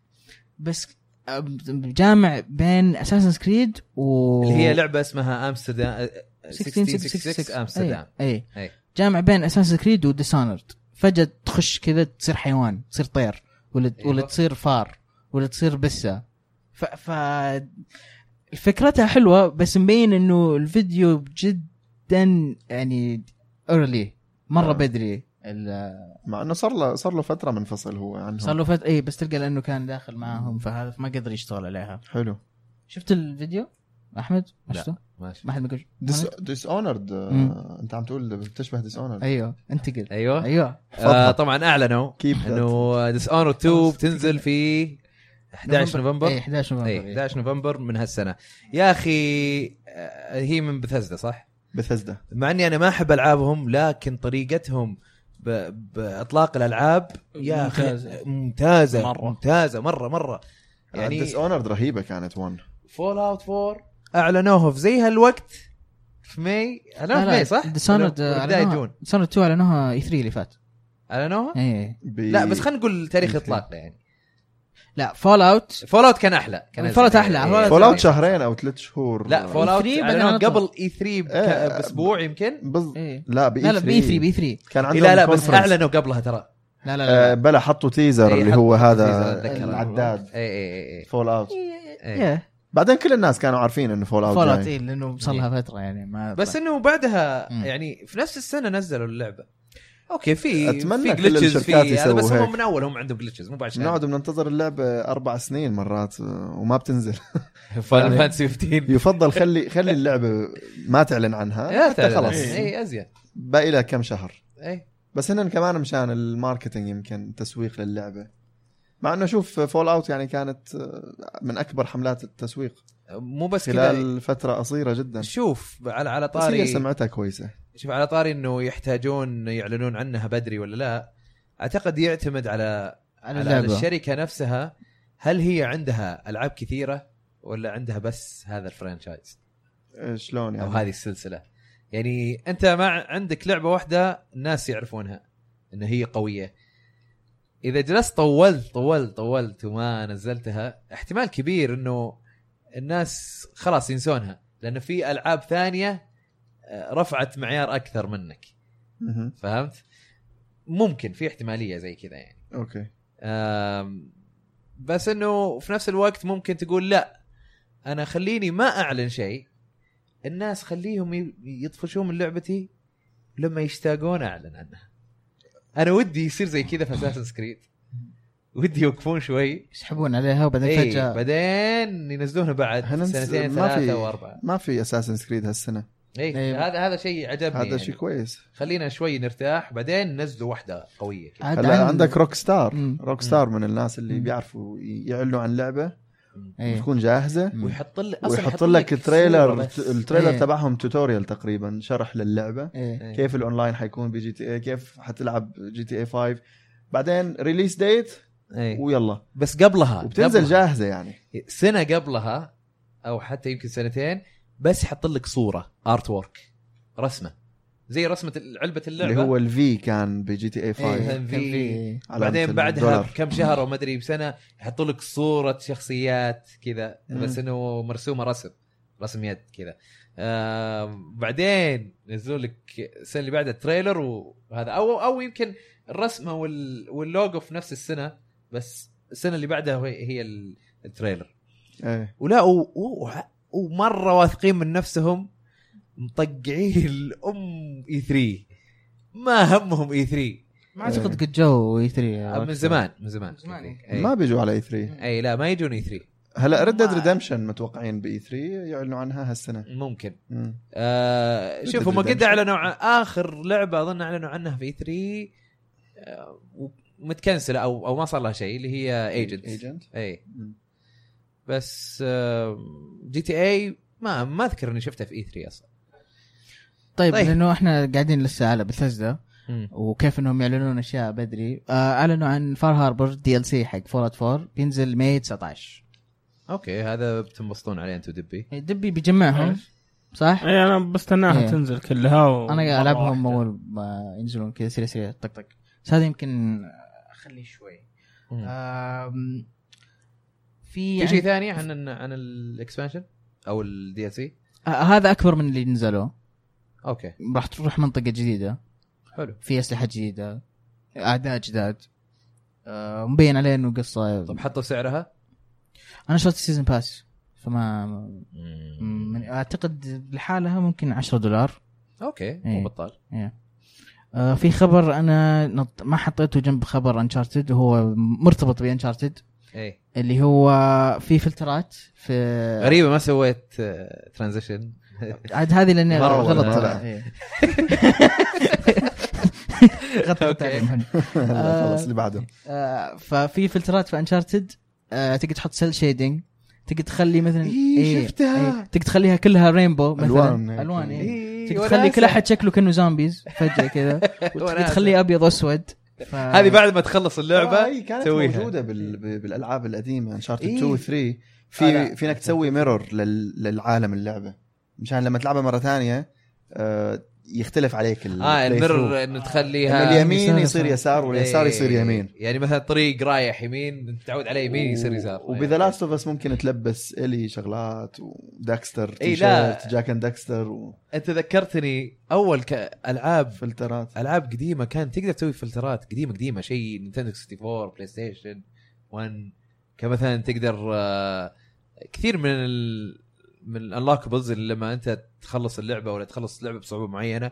Speaker 3: بس آم، جامع بين اساسن كريد و
Speaker 1: اللي هي لعبه اسمها آه، امستردام
Speaker 3: 1666
Speaker 1: 1666 امستردام
Speaker 3: اي
Speaker 1: أي.
Speaker 3: اي جامع بين اساس كريد وديسانرد فجاه تخش كذا تصير حيوان تصير طير ولا
Speaker 1: أيوة.
Speaker 3: ولا تصير فار ولا تصير بسه ف, ف... فكرتها حلوه بس مبين انه الفيديو جدا يعني ايرلي مره
Speaker 4: آه.
Speaker 3: بدري ال-
Speaker 4: مع انه صار له صار له فتره منفصل هو عنهم
Speaker 3: صار له فت... اي بس تلقى لانه كان داخل معاهم فهذا ما قدر يشتغل عليها
Speaker 4: حلو
Speaker 3: شفت الفيديو احمد ما
Speaker 1: لا.
Speaker 3: شفته؟
Speaker 1: ماشي
Speaker 3: ما حد بيقول
Speaker 4: ديس ديس اونرد
Speaker 3: مم.
Speaker 4: انت عم تقول بتشبه ديس اونرد
Speaker 3: ايوه انتقل
Speaker 1: ايوه
Speaker 3: ايوه
Speaker 1: آه طبعا اعلنوا
Speaker 4: Keep that.
Speaker 1: انه ديس اونر 2 بتنزل في 11
Speaker 3: اي
Speaker 1: نوفمبر
Speaker 3: 11 نوفمبر
Speaker 1: اي
Speaker 3: إيه.
Speaker 1: 11 نوفمبر من هالسنه يا اخي آه، هي من بثزدا صح؟
Speaker 4: بثزدا
Speaker 1: مع اني انا ما احب العابهم لكن طريقتهم ب... باطلاق الالعاب يا اخي
Speaker 2: ممتازة.
Speaker 1: ممتازه
Speaker 2: مرة.
Speaker 1: مره ممتازه مره مره
Speaker 4: يعني ديس
Speaker 1: يعني
Speaker 4: اونرد رهيبه كانت 1
Speaker 1: فول اوت 4 اعلنوها في زي هالوقت في ماي اعلنوها في ماي صح؟
Speaker 3: ديسونرد
Speaker 1: ولا- ولا بداية جون أه.
Speaker 3: ديسونرد 2 اعلنوها اي 3 E اللي فات إيه.
Speaker 1: اعلنوها؟
Speaker 3: اي
Speaker 1: لا بس خلينا نقول تاريخ اطلاقه يعني
Speaker 3: لا فول اوت
Speaker 1: فول اوت كان احلى كان
Speaker 3: Fallout
Speaker 1: أزين.
Speaker 3: أحلى.
Speaker 1: إيه.
Speaker 3: Fallout-
Speaker 4: فول اوت شهرين او ثلاث شهور
Speaker 1: لا فول اوت
Speaker 3: E3 بعدين على طول.
Speaker 1: قبل E اي 3
Speaker 4: إيه.
Speaker 1: باسبوع يمكن إيه،
Speaker 4: بز...
Speaker 3: إيه.
Speaker 4: لا بي
Speaker 3: لا لا بي 3 بي 3
Speaker 4: كان عندهم
Speaker 1: لا لا بس
Speaker 4: conference.
Speaker 1: اعلنوا قبلها ترى
Speaker 3: لا لا
Speaker 4: آه،
Speaker 3: لا,
Speaker 4: بلا حطوا تيزر
Speaker 1: إيه،
Speaker 4: اللي هو
Speaker 1: حطوا
Speaker 4: هذا
Speaker 1: teaser، أتذكر.
Speaker 4: العداد
Speaker 1: اي اي اي
Speaker 4: فول اوت
Speaker 1: إيه.
Speaker 3: لا.
Speaker 4: بعدين كل الناس كانوا عارفين انه فول اوت
Speaker 3: فول اوت
Speaker 4: جاي.
Speaker 3: اي لانه إيه، صار لها فتره يعني ما
Speaker 1: بس انه بعدها
Speaker 3: مم.
Speaker 1: يعني في نفس السنه نزلوا اللعبه اوكي في
Speaker 4: أتمنى
Speaker 1: في
Speaker 4: كل
Speaker 1: glitches، في
Speaker 4: الشركات
Speaker 1: هذا بس
Speaker 4: يسووا
Speaker 1: هم
Speaker 4: هيك. نعم.
Speaker 1: من اول هم عندهم جلتشز مو بعشان
Speaker 4: نقعد بننتظر اللعبه اربع سنين مرات آه، وما بتنزل
Speaker 1: فاينل فانتسي 15
Speaker 4: يفضل خلي خلي اللعبه ما تعلن عنها
Speaker 1: يا
Speaker 4: حتى
Speaker 1: تعلم.
Speaker 4: خلص
Speaker 2: إيه.
Speaker 1: اي ازين
Speaker 4: باقي لها كم شهر
Speaker 1: اي
Speaker 4: بس هن كمان مشان الماركتينج يمكن تسويق للعبه مع انه شوف فول اوت يعني كانت آه، من اكبر حملات التسويق
Speaker 1: مو بس كذا
Speaker 4: خلال فتره قصيره جدا
Speaker 1: شوف على على
Speaker 4: بس هي
Speaker 1: طاري
Speaker 4: سمعتها كويسه
Speaker 1: شوف على طاري انه يحتاجون يعلنون عنها بدري ولا لا اعتقد يعتمد على
Speaker 3: على
Speaker 1: على على
Speaker 3: اللعبه
Speaker 1: الشركه نفسها هل هي عندها العاب كثيره ولا عندها بس هذا الفرانشايز
Speaker 4: آه، شلون
Speaker 1: او
Speaker 4: يعني
Speaker 1: هذه السلسله يعني انت ما ع- عندك لعبه واحده الناس يعرفونها ان هي قويه اذا جلست طولت طولت طولت وما نزلتها احتمال كبير انه الناس خلاص ينسونها لانه في العاب ثانيه آه، رفعت معيار اكثر منك
Speaker 4: مهم.
Speaker 1: فهمت ممكن في احتماليه زي كذا يعني
Speaker 4: اوكي
Speaker 1: أم، بس انه في نفس الوقت ممكن تقول لا انا خليني ما اعلن شيء الناس خليهم ي- يطفشون من لعبتي لما يشتاقون اعلن عنها انا ودي يصير زي كذا في اساسن سكريد ودي يوقفون
Speaker 4: إيه،
Speaker 1: شوي
Speaker 3: يسحبون عليها وبعدين
Speaker 1: اي
Speaker 3: فجاه
Speaker 1: بعدين ينزلونها بعد
Speaker 4: هننس-
Speaker 1: سنتين
Speaker 4: ما في-
Speaker 1: ثلاثه واربعه
Speaker 4: ما في اساسن سكريد هالسنه
Speaker 1: اي
Speaker 3: إيه.
Speaker 1: هذا هذا شيء عجبني
Speaker 4: هذا
Speaker 1: هذا يعني.
Speaker 4: شيء كويس
Speaker 1: خلينا شوي نرتاح بعدين ننزلوا واحده قويه كذا
Speaker 3: عاد
Speaker 4: هلا
Speaker 3: عن-
Speaker 4: عندك روك ستار
Speaker 3: مم.
Speaker 4: روك ستار من الناس اللي
Speaker 3: مم.
Speaker 4: بيعرفوا يعلنوا عن لعبه
Speaker 3: إيه.
Speaker 4: تكون جاهزه
Speaker 3: مم.
Speaker 1: ويحط لك أصلاً
Speaker 4: ويحط لك تريلر
Speaker 1: صورة بس.
Speaker 4: التريلر
Speaker 3: إيه.
Speaker 4: تبعهم توتوريال تقريبا شرح للعبه
Speaker 3: إيه.
Speaker 1: إيه.
Speaker 4: كيف الاونلاين حيكون بجي تي اي كيف حتلعب جي تي اي 5 بعدين ريليس ديت
Speaker 1: إيه.
Speaker 3: آه،
Speaker 4: ويلا
Speaker 1: بس قبلها
Speaker 4: وبتنزل
Speaker 1: قبلها.
Speaker 4: جاهزه يعني
Speaker 1: سنه قبلها او حتى يمكن سنتين بس يحط لك صوره ارت وورك رسمه زي رسمه علبه اللعبه
Speaker 4: اللي هو الفي كان بجي تي اي 5
Speaker 3: إيه،
Speaker 1: كان
Speaker 3: كان
Speaker 1: في-
Speaker 3: في
Speaker 4: علامة
Speaker 1: بعدين بعدها
Speaker 4: الدولار.
Speaker 1: بكم شهر او ما ادري بسنه يحط لك صوره شخصيات كذا
Speaker 4: مم.
Speaker 1: بس انه مرسومه رسم رسم يد كذا آه بعدين نزلوا لك السنه اللي بعدها تريلر وهذا او او يمكن الرسمه وال واللوجو في نفس السنه بس السنه اللي بعدها هي هي التريلر
Speaker 4: إيه.
Speaker 1: ولا و- و- ومره واثقين من نفسهم مطقعين الام اي 3 ما همهم اي 3
Speaker 3: ما اعتقد قد E جو اي 3
Speaker 1: إيه. آه، من زمان من زمان
Speaker 3: من زمان، إيه. يمكن.
Speaker 1: اي
Speaker 4: ما بيجوا على اي 3
Speaker 1: اي لا ما يجون E اي 3
Speaker 4: هلا ريد ديد
Speaker 3: ما-
Speaker 4: ريدمشن متوقعين باي 3 يعلنوا عنها هالسنه
Speaker 1: ممكن
Speaker 4: مم.
Speaker 1: آه
Speaker 4: Red Dead
Speaker 1: شوف هم
Speaker 4: Redemption.
Speaker 1: قد اعلنوا عن اخر لعبه اظن اعلنوا عنها في اي 3 آه ومتكنسله او او ما صار لها شيء اللي هي ايجنت
Speaker 4: ايجنت
Speaker 1: اي
Speaker 4: مم.
Speaker 1: بس جي تي اي ما ما اذكر اني شفتها في E اي 3 اصلا
Speaker 3: طيب,
Speaker 1: طيب.
Speaker 3: طيب لانه احنا قاعدين لسه على بثزدا
Speaker 1: مم.
Speaker 3: وكيف انهم يعلنون اشياء بدري آه، اعلنوا عن فار هاربر دي ال سي حق فول اوت 4 بينزل ماي 19
Speaker 1: اوكي هذا بتنبسطون عليه انتم دبي
Speaker 3: إيه، دبي بيجمعهم صح؟
Speaker 1: إيه.
Speaker 2: اي انا بستناها
Speaker 3: إيه.
Speaker 2: تنزل كلها و...
Speaker 3: انا العبهم
Speaker 2: مرة واحدة.
Speaker 3: اول ما ينزلون كذا سريع سريع طق طق بس هذا يمكن اخليه شوي
Speaker 1: مم.
Speaker 3: آم، في
Speaker 1: إيه. آه، في شيء ثاني
Speaker 3: يعني
Speaker 1: عن عن الاكسبانشن او الدي ال سي
Speaker 3: آه، هذا اكبر من اللي نزلوه
Speaker 1: اوكي
Speaker 3: راح تروح منطقه جديده
Speaker 1: حلو
Speaker 3: في اسلحه جديده اعداء جداد آه، مبين عليه انه قصه
Speaker 1: طب حطوا سعرها
Speaker 3: انا شريت السيزون باس فما
Speaker 1: مم.
Speaker 3: من اعتقد لحالها ممكن 10 دولار
Speaker 1: اوكي
Speaker 3: إيه.
Speaker 1: مو بطال
Speaker 3: آه، في خبر انا نط... ما حطيته جنب خبر انشارتد وهو مرتبط بانشارتد
Speaker 1: ايه
Speaker 3: اللي هو في فلترات في
Speaker 1: غريبه ما سويت آه، ترانزيشن
Speaker 3: عاد هذه لاني
Speaker 1: مرة
Speaker 3: غلط
Speaker 1: ولا-
Speaker 3: طلع إيه. غطيت
Speaker 1: أوكي.
Speaker 3: عليه محمد.
Speaker 4: لا، خلاص اللي بعده
Speaker 3: آه، ففي فلترات في انشارتد تقدر تحط سيل شيدنج تقدر تخلي مثلا
Speaker 4: إيه،
Speaker 3: إيه،
Speaker 4: شفتها.
Speaker 3: إيه. تقدر تخليها كلها رينبو مثلا
Speaker 4: ألوان هيك.
Speaker 3: الوان إيه. تقدر
Speaker 1: وناسة.
Speaker 3: تخلي كل احد شكله كانه زومبيز فجاه كذا
Speaker 1: وناسة.
Speaker 3: تخليه ابيض واسود ف...
Speaker 1: هذه بعد ما تخلص
Speaker 4: آه،
Speaker 1: اللعبه
Speaker 4: هي كانت
Speaker 1: تسويها.
Speaker 4: موجوده بال... ب- بالالعاب القديمه انشارتد
Speaker 1: إيه.
Speaker 4: 2 و 3
Speaker 1: آه، لا.
Speaker 4: في في انك تسوي ميرور لل... للعالم اللعبه مشان لما تلعبها مره ثانيه آه يختلف عليك ال...
Speaker 1: اه
Speaker 4: play through.
Speaker 1: المرر انه
Speaker 4: إنه
Speaker 1: تخليها
Speaker 4: آه، اليمين
Speaker 3: يسار
Speaker 4: يصير
Speaker 3: يسار.
Speaker 4: يسار واليسار يصير
Speaker 1: إيه.
Speaker 4: يمين
Speaker 1: يعني مثلا طريق رايح يمين تعود على يمين يصير يسار
Speaker 4: وبذا لاست اوف اس ممكن تلبس الي شغلات وداكستر
Speaker 1: إي، إيه، لا.
Speaker 4: تيشيرت جاك اند داكستر
Speaker 1: انت إيه. ذكرتني اول ك... العاب
Speaker 4: وفلترات
Speaker 1: العاب قديمه كان تقدر تسوي فلترات قديمه قديمه شيء نينتندو 64 بلاي ستيشن 1 كمثلا تقدر آه، كثير من ال... من الانلوكبلز اللي لما انت تخلص اللعبه ولا تخلص اللعبه بصعوبه معينه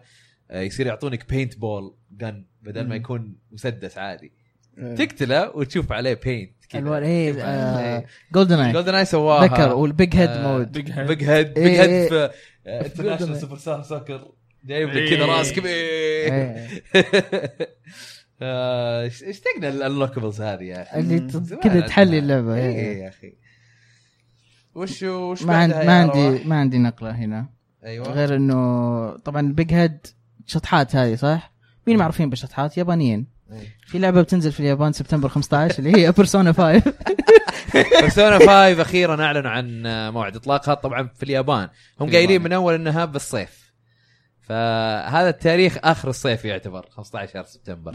Speaker 1: آه، يصير يعطونك بينت بول جن بدل ما
Speaker 4: مم.
Speaker 1: يكون مسدس عادي
Speaker 4: إيه.
Speaker 1: تقتله وتشوف عليه بينت
Speaker 3: الوان ايه
Speaker 1: إيه.
Speaker 3: جولدن اي
Speaker 1: جولدن اي سواها
Speaker 3: ذكر والبيج هيد
Speaker 1: آه،
Speaker 3: مود
Speaker 2: بيج
Speaker 1: بيج هيد بيج
Speaker 3: إيه،
Speaker 1: هيد
Speaker 3: إيه.
Speaker 1: في آه،
Speaker 3: في Golden
Speaker 1: انترناشونال
Speaker 3: Eye.
Speaker 1: سوبر ستار سوكر جايب لك
Speaker 2: إيه.
Speaker 1: كذا راس كبير
Speaker 3: إيه.
Speaker 1: آه، ايش اشتقنا للانلوكبلز هذه يا اخي
Speaker 3: اللي
Speaker 4: مم.
Speaker 3: ت-
Speaker 1: زمان
Speaker 3: كذا
Speaker 1: عندنا.
Speaker 3: تحلي اللعبه
Speaker 1: إيه،
Speaker 3: إيه.
Speaker 1: إيه يا اخي وش وش
Speaker 3: ما عندي
Speaker 1: بعدها يا
Speaker 3: ما
Speaker 1: رواح؟
Speaker 3: عندي ما عندي نقله هنا
Speaker 1: ايوه غير
Speaker 3: غير انه طبعا البيج هيد شطحات هذه صح؟ مين معروفين بالشطحات؟ يابانيين
Speaker 1: إيه.
Speaker 3: في لعبه بتنزل في اليابان سبتمبر 15 اللي هي بيرسونا 5
Speaker 1: بيرسونا 5 اخيرا اعلنوا عن موعد اطلاقها طبعا في اليابان هم
Speaker 3: في
Speaker 1: قايلين
Speaker 3: اليابان.
Speaker 1: من اول انها بالصيف فهذا التاريخ اخر الصيف يعتبر 15 سبتمبر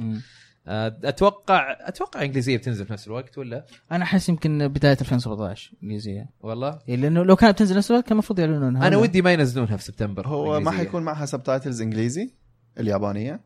Speaker 1: آه، اتوقع اتوقع انجليزيه بتنزل في نفس الوقت ولا
Speaker 3: انا احس يمكن بدايه 2017 انجليزيه
Speaker 1: والله
Speaker 3: إيه، لانه لو كانت بتنزل نفس الوقت كان المفروض يعلنونها
Speaker 1: انا ودي ما ينزلونها في سبتمبر
Speaker 4: هو ما
Speaker 1: إنجليزية.
Speaker 4: حيكون معها سبتايتلز انجليزي اليابانيه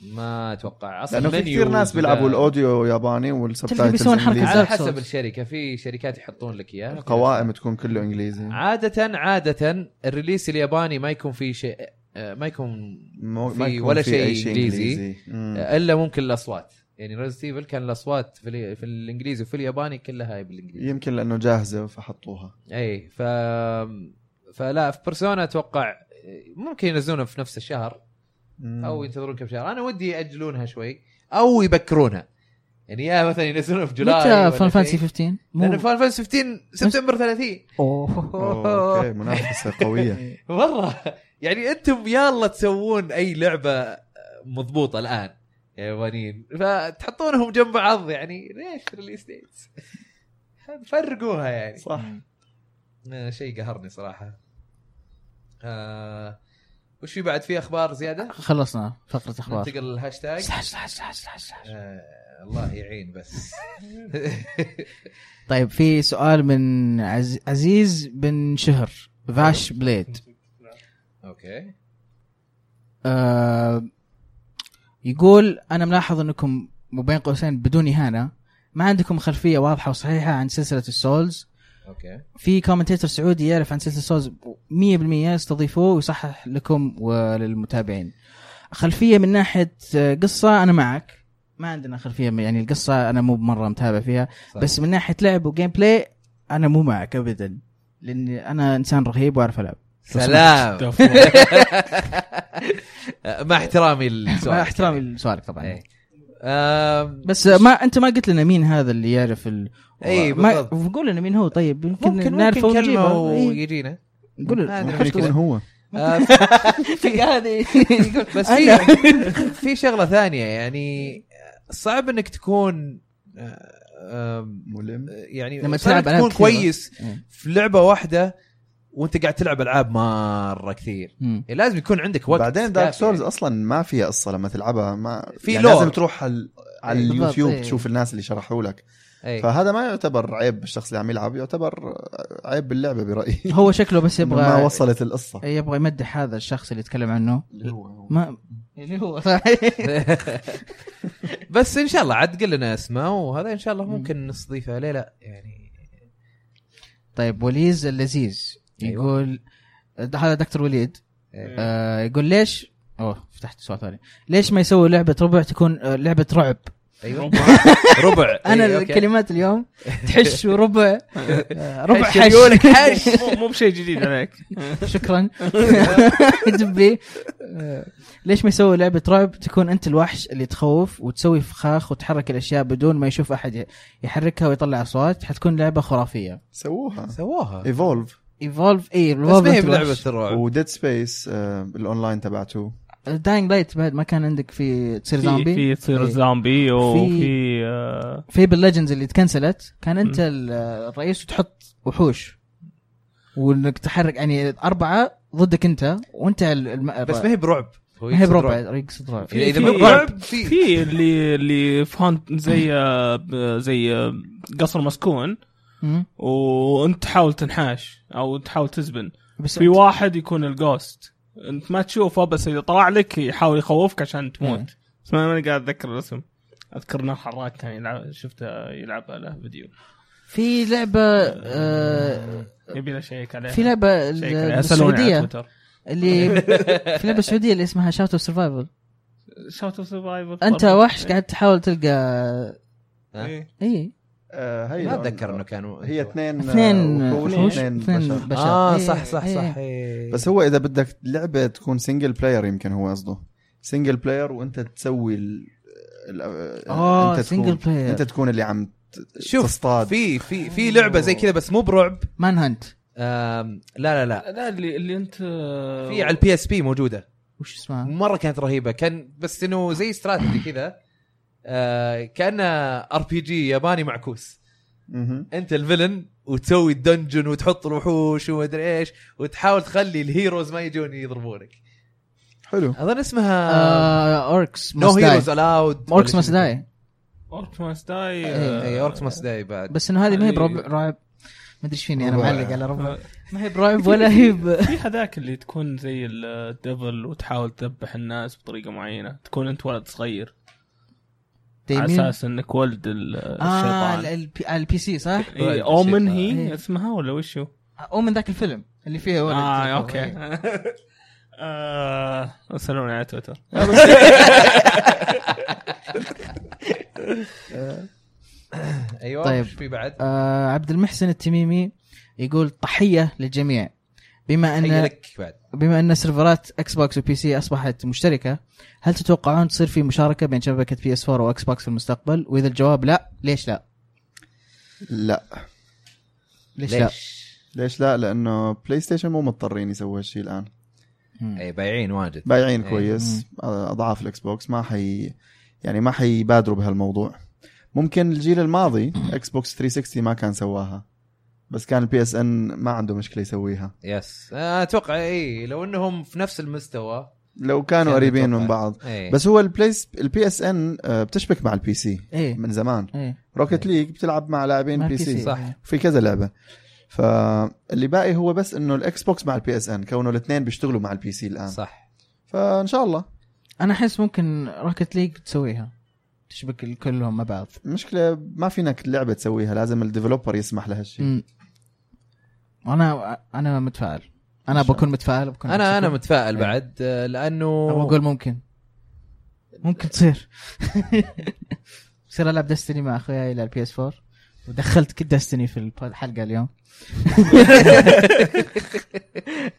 Speaker 1: ما اتوقع اصلا
Speaker 4: لانه في
Speaker 1: المنيو
Speaker 4: كثير ناس
Speaker 1: وكذا.
Speaker 4: بيلعبوا الاوديو ياباني
Speaker 3: تلفي
Speaker 4: والسبتايتلز
Speaker 3: بيسوون حركة
Speaker 4: انجليزي
Speaker 1: على
Speaker 3: دارك
Speaker 1: حسب
Speaker 3: سولز.
Speaker 1: الشركه في شركات يحطون لك اياها
Speaker 4: القوائم تكون كله انجليزي
Speaker 1: عاده عاده الريليس الياباني ما يكون في شيء آه، ما يكون
Speaker 4: مو
Speaker 1: في
Speaker 4: ما يكون
Speaker 1: ولا
Speaker 4: في
Speaker 1: شيء
Speaker 4: أي شيء
Speaker 1: إنجليزي.
Speaker 4: مم.
Speaker 1: آه، الا ممكن الاصوات يعني ريزنت ايفل كان الاصوات في, ال- في الانجليزي وفي الياباني كلها بالانجليزي
Speaker 4: يمكن لانه جاهزه فحطوها
Speaker 1: اي ف فلا في بيرسونا اتوقع آه، ممكن ينزلونها في نفس الشهر
Speaker 4: مم.
Speaker 1: او ينتظرون كم شهر انا ودي ياجلونها شوي او يبكرونها يعني يا مثلا ينزلونها في جولاي ولا
Speaker 3: متى فان فانسي
Speaker 1: شيء.
Speaker 3: 15
Speaker 1: لان
Speaker 3: مو
Speaker 1: فان فانسي 15 سبتمبر 30
Speaker 4: أوه، اوكي منافسه قويه
Speaker 3: إيه.
Speaker 1: مره يعني انتم يلا تسوون اي لعبه مضبوطه الان يا يابانيين فتحطونهم جنب بعض يعني ليش ريليس ديتس فرقوها يعني
Speaker 4: صح
Speaker 1: آه، شيء قهرني صراحه آه وش في بعد في اخبار زياده؟
Speaker 3: خلصنا فقره اخبار
Speaker 1: ننتقل للهاشتاج
Speaker 3: سلاش سلاش سلاش سلاش سلاش.
Speaker 1: آه الله يعين بس
Speaker 3: طيب في سؤال من عز... عزيز بن شهر فاش بليد
Speaker 1: اوكي
Speaker 3: آه يقول انا ملاحظ انكم وبين قوسين بدون اهانه ما عندكم خلفيه واضحه وصحيحه عن سلسله السولز
Speaker 1: اوكي
Speaker 3: في كومنتيتر سعودي يعرف عن سلسله السولز 100% استضيفوه ويصحح لكم وللمتابعين خلفيه من ناحيه آه، قصه انا معك ما عندنا خلفيه يعني القصه انا مو مره متابع فيها
Speaker 1: صح.
Speaker 3: بس من ناحيه لعب وجيم بلاي انا مو معك ابدا لاني انا انسان رهيب واعرف العب
Speaker 1: سلام مع احترامي للسؤال
Speaker 3: مع احترامي لسؤالك طبعا
Speaker 1: إيه. آم،
Speaker 3: بس ما انت ما قلت لنا مين هذا اللي يعرف ال...
Speaker 1: إي،
Speaker 3: ما...
Speaker 1: إيه، بالضبط.
Speaker 3: قول لنا مين هو طيب يمكن
Speaker 1: ممكن
Speaker 3: نعرفه
Speaker 1: ممكن كلمه
Speaker 3: ونجيبه. إي،
Speaker 1: ويجينا
Speaker 3: قول
Speaker 1: هذا
Speaker 3: لنا
Speaker 4: ممكن يكون هو
Speaker 1: آه،
Speaker 3: في هذه
Speaker 1: بس
Speaker 3: أنا.
Speaker 1: في في شغله ثانيه يعني صعب انك تكون آه، آم،
Speaker 4: ملم
Speaker 1: يعني
Speaker 3: لما
Speaker 1: صعب
Speaker 3: تلعب
Speaker 1: إنك
Speaker 3: ألعاب
Speaker 1: تكون
Speaker 3: كثيرة.
Speaker 1: كويس
Speaker 3: إيه.
Speaker 1: في لعبه واحده وانت قاعد تلعب العاب مره كثير
Speaker 3: مم.
Speaker 1: يعني لازم يكون عندك وقت
Speaker 4: بعدين دارك
Speaker 1: كافي يعني.
Speaker 4: سولز اصلا ما فيها قصه لما تلعبها ما
Speaker 1: في
Speaker 4: يعني
Speaker 1: lore.
Speaker 4: لازم تروح على على
Speaker 3: بالضبط،
Speaker 4: اليوتيوب
Speaker 3: إيه.
Speaker 4: تشوف الناس اللي شرحوا لك
Speaker 1: يعني. إيه.
Speaker 4: فهذا ما يعتبر عيب بالشخص اللي عم يلعب يعتبر عيب باللعبه برايي
Speaker 3: هو شكله بس
Speaker 4: يبغى ما
Speaker 3: يبغى إيه،
Speaker 4: وصلت القصه
Speaker 1: إيه.
Speaker 3: يبغى يمدح هذا الشخص اللي يتكلم عنه
Speaker 4: اللي هو
Speaker 3: ما
Speaker 1: يعني
Speaker 3: اللي هو
Speaker 1: بس ان شاء الله عاد قل لنا اسمه وهذا ان شاء الله ممكن نستضيفه ليه لا يعني
Speaker 3: طيب وليز اللذيذ
Speaker 1: أيوة.
Speaker 3: يقول ده هذا دكتور وليد
Speaker 1: إيه.
Speaker 3: آه يقول ليش اوه فتحت سؤال ثاني ليش ما يسوي لعبه ربع تكون آه، لعبه رعب
Speaker 1: ايوه ربع
Speaker 3: انا
Speaker 1: إيه، أوكي.
Speaker 3: الكلمات اليوم تحش وربع آه، ربع
Speaker 1: حش
Speaker 3: حش
Speaker 1: يقولك
Speaker 3: حش
Speaker 2: مو- مو بشيء جديد عليك
Speaker 3: شكرا دبي آه، ليش ما يسوي لعبه رعب تكون انت الوحش اللي تخوف وتسوي فخاخ وتحرك الاشياء بدون ما يشوف احد يحركها ويطلع اصوات حتكون لعبه خرافيه
Speaker 4: سووها
Speaker 1: سووها
Speaker 3: إيه،
Speaker 1: بس
Speaker 4: ايفولف
Speaker 3: ايفولف اي
Speaker 1: ما هي بلعبه الرعب
Speaker 4: وديد سبيس الاونلاين آه، تبعته
Speaker 3: داينج لايت بعد ما كان عندك في تصير
Speaker 2: في
Speaker 3: زومبي
Speaker 2: في تصير
Speaker 3: إيه.
Speaker 2: زومبي وفي آه،
Speaker 3: في بالليجندز اللي تكنسلت كان انت
Speaker 2: م.
Speaker 3: ال- الرئيس وتحط وحوش وانك تحرك يعني اربعه ضدك انت وانت ال- الم...
Speaker 1: بس ما هي برعب هو
Speaker 3: ما هي
Speaker 1: يقصد
Speaker 3: بربع
Speaker 1: رعب.
Speaker 3: يقصد رعب
Speaker 1: إذا- اذا ما
Speaker 2: في-
Speaker 1: هي برعب في
Speaker 2: في اللي اللي في هانت زي آه، ب- زي آه، قصر مسكون
Speaker 3: م.
Speaker 2: وانت تحاول تنحاش او تحاول تزبن
Speaker 3: بس
Speaker 2: في واحد يكون الجوست انت ما تشوفه بس اذا طلع لك يحاول يخوفك عشان
Speaker 3: مم.
Speaker 2: تموت بس ما- ماني قاعد اتذكر الاسم اذكر نار حراك كان يلعب شفته يلعب له فيديو
Speaker 3: في لعبه آه
Speaker 2: يبي له شيك عليه
Speaker 3: في لعبه ال-
Speaker 2: شيك يعني عليه سالوني على
Speaker 3: السعوديه
Speaker 2: تويتر
Speaker 3: اللي في لعبه سعوديه اللي اسمها شاوت اوف سرفايفل
Speaker 2: شوت اوف سرفايفل
Speaker 3: انت وحش قاعد تحاول تلقى
Speaker 2: إيه.
Speaker 3: اي
Speaker 4: آه، هي
Speaker 1: ما اتذكر انه كانوا
Speaker 4: هي اثنين آه،
Speaker 3: اثنين
Speaker 4: وحوش
Speaker 3: وحوش
Speaker 4: اثنين
Speaker 3: اثنين
Speaker 4: بشر
Speaker 3: بشر
Speaker 1: اه
Speaker 3: إيه،
Speaker 1: صح صح
Speaker 3: إيه.
Speaker 1: صح إيه.
Speaker 4: بس هو اذا بدك لعبه تكون سنجل بلاير يمكن هو قصده سنجل بلاير وانت تسوي ال... ال...
Speaker 3: آه، single player.
Speaker 4: انت تكون اللي عم ت-
Speaker 1: شوف
Speaker 4: تصطاد
Speaker 1: في في في لعبه زي كذا بس مو برعب
Speaker 3: مان هانت
Speaker 1: آم، لا لا لا
Speaker 2: لا اللي اللي انت
Speaker 1: في على البي اس بي موجوده
Speaker 3: وش اسمها؟
Speaker 1: مره كانت رهيبه كان بس انه زي استراتيجي كذا آه كان ار بي جي ياباني معكوس
Speaker 4: مهم.
Speaker 1: انت الفيلن وتسوي الدنجن وتحط الوحوش ومدري ايش وتحاول تخلي الهيروز ما يجون يضربونك
Speaker 4: حلو
Speaker 1: اظن اسمها
Speaker 3: آه، اوركس
Speaker 1: نو هيروز
Speaker 3: ماست
Speaker 1: الاود
Speaker 3: اوركس ماست داي
Speaker 2: اورك ماستاي
Speaker 1: اي اوركس ماست داي بعد
Speaker 3: بس انه هذه ما هي
Speaker 2: هذه-
Speaker 3: بربع رعب ما ادري ايش فيني انا
Speaker 4: ربع.
Speaker 3: معلق على ربع ما هي برعب ولا هي ب-
Speaker 2: في هذاك اللي تكون زي الدبل وتحاول تذبح الناس بطريقه معينه تكون انت ولد صغير على
Speaker 3: تيمين.
Speaker 2: اساس انك ولد ال-
Speaker 3: اه
Speaker 2: الشيطان
Speaker 3: البي- على البي سي صح؟
Speaker 2: إيه، اومن
Speaker 3: إيه.
Speaker 2: هي اسمها ولا وش هو؟
Speaker 3: او من ذاك الفيلم اللي فيه ولد
Speaker 2: اه اوكي آه، ارسلوني على تويتر
Speaker 1: ايوه
Speaker 3: طيب.
Speaker 1: طيب. في بعد
Speaker 3: آه عبد المحسن التميمي يقول تحيه للجميع بما
Speaker 1: حي
Speaker 3: ان
Speaker 1: لك بعد
Speaker 3: بما ان سيرفرات اكس بوكس وبي سي اصبحت مشتركه هل تتوقعون تصير في مشاركه بين شبكه بي اس 4 واكس بوكس في المستقبل واذا الجواب لا ليش لا
Speaker 4: لا
Speaker 3: ليش, لا
Speaker 4: ليش لا لانه بلاي ستيشن مو مضطرين يسووا هالشيء الان
Speaker 3: مم.
Speaker 1: اي بايعين واجد
Speaker 4: بايعين
Speaker 1: إيه.
Speaker 4: كويس آه، اضعاف الاكس بوكس ما حي يعني ما حيبادروا بهالموضوع ممكن الجيل الماضي اكس بوكس 360 ما كان سواها بس كان البي اس ان ما عنده مشكله يسويها
Speaker 1: يس آه، اتوقع اي لو انهم في نفس المستوى
Speaker 4: لو كانوا
Speaker 1: كان
Speaker 4: قريبين
Speaker 1: أتوقع.
Speaker 4: من بعض
Speaker 1: إيه.
Speaker 4: بس هو البلايس البي اس ان آه، بتشبك مع البي سي
Speaker 3: ايه
Speaker 4: من زمان
Speaker 3: ايه
Speaker 4: روكت
Speaker 1: إيه.
Speaker 4: ليج بتلعب مع لاعبين
Speaker 3: مع
Speaker 4: بي
Speaker 3: البي
Speaker 4: سي
Speaker 3: سي.
Speaker 1: صح
Speaker 4: في كذا لعبه فاللي باقي هو بس انه الاكس بوكس مع البي اس ان كونه الاثنين بيشتغلوا مع البي سي الان
Speaker 1: صح
Speaker 4: فان شاء الله
Speaker 3: انا احس ممكن روكت ليج تسويها تشبك ال- كلهم مع بعض
Speaker 4: المشكله ما فينك لعبه تسويها لازم الديفلوبر يسمح لهالشيء
Speaker 3: مم. انا انا متفائل انا بكون متفائل بكون
Speaker 1: انا انا
Speaker 3: متفائل.
Speaker 1: متفائل
Speaker 3: إيه.
Speaker 1: بعد آه، لانه
Speaker 3: أو اقول ممكن ممكن تصير بصير العب دستني مع اخوياي الى البي اس 4 ودخلت كل دستني في الب- الحلقه اليوم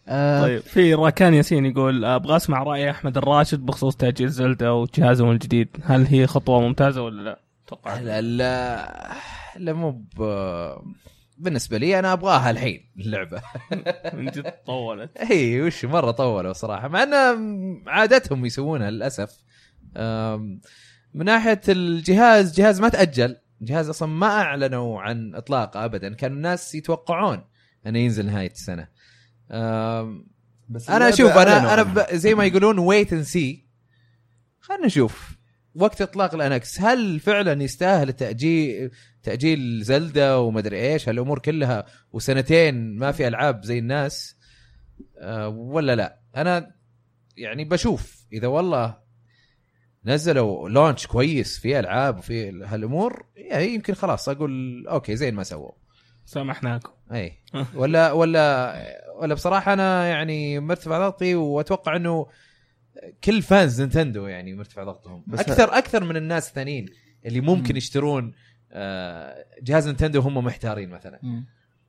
Speaker 3: آه،
Speaker 2: طيب في راكان ياسين يقول ابغى اسمع راي احمد الراشد بخصوص تاجيل زلدة وجهازهم الجديد هل هي خطوه ممتازه ولا لا؟ اتوقع
Speaker 1: لا لا لا مو ب... بالنسبه لي انا ابغاها الحين اللعبه
Speaker 2: من جد طولت
Speaker 1: اي إيه، وش مره طولوا صراحه مع ان عادتهم يسوونها للاسف أم، من ناحيه الجهاز جهاز ما تاجل جهاز اصلا ما اعلنوا عن اطلاقه ابدا كان الناس يتوقعون انه ينزل نهايه السنه أم،
Speaker 4: بس
Speaker 1: انا
Speaker 4: اللعبة
Speaker 1: اشوف انا
Speaker 4: أعلنوا
Speaker 1: انا
Speaker 4: عنها.
Speaker 1: ب- زي ما يقولون ويت اند سي خلينا نشوف وقت اطلاق الانكس هل فعلا يستاهل تاجيل تاجيل زلدة ومدري ايش هالامور كلها وسنتين ما في العاب زي الناس أه ولا لا انا يعني بشوف اذا والله نزلوا لونش كويس في العاب وفي هالامور يعني يمكن خلاص اقول اوكي زين ما سووا
Speaker 2: سامحناكم
Speaker 1: اي ولا ولا ولا بصراحه انا يعني مرتفع ضغطي واتوقع انه كل فانز نينتندو يعني مرتفع ضغطهم
Speaker 4: بس
Speaker 1: اكثر اكثر من الناس الثانيين اللي ممكن يشترون آه، جهاز نينتندو هم محتارين مثلا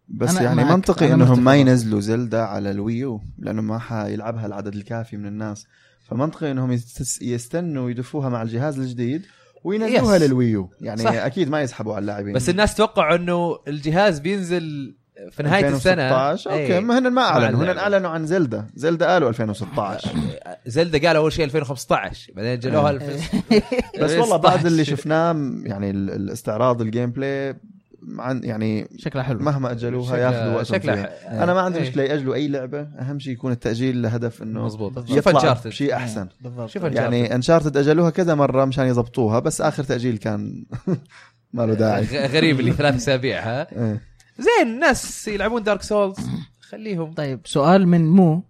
Speaker 4: بس
Speaker 3: أنا
Speaker 4: يعني
Speaker 3: معك،
Speaker 4: منطقي
Speaker 3: أنا
Speaker 4: انهم ما
Speaker 3: متفق.
Speaker 4: ينزلوا زلدا على الويو لانه ما حيلعبها العدد الكافي من الناس فمنطقي انهم يستس- يستنوا يدفوها مع الجهاز الجديد وينزلوها
Speaker 1: Yes.
Speaker 4: للويو يعني
Speaker 1: صح.
Speaker 4: صح. اكيد ما يسحبوا على اللاعبين
Speaker 1: بس الناس توقعوا انه الجهاز بينزل في نهايه السنه
Speaker 4: 2016
Speaker 3: إيه.
Speaker 4: اوكي ما هن ما اعلنوا هن
Speaker 1: اللعبة.
Speaker 4: اعلنوا عن زلدا زلدا قالوا 2016
Speaker 1: زلدا قال اول شيء 2015 بعدين جلوها
Speaker 4: إيه.
Speaker 1: 2016
Speaker 4: بس والله بعد اللي
Speaker 1: 16.
Speaker 3: إيه،
Speaker 4: شفناه م- يعني ال- الاستعراض الجيم بلاي عن يعني
Speaker 3: شكلها حلو
Speaker 4: مهما اجلوها ياخذوا وقت فيها.
Speaker 1: شكله
Speaker 4: انا ما عندي مشكله ياجلوا اي لعبه اهم شيء يكون التاجيل لهدف انه
Speaker 1: مضبوط شوف
Speaker 4: يطلع
Speaker 1: انشارتد
Speaker 4: شيء احسن
Speaker 3: إيه، بالضبط
Speaker 1: شوف Uncharted.
Speaker 4: يعني انشارتد اجلوها كذا مره مشان يضبطوها بس اخر تاجيل كان ما له داعي
Speaker 1: غ- غريب اللي ثلاث اسابيع ها
Speaker 4: إيه.
Speaker 1: زين الناس يلعبون دارك سولز خليهم
Speaker 3: طيب سؤال من مو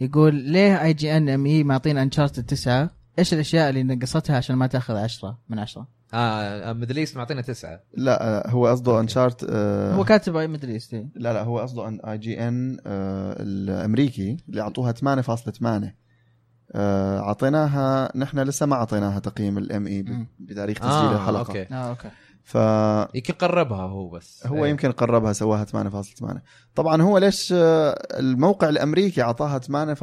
Speaker 3: يقول ليه اي جي ان ام اي معطينا انشارتد 9 ايش الاشياء اللي نقصتها عشان ما تاخذ 10 من 10
Speaker 1: اه ميدل ايست معطينا تسعه
Speaker 4: لا آه، هو قصده انشارت
Speaker 3: هو كاتب اي مدري ايش ذي.
Speaker 4: لا لا هو قصده ان اي جي ان الامريكي آه، اللي اعطوها 8.8 آه، اعطيناها نحن لسه ما اعطيناها تقييم الام اي
Speaker 3: مم.
Speaker 4: بتاريخ تسجيل آه الحلقه أوكي.
Speaker 1: اوكي
Speaker 3: اه اوكي
Speaker 4: فهو
Speaker 1: يمكن قربها هو بس إيه.
Speaker 4: يمكن قربها سواها 8.8 طبعا هو ليش آه، الموقع الامريكي اعطاها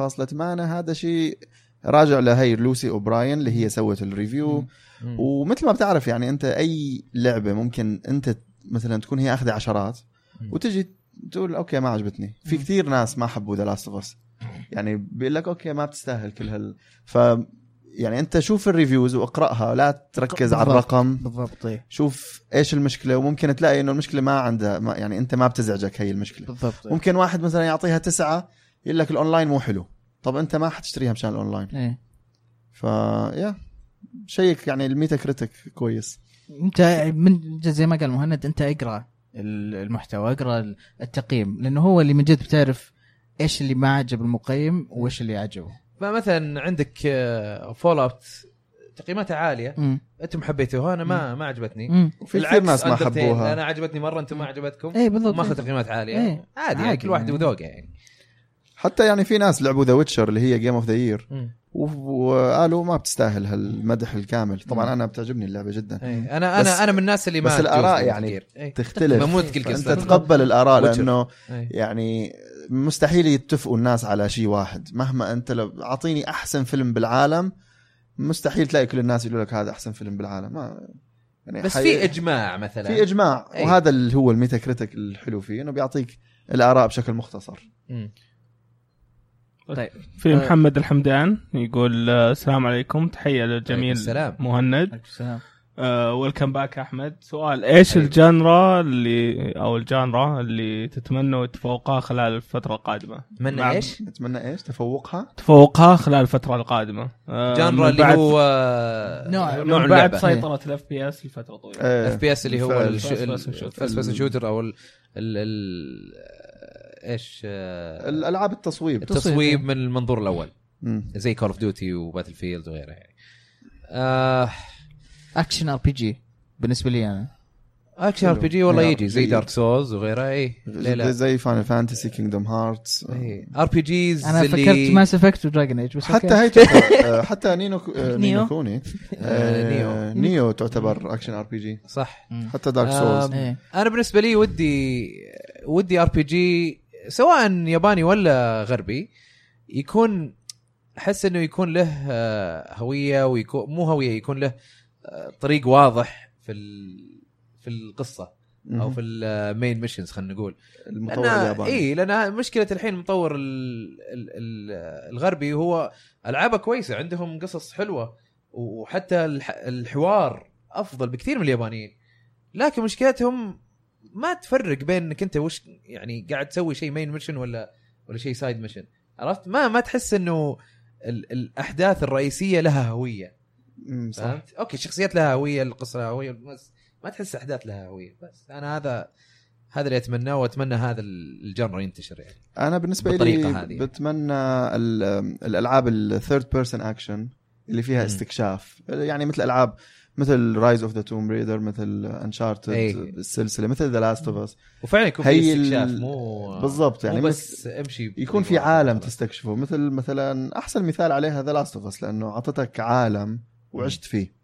Speaker 4: 8.8 هذا شيء راجع لهي لوسي اوبراين اللي هي سوت الريفيو
Speaker 3: مم.
Speaker 1: إيه. مم.
Speaker 4: ومثل ما بتعرف يعني انت اي لعبه ممكن انت مثلا تكون هي اخذه عشرات
Speaker 1: مم.
Speaker 4: وتجي تقول اوكي ما عجبتني في
Speaker 3: مم.
Speaker 4: كثير ناس ما حبوا ذا لاست اوف اس يعني بيقول لك اوكي ما بتستاهل كل هال ف يعني انت شوف الريفيوز واقراها لا تركز على
Speaker 3: بالضبط.
Speaker 4: الرقم
Speaker 3: بالضبط إيه.
Speaker 4: شوف ايش المشكله وممكن تلاقي انه المشكله ما عندها ما يعني انت ما بتزعجك هي المشكله
Speaker 3: بالضبط إيه.
Speaker 4: ممكن واحد مثلا يعطيها تسعة يقول لك الاونلاين مو حلو طب انت ما حتشتريها مشان الاونلاين
Speaker 3: ايه
Speaker 4: ف يا شيك يعني الميتا كريتك كويس
Speaker 3: انت من جد زي ما قال مهند انت اقرا ال- المحتوى اقرا التقييم لانه هو اللي من جد بتعرف ايش اللي ما عجب المقيم وايش اللي عجبه
Speaker 1: فمثلا عندك آه، فول اوت تقييماتها عاليه
Speaker 3: امم
Speaker 1: انتم حبيتوها انا ما ما عجبتني
Speaker 3: امم
Speaker 4: وفي كثير
Speaker 1: العكس
Speaker 4: ناس ما
Speaker 1: Undertale.
Speaker 4: حبوها إيه،
Speaker 1: انا عجبتني مره انتم ما عجبتكم
Speaker 3: اي إيه، بالضبط
Speaker 1: ماخذ تقييمات عاليه
Speaker 3: إيه.
Speaker 1: عادي يعني
Speaker 3: عادي
Speaker 1: كل واحد
Speaker 3: يعني.
Speaker 1: وذوقه يعني
Speaker 4: حتى يعني في ناس لعبوا ذا ويتشر اللي هي جيم اوف ذا يير
Speaker 1: مم.
Speaker 4: وقالوا ما بتستاهل هالمدح الكامل طبعا انا بتعجبني اللعبه جدا
Speaker 1: إيه. انا انا
Speaker 4: بس-
Speaker 1: انا من الناس اللي ما
Speaker 4: بس
Speaker 1: تجوز
Speaker 4: الآراء
Speaker 1: Metal
Speaker 4: يعني
Speaker 1: Gear. إيه.
Speaker 4: تختلف
Speaker 1: مموت كل
Speaker 4: انت
Speaker 1: كسر.
Speaker 4: تقبل الاراء
Speaker 1: Witcher.
Speaker 4: لانه
Speaker 1: إيه.
Speaker 4: يعني مستحيل يتفقوا الناس على شيء واحد مهما انت لو اعطيني احسن فيلم بالعالم مستحيل تلاقي كل الناس يقولوا لك هذا احسن فيلم بالعالم ما يعني
Speaker 1: بس
Speaker 4: حي-
Speaker 1: في إيه. اجماع مثلا
Speaker 4: في اجماع
Speaker 1: أي.
Speaker 4: وهذا اللي هو الميتا كريتك الحلو فيه انه بيعطيك الاراء بشكل مختصر
Speaker 1: مم.
Speaker 2: في
Speaker 3: آه.
Speaker 2: محمد الحمدان يقول آه، السلام عليكم تحيه للجميل
Speaker 1: عليكم السلام.
Speaker 2: مهند آه،
Speaker 3: السلام
Speaker 2: ويلكم باك احمد سؤال ايش
Speaker 1: حبيبي.
Speaker 2: الجانرا اللي او الجانرا اللي تتمنوا تفوقها خلال الفتره القادمه
Speaker 1: اتمنى
Speaker 2: مع-
Speaker 1: ايش؟
Speaker 4: اتمنى ايش تفوقها
Speaker 2: تفوقها خلال الفتره القادمه آه،
Speaker 1: جانرا
Speaker 2: من
Speaker 1: اللي
Speaker 2: بعد-
Speaker 1: هو
Speaker 3: نوع-
Speaker 1: نوع
Speaker 2: من
Speaker 1: اللعبة.
Speaker 2: بعد سيطره الاف بي اس لفتره طويله
Speaker 4: آه،
Speaker 1: اف بي اس اللي هو
Speaker 4: ف-
Speaker 2: first person shooter.
Speaker 1: الفيرست بيرسون شوتر او ال ال ال ايش آه،
Speaker 4: الالعاب التصويب
Speaker 1: التصويب من المنظور الاول
Speaker 4: مم.
Speaker 1: زي كول اوف ديوتي وباتل فيلد وغيرها يعني آه،
Speaker 3: اكشن ار بي جي بالنسبه لي انا
Speaker 1: اكشن ار
Speaker 4: حلو.
Speaker 1: بي جي والله
Speaker 4: يعني
Speaker 1: يجي زي
Speaker 4: RPG.
Speaker 1: دارك سولز وغيرها اي ليه إيه، لا إيه.
Speaker 4: زي فاينل فانتسي كينجدوم هارتس
Speaker 1: ار بي جيز
Speaker 3: انا فكرت ماس افكت ودراجن ايج بس
Speaker 4: حتى
Speaker 3: أوكي.
Speaker 4: هي تعتبر- آه، حتى نينو كو- آه، نينو
Speaker 3: نيو.
Speaker 4: كوني
Speaker 1: آه،
Speaker 4: آه، نيو تعتبر اكشن ار بي جي
Speaker 1: صح
Speaker 3: مم.
Speaker 4: حتى دارك سولز
Speaker 1: آم،
Speaker 3: إيه.
Speaker 1: انا بالنسبه لي ودي ودي ار بي جي سواء ياباني ولا غربي يكون احس انه يكون له آه، هويه ويكون مو هويه يكون له آه، طريق واضح في ال- في القصه او في إيه. المين ميشنز خلينا نقول
Speaker 4: المطور
Speaker 1: لان
Speaker 4: الياباني
Speaker 1: اي لان مشكله الحين مطور ال ال ال الغربي هو العابه كويسه عندهم قصص حلوه وحتى الح الحوار افضل بكثير من اليابانيين لكن مشكلتهم ما تفرق بين انك انت وش يعني قاعد تسوي شيء مين ميشن ولا ولا شيء سايد ميشن عرفت ما ما تحس انه ال الاحداث الرئيسيه لها هويه
Speaker 4: مم، صح
Speaker 1: فهمت اوكي الشخصيات لها هويه القصه لها هويه بس ما تحس احداث لها هويه بس انا هذا هذا اللي اتمناه واتمنى هذا الجنر ينتشر يعني
Speaker 4: انا بالنسبه
Speaker 1: بالطريقة
Speaker 4: لي
Speaker 1: هذه.
Speaker 4: بتمنى ال- الالعاب الثيرد بيرسون اكشن اللي فيها
Speaker 1: مم.
Speaker 4: استكشاف يعني مثل العاب مثل رايز اوف ذا توم ريدر مثل انشارتد
Speaker 1: إيه.
Speaker 4: السلسله مثل ذا لاست اوف اس
Speaker 1: وفعلا يكون في
Speaker 4: هي ال-
Speaker 1: استكشاف مو
Speaker 4: بالضبط يعني
Speaker 1: مو بس امشي
Speaker 4: يكون في عالم تستكشفه مثل مثلا احسن مثال عليها ذا لاست اوف اس لانه اعطتك عالم وعشت فيه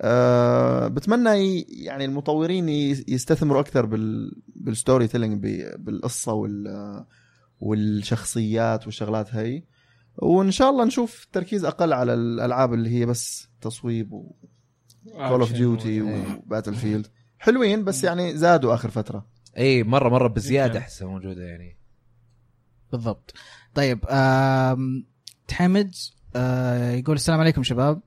Speaker 4: أه بتمنى ي- يعني المطورين ي- يستثمروا اكثر بال بالستوري تيلينج ب- بالقصه وال والشخصيات والشغلات هي وان شاء الله نشوف تركيز اقل على الالعاب اللي هي بس تصويب وكول اوف ديوتي
Speaker 1: إيه.
Speaker 4: وباتل فيلد حلوين بس يعني زادوا اخر فتره
Speaker 1: اي مره مره بزياده
Speaker 2: جداً.
Speaker 1: احسها موجوده يعني
Speaker 3: بالضبط طيب آم، حمد آه، يقول السلام عليكم شباب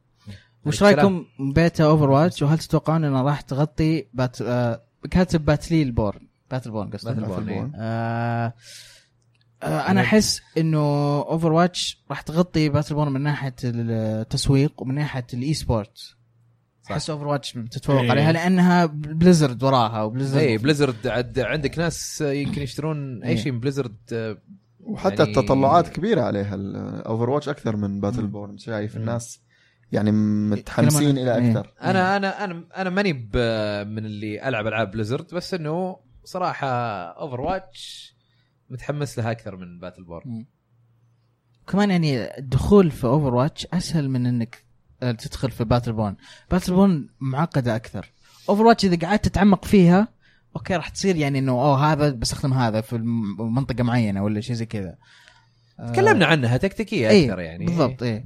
Speaker 3: وش
Speaker 1: السلام.
Speaker 3: رايكم بيتا اوفر واتش وهل تتوقعون انها راح تغطي بات آه، كاتب باتليل بورن باتل بورن قصدي
Speaker 1: باتل بورن، إيه.
Speaker 3: آه، آه، انا احس انه اوفر واتش راح تغطي باتل بورن من ناحيه التسويق ومن ناحيه الاي سبورت
Speaker 1: صح.
Speaker 3: احس اوفر واتش بتتفوق
Speaker 2: إيه.
Speaker 3: عليها لانها بليزرد وراها
Speaker 1: اي
Speaker 3: وبليزرد
Speaker 1: بليزرد عد عندك ناس يمكن يشترون اي
Speaker 3: إيه.
Speaker 1: شيء من بليزرد آه،
Speaker 4: وحتى
Speaker 1: يعني-
Speaker 4: يعني... التطلعات كبيره عليها الاوفر واتش اكثر من باتل
Speaker 3: مم.
Speaker 4: بورن شايف
Speaker 1: مم.
Speaker 4: الناس يعني متحمسين
Speaker 3: يتكلمون عن-
Speaker 4: الى اكثر
Speaker 1: انا انا انا انا ماني ب- من اللي العب العاب بليزرد بس انه صراحه اوفر واتش متحمس لها اكثر من باتل بورن
Speaker 3: كمان يعني الدخول في اوفر واتش اسهل من انك آه، تدخل في باتل بون باتل بون معقده اكثر اوفر واتش اذا قعدت تتعمق فيها اوكي راح تصير يعني انه اوه هذا بستخدم هذا في الم- منطقه معينه ولا شيء زي كذا آه،
Speaker 1: تكلمنا عنها تكتيكيه
Speaker 3: إيه،
Speaker 1: اكثر يعني
Speaker 3: بالضبط ايه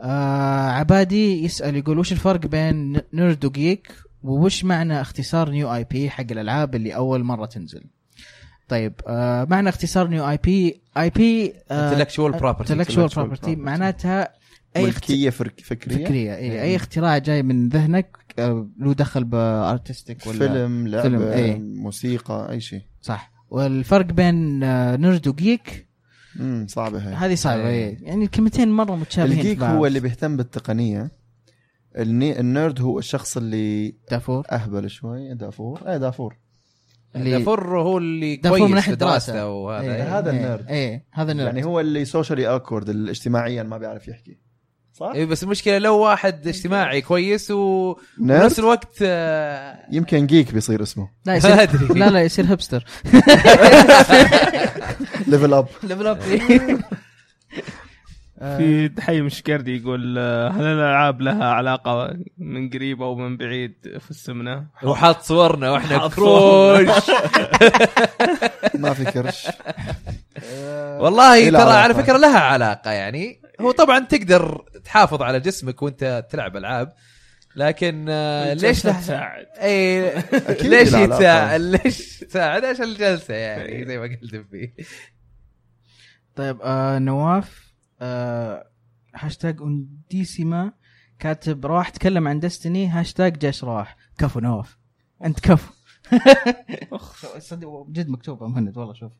Speaker 3: آه عبادي يسال يقول وش الفرق بين نيرد وجيك ووش معنى اختصار نيو اي بي حق الالعاب اللي اول مره تنزل طيب آه معنى اختصار نيو اي بي اي بي آه،
Speaker 1: intellectual property.
Speaker 3: انتلكشوال
Speaker 4: Intellectual property.
Speaker 3: بروبرتي معناتها اي اخت...
Speaker 4: ملكيه فرك... فكريه,
Speaker 3: فكريه اي اي
Speaker 4: إيه.
Speaker 3: اختراع جاي من ذهنك آه، له دخل بارتستيك ولا
Speaker 4: فيلم لعبه
Speaker 3: فيلم،
Speaker 4: فيلم.
Speaker 3: إيه.
Speaker 4: أي. موسيقى اي شيء
Speaker 3: صح والفرق بين آه، نيرد وجيك
Speaker 4: امم صعبه هي
Speaker 3: هذه صعبه
Speaker 1: إيه.
Speaker 3: إيه. يعني الكلمتين مره متشابهين في
Speaker 4: الجيك
Speaker 3: بعض.
Speaker 4: هو اللي بيهتم بالتقنيه الني... النيرد هو الشخص اللي
Speaker 3: دافور
Speaker 4: اهبل شوي إيه، دافور اي دافور
Speaker 3: اللي-
Speaker 1: يعني دافور هو اللي
Speaker 3: دافور
Speaker 1: كويس
Speaker 3: من ناحية
Speaker 1: في دراسته
Speaker 3: دراسة.
Speaker 1: وهذا
Speaker 4: إيه.
Speaker 1: إيه.
Speaker 4: هذا النيرد.
Speaker 3: ايه هذا النيرد
Speaker 4: يعني هو اللي سوشيالي اوكورد اللي اجتماعيا ما بيعرف يحكي صح؟
Speaker 1: إيه بس المشكله لو واحد
Speaker 3: إيه.
Speaker 1: اجتماعي كويس وفي
Speaker 4: نيرد
Speaker 1: نفس الوقت آه،
Speaker 4: يمكن جيك بيصير اسمه
Speaker 3: لا
Speaker 1: ما
Speaker 3: يصير
Speaker 1: ادري
Speaker 3: لا لا يصير هبستر
Speaker 4: ليفل اب
Speaker 1: ليفل اب إيه.
Speaker 2: في حي مشكردي يقول آه، هل الالعاب لها علاقه من قريب او من بعيد في السمنه؟
Speaker 1: وحاط صورنا واحنا
Speaker 2: حاط صورنا.
Speaker 1: كروش
Speaker 4: ما في كرش
Speaker 1: والله ترى
Speaker 4: إيه لها
Speaker 1: على
Speaker 4: علاقة.
Speaker 1: فكره لها علاقه يعني هو طبعا تقدر تحافظ على جسمك وانت تلعب العاب لكن آه، ليش لها
Speaker 2: تساعد؟
Speaker 1: اي
Speaker 4: أكيد
Speaker 1: ليش
Speaker 4: لها
Speaker 1: هي
Speaker 4: علاقة.
Speaker 1: تساعد ليش تساعد عشان الجلسه يعني زي ما قلت فيه
Speaker 3: طيب آه نواف آه هاشتاج انديسيما كاتب راح تكلم عن دستني هاشتاج جيش راح كفو نواف انت كفو صدق جد مكتوبه مهند والله شوف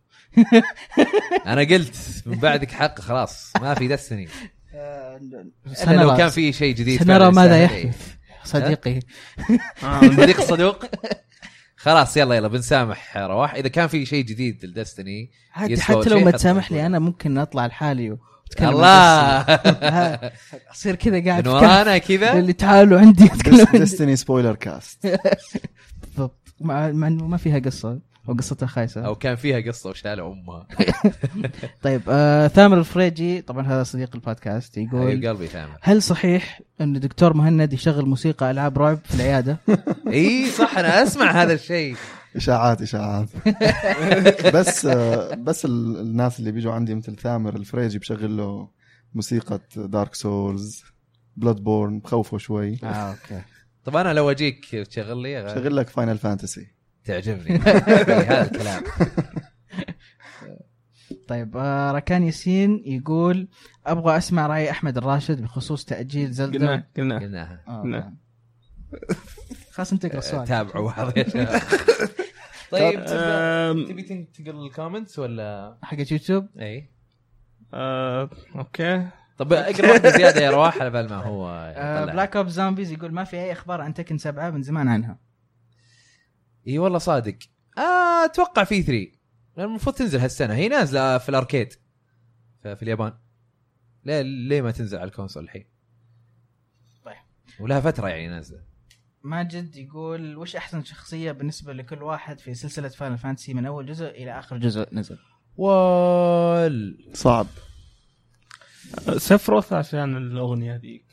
Speaker 1: انا قلت من بعدك حق خلاص ما في دستني الا
Speaker 3: سنرى-
Speaker 1: لو كان في إيه. شيء جديد
Speaker 3: سنرى
Speaker 1: فعلاً
Speaker 3: ماذا
Speaker 1: يستاهل.
Speaker 3: يحدث صديقي
Speaker 1: صديق الصدوق خلاص يلا يلا بنسامح رواح اذا كان في شيء جديد لدستني
Speaker 3: عادي
Speaker 1: يسوى
Speaker 3: حتى لو
Speaker 1: شيء
Speaker 3: ما
Speaker 1: حتى
Speaker 3: تسامح
Speaker 1: يقول.
Speaker 3: لي انا ممكن اطلع لحالي واتكلم عن
Speaker 1: الله
Speaker 3: Destiny. ها، اصير كذا قاعد
Speaker 1: من
Speaker 3: في كهف.
Speaker 1: ورانا كذا
Speaker 3: اللي تعالوا عندي اتكلم عندي.
Speaker 4: ديستني سبويلر كاست
Speaker 3: بالضبط مع مع انه ما فيها قصه او قصتها خايسه
Speaker 1: او كان فيها قصه وشالوا امها
Speaker 3: طيب آه ثامر الفريجي طبعا هذا صديق البودكاست
Speaker 1: حبيب
Speaker 3: يقول
Speaker 1: أيوة، قلبي ثامر
Speaker 3: هل صحيح ان دكتور مهند يشغل موسيقى العاب رعب في العياده؟
Speaker 1: اي صح انا اسمع هذا الشيء
Speaker 4: اشاعات اشاعات بس آه، بس ال- الناس اللي بيجوا عندي مثل ثامر الفريجي بشغل له موسيقى دارك سولز بلاد بورن بخوفه شوي
Speaker 2: آه،
Speaker 3: اه اوكي
Speaker 1: طب انا لو اجيك تشغل لي أغاني.
Speaker 4: شغل لك فاينل فانتسي
Speaker 1: تعجبني هذا الكلام
Speaker 3: طيب آه ركان ياسين يقول ابغى اسمع راي احمد الراشد بخصوص تاجيل زلدة
Speaker 2: قلنا قلنا آه،
Speaker 1: قلناها
Speaker 3: آه،
Speaker 2: لا.
Speaker 3: طبعاً. خلاص انت اقرا السؤال
Speaker 1: تابعوا بعض يا شباب طيب تبدأ-
Speaker 2: آم،
Speaker 1: تبي تنتقل الكومنتس ولا
Speaker 3: حق يوتيوب
Speaker 1: اي
Speaker 2: آه، اوكي
Speaker 1: طب اقرا واحده زياده يا رواح على بال ما هو يطلع.
Speaker 3: بلاك اوب زومبيز يقول ما في اي اخبار عن تكن سبعة من زمان عنها
Speaker 1: اي والله صادق آه، اتوقع في 3 لأن المفروض تنزل هالسنه هي نازله في الاركيد ف- في اليابان ليه ليه ما تنزل على الكونسول الحين؟
Speaker 3: طيب.
Speaker 1: ولها فتره يعني نازله
Speaker 3: ماجد يقول وش احسن شخصيه بالنسبه لكل واحد في سلسله فاينل فانتسي من اول جزء الى اخر جزء نزل
Speaker 1: وال
Speaker 4: صعب
Speaker 2: سفروث عشان الاغنيه ذيك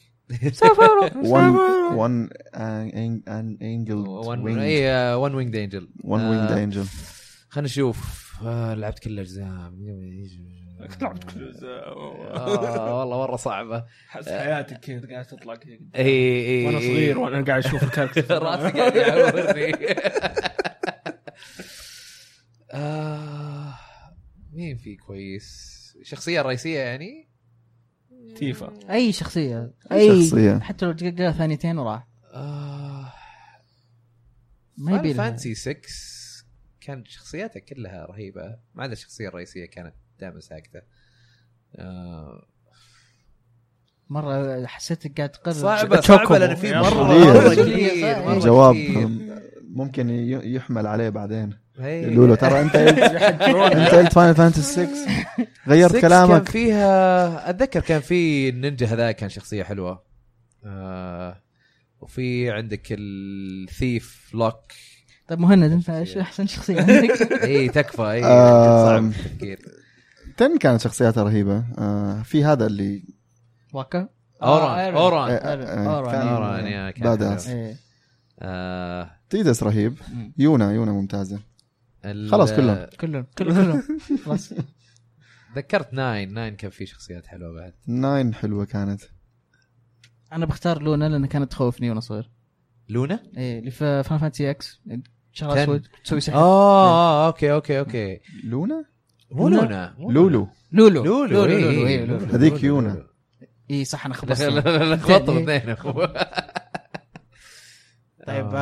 Speaker 4: ون ون ان انجل
Speaker 1: ون اي ون وينج دينجل
Speaker 4: ون وينج انجل
Speaker 1: آه، خلينا نشوف آه، لعبت كل الاجزاء
Speaker 2: لعبت كل الأجزاء.
Speaker 1: آه، والله مره صعبه
Speaker 2: احس حياتك كذا قاعد تطلع كذا
Speaker 1: اي اي
Speaker 2: وانا صغير وانا قاعد اشوف الكاركتر
Speaker 1: إيه، راسي قاعد يعورني آه، مين في كويس شخصيه رئيسيه يعني
Speaker 2: تيفا
Speaker 3: اي شخصيه اي
Speaker 4: أي شخصية.
Speaker 3: حتى لو تلقاه ثانيتين وراح
Speaker 1: آه،
Speaker 3: ما
Speaker 1: فان
Speaker 3: يبي لها.
Speaker 1: فانسي 6 كانت شخصياتها كلها رهيبه ما عدا الشخصيه الرئيسيه كانت دائما ساكته آه،
Speaker 3: مره حسيتك قاعد تقرر
Speaker 1: صعبه
Speaker 2: تشوكومو.
Speaker 1: صعبه لان في
Speaker 2: يا
Speaker 1: مره
Speaker 4: شخصية.
Speaker 1: مرة
Speaker 3: شخصية
Speaker 1: كثير،
Speaker 3: صعبة.
Speaker 1: مرة
Speaker 4: الجواب
Speaker 1: كثير.
Speaker 4: ممكن ي- يحمل عليه بعدين
Speaker 1: هي.
Speaker 4: يقولوا له ترى انت قلت- انت قلت فاينل فانتسي 6 غيرت
Speaker 1: سكس كان
Speaker 4: كلامك
Speaker 1: فيها اتذكر كان في النينجا هذا كان شخصيه حلوه آه وفي عندك الثيف لوك
Speaker 3: طيب مهند انت ايش احسن شخصيه عندك؟
Speaker 1: اي تكفى اي
Speaker 4: آه.
Speaker 1: صعب التفكير
Speaker 4: تن كانت شخصياتها رهيبه آه، في هذا اللي
Speaker 3: واكا آه،
Speaker 1: اوران
Speaker 3: آيرون.
Speaker 4: آه،
Speaker 1: اوران
Speaker 4: آه،
Speaker 3: أوران.
Speaker 4: كان-
Speaker 1: أوران، يا يعني كان
Speaker 4: باداس.
Speaker 1: حلو.
Speaker 3: إيه.
Speaker 1: آه،
Speaker 4: تيدس رهيب
Speaker 3: مم.
Speaker 4: يونا يونا ممتازه
Speaker 1: ال-
Speaker 4: خلاص كلهم.
Speaker 3: كلهم كلهم كلهم خلاص
Speaker 1: ذكرت ناين ناين كان في شخصيات حلوه بعد
Speaker 4: ناين حلوه كانت
Speaker 3: انا بختار لونا لان كانت تخوفني وانا صغير
Speaker 1: لونا
Speaker 3: ايه اللي في فان فانتسي اكس شعر
Speaker 1: كان-
Speaker 3: اسود تسوي
Speaker 1: آه،
Speaker 3: سحر
Speaker 1: اه اوكي اوكي اوكي
Speaker 4: لونا
Speaker 1: مو
Speaker 3: لونا؟
Speaker 1: لونا مو
Speaker 4: لولو
Speaker 3: لولو
Speaker 1: لولو
Speaker 3: لولو
Speaker 1: إي،
Speaker 3: لولو
Speaker 1: إي،
Speaker 3: إي، لولو.
Speaker 4: هذيك
Speaker 1: لولو.
Speaker 4: يونا.
Speaker 3: اي صح انا
Speaker 1: لا لا
Speaker 3: خبصت إيه،
Speaker 1: لا لا، خبطوا الاثنين أخو.
Speaker 3: طيب
Speaker 1: آه.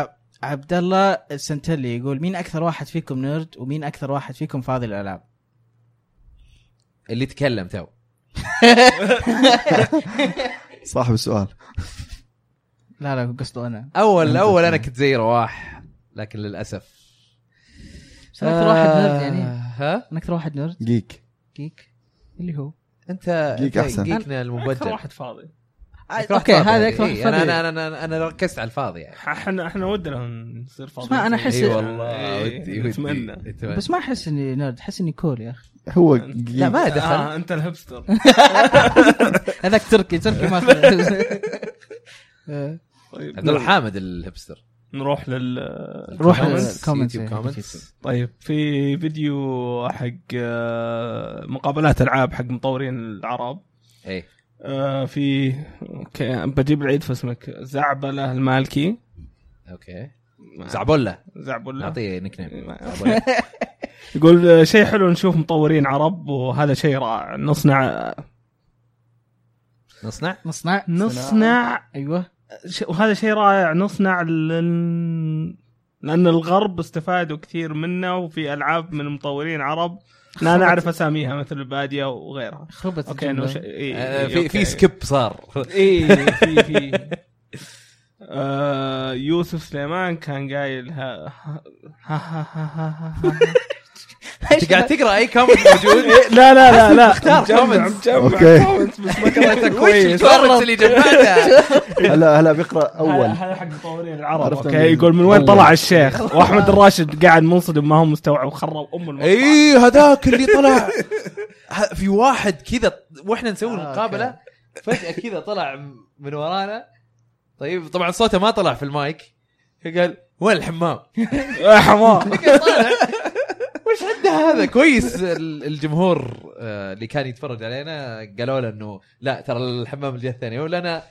Speaker 3: آه، عبد الله السنتلي يقول مين اكثر واحد فيكم نيرد ومين اكثر واحد فيكم فاضي الالعاب؟
Speaker 1: اللي تكلم تو
Speaker 4: صاحب السؤال
Speaker 3: لا لا قصده انا
Speaker 1: اول
Speaker 4: أنت
Speaker 1: اول انا
Speaker 4: فين؟
Speaker 1: كنت زي رواح لكن للاسف
Speaker 3: بس انا اكثر واحد نيرد يعني
Speaker 1: ها
Speaker 3: انا اكثر واحد نيرد
Speaker 4: جيك
Speaker 3: جيك اللي هو
Speaker 1: انت
Speaker 4: جيك
Speaker 1: آه، إيه، جيك
Speaker 4: أحسن.
Speaker 1: احسن جيكنا
Speaker 2: اكثر
Speaker 1: المبدل
Speaker 2: واحد فاضي
Speaker 1: أكثر واحد
Speaker 3: اوكي
Speaker 1: فاضي.
Speaker 3: هذا اكثر
Speaker 1: إي،
Speaker 3: واحد يعني
Speaker 1: أنا-
Speaker 3: فاضي
Speaker 1: انا انا انا انا ركزت على الفاضي يعني
Speaker 2: احنا احنا ودنا نصير فاضيين
Speaker 3: اسمع، أنا أحس-
Speaker 1: اي والله
Speaker 2: إي،
Speaker 1: ودي ودي
Speaker 2: نتمنى.
Speaker 1: أتمنى.
Speaker 3: بس ما احس اني نيرد احس اني كول يا اخي
Speaker 4: هو
Speaker 2: أنت-
Speaker 4: جيك
Speaker 1: طيب، لا، ما دخل.
Speaker 2: آه انت الهبستر
Speaker 3: هذاك تركي تركي ما أخذ.
Speaker 2: طيب
Speaker 1: عبد الله حامد الهبستر
Speaker 2: نروح لل
Speaker 3: روح
Speaker 1: Comments،
Speaker 3: للcomments،
Speaker 1: YouTube
Speaker 3: إي،
Speaker 1: comments.
Speaker 2: طيب في فيديو حق آه، مقابلات العاب حق مطورين العرب
Speaker 1: اي
Speaker 2: آه، في أوكي، بجيب العيد في اسمك زعبله المالكي
Speaker 1: اوكي زعبولة
Speaker 2: زعبله
Speaker 1: نعطيه نيك نيم
Speaker 2: ما- يقول آه، شيء حلو نشوف مطورين عرب وهذا شيء رائع نصنع
Speaker 1: نصنع
Speaker 3: مصنع
Speaker 2: نصنع
Speaker 3: ايوه
Speaker 2: ش- وهذا شيء رائع نصنع لل... لان الغرب استفادوا كثير منه وفي العاب من مطورين عرب لا
Speaker 3: خبط.
Speaker 2: نعرف اساميها مثل باديه وغيرها
Speaker 3: خربت
Speaker 2: اوكي انه
Speaker 3: الجملة.
Speaker 2: ش... إيه
Speaker 1: آه،
Speaker 2: إيه
Speaker 1: في
Speaker 2: أوكي.
Speaker 1: في سكيب صار
Speaker 2: اي في في آه، يوسف سليمان كان قايل ها ها ها ها ها ها
Speaker 1: انت قاعد تقرا اي كومنت موجود
Speaker 2: لا لا لا لا
Speaker 1: اختار
Speaker 2: مجمع
Speaker 1: comments.
Speaker 2: مجمع
Speaker 4: أوكي.
Speaker 2: comments بس ما قريتها كويس
Speaker 1: الكومنت اللي جنبها
Speaker 4: هلا هلا بيقرا
Speaker 2: هذا-
Speaker 4: اول
Speaker 2: هذا حق مطورين العرب
Speaker 4: عرفت
Speaker 2: اوكي
Speaker 4: من-
Speaker 2: يقول من وين
Speaker 4: أول.
Speaker 2: طلع الشيخ واحمد الراشد قاعد منصدم ما هو مستوعب وخرب ام المقطع
Speaker 1: اي هذاك اللي طلع ه- في واحد كذا واحنا نسوي
Speaker 3: آه،
Speaker 1: المقابله فجاه كذا طلع م- من ورانا طيب طبعا صوته ما طلع في المايك قال وين الحمام؟
Speaker 2: يا حمار
Speaker 1: طالع. وش عنده هذا؟ كويس ال- الجمهور آه، اللي كان يتفرج علينا قالوا له انه لا ترى الحمام الجهه الثانيه ولا انا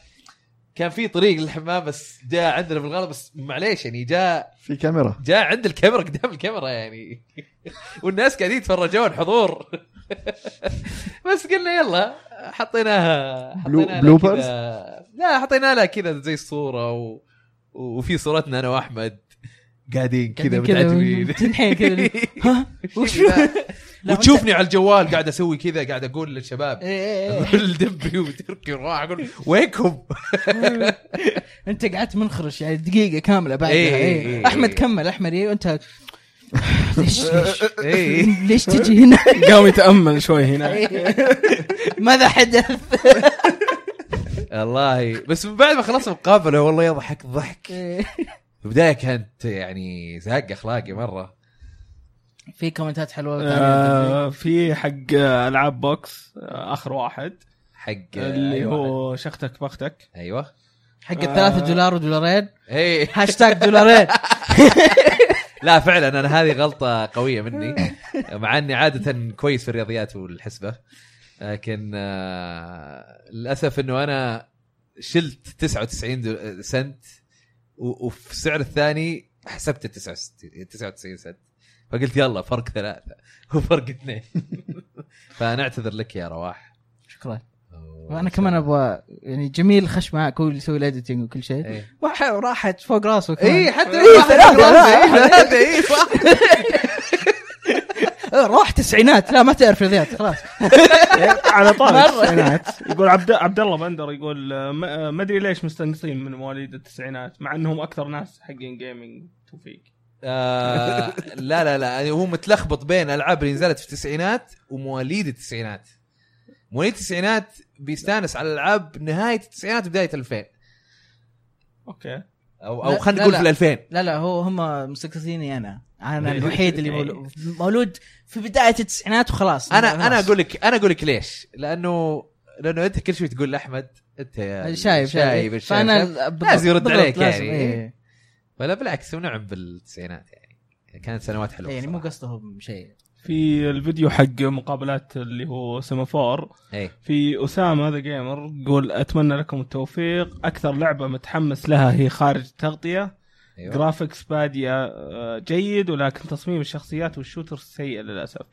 Speaker 1: كان في طريق للحمام بس جاء عندنا بالغلط بس معليش يعني جاء
Speaker 4: في كاميرا
Speaker 1: جاء عند الكاميرا قدام الكاميرا يعني والناس قاعدين يتفرجون حضور بس قلنا يلا حطيناها
Speaker 4: بلو-
Speaker 1: حطينا لها
Speaker 4: bloopers؟
Speaker 1: كذا لا حطينا لها كذا زي الصوره و... وفي صورتنا انا واحمد قاعدين كذا
Speaker 3: قاعدين كذا
Speaker 1: متعجبين
Speaker 3: تنحين كذا. ها وش لا،
Speaker 1: وتشوفني على الجوال قاعد اسوي كذا قاعد اقول للشباب
Speaker 3: إيه، إيه، إيه.
Speaker 1: اقول لدبي وتركي وراح اقول وينكم؟
Speaker 3: انت قعدت منخرش يعني دقيقه كامله بعدها
Speaker 1: إيه،
Speaker 3: إيه.
Speaker 1: إيه، إيه.
Speaker 3: احمد كمل احمد إيه، وانت ليش ليش
Speaker 1: إيه.
Speaker 3: ليش تجي هنا إيه.
Speaker 2: قام يتامل شوي هنا
Speaker 3: ماذا حدث
Speaker 1: والله بس من بعد ما خلصنا مقابله والله يضحك ضحك
Speaker 3: إيه.
Speaker 1: في البدايه كانت يعني زهق اخلاقي مره
Speaker 3: في كومنتات حلوه ثانية.
Speaker 2: آه في حق آه، العاب بوكس آه، اخر واحد
Speaker 1: حق
Speaker 2: اللي
Speaker 1: أيوة.
Speaker 2: هو شختك بختك
Speaker 1: ايوه
Speaker 3: حق الثلاثة
Speaker 2: آه.
Speaker 3: دولار ودولارين
Speaker 1: اي
Speaker 3: هاشتاج دولارين
Speaker 1: لا فعلا انا هذه غلطه قويه مني مع اني عاده كويس في الرياضيات والحسبه لكن آه، للاسف انه انا شلت 99 دو- سنت و- وفي السعر الثاني حسبت 69 99 سنت فقلت يلا فرق ثلاثه وفرق اثنين فانا اعتذر لك يا رواح
Speaker 3: شكرا وانا كمان ابغى يعني جميل خش معك هو اللي يسوي الاديتنج وكل شيء
Speaker 1: ايه
Speaker 3: وح- وراحت فوق راسه كمان.
Speaker 1: إيه، حتى
Speaker 3: إيه، ثلاثة، لا.
Speaker 1: ثلاثه اي صح
Speaker 3: آه، روح تسعينات لا ما تعرف رياضيات خلاص
Speaker 2: إيه، على طاري
Speaker 3: مرة.
Speaker 2: التسعينات يقول عبد عبد الله بندر يقول آه، ما آه، ما ادري ليش مستنقصين من مواليد التسعينات مع انهم اكثر ناس حقين جيمنج توفيق
Speaker 1: آه، لا لا لا يعني هو متلخبط بين العاب اللي نزلت في التسعينات ومواليد التسعينات مواليد التسعينات بيستانس على العاب نهايه التسعينات وبدايه 2000
Speaker 2: اوكي
Speaker 1: او
Speaker 3: لا،
Speaker 1: او خلينا
Speaker 3: لا،
Speaker 1: نقول
Speaker 3: لا.
Speaker 1: في ال 2000
Speaker 3: لا لا هو هم مستكثريني انا انا
Speaker 1: إيه.
Speaker 3: الوحيد اللي مولود, مولود في بدايه التسعينات وخلاص
Speaker 1: انا انا
Speaker 3: خلاص.
Speaker 1: اقول لك انا اقول لك ليش؟ لانه لانه انت كل شوي تقول لاحمد انت يا
Speaker 3: شايب
Speaker 1: شايب
Speaker 3: شايب
Speaker 1: الشايب شايب.
Speaker 3: بالضبط-
Speaker 1: لازم يرد
Speaker 3: بالضبط،
Speaker 1: عليك
Speaker 3: لازم،
Speaker 1: يعني.
Speaker 3: إيه.
Speaker 1: ولا بالعكس ونعم بالتسعينات يعني كانت سنوات حلوه
Speaker 3: يعني مو
Speaker 1: صراحة.
Speaker 3: قصدهم شيء
Speaker 2: في الفيديو حق مقابلات اللي هو سيمافور
Speaker 1: ايه
Speaker 2: في اسامه ذا جيمر يقول اتمنى لكم التوفيق اكثر لعبه متحمس لها هي خارج تغطيه أيوة.
Speaker 1: ايوه
Speaker 2: جرافيكس بادية آه، جيد ولكن تصميم الشخصيات والشوتر سيء للأسف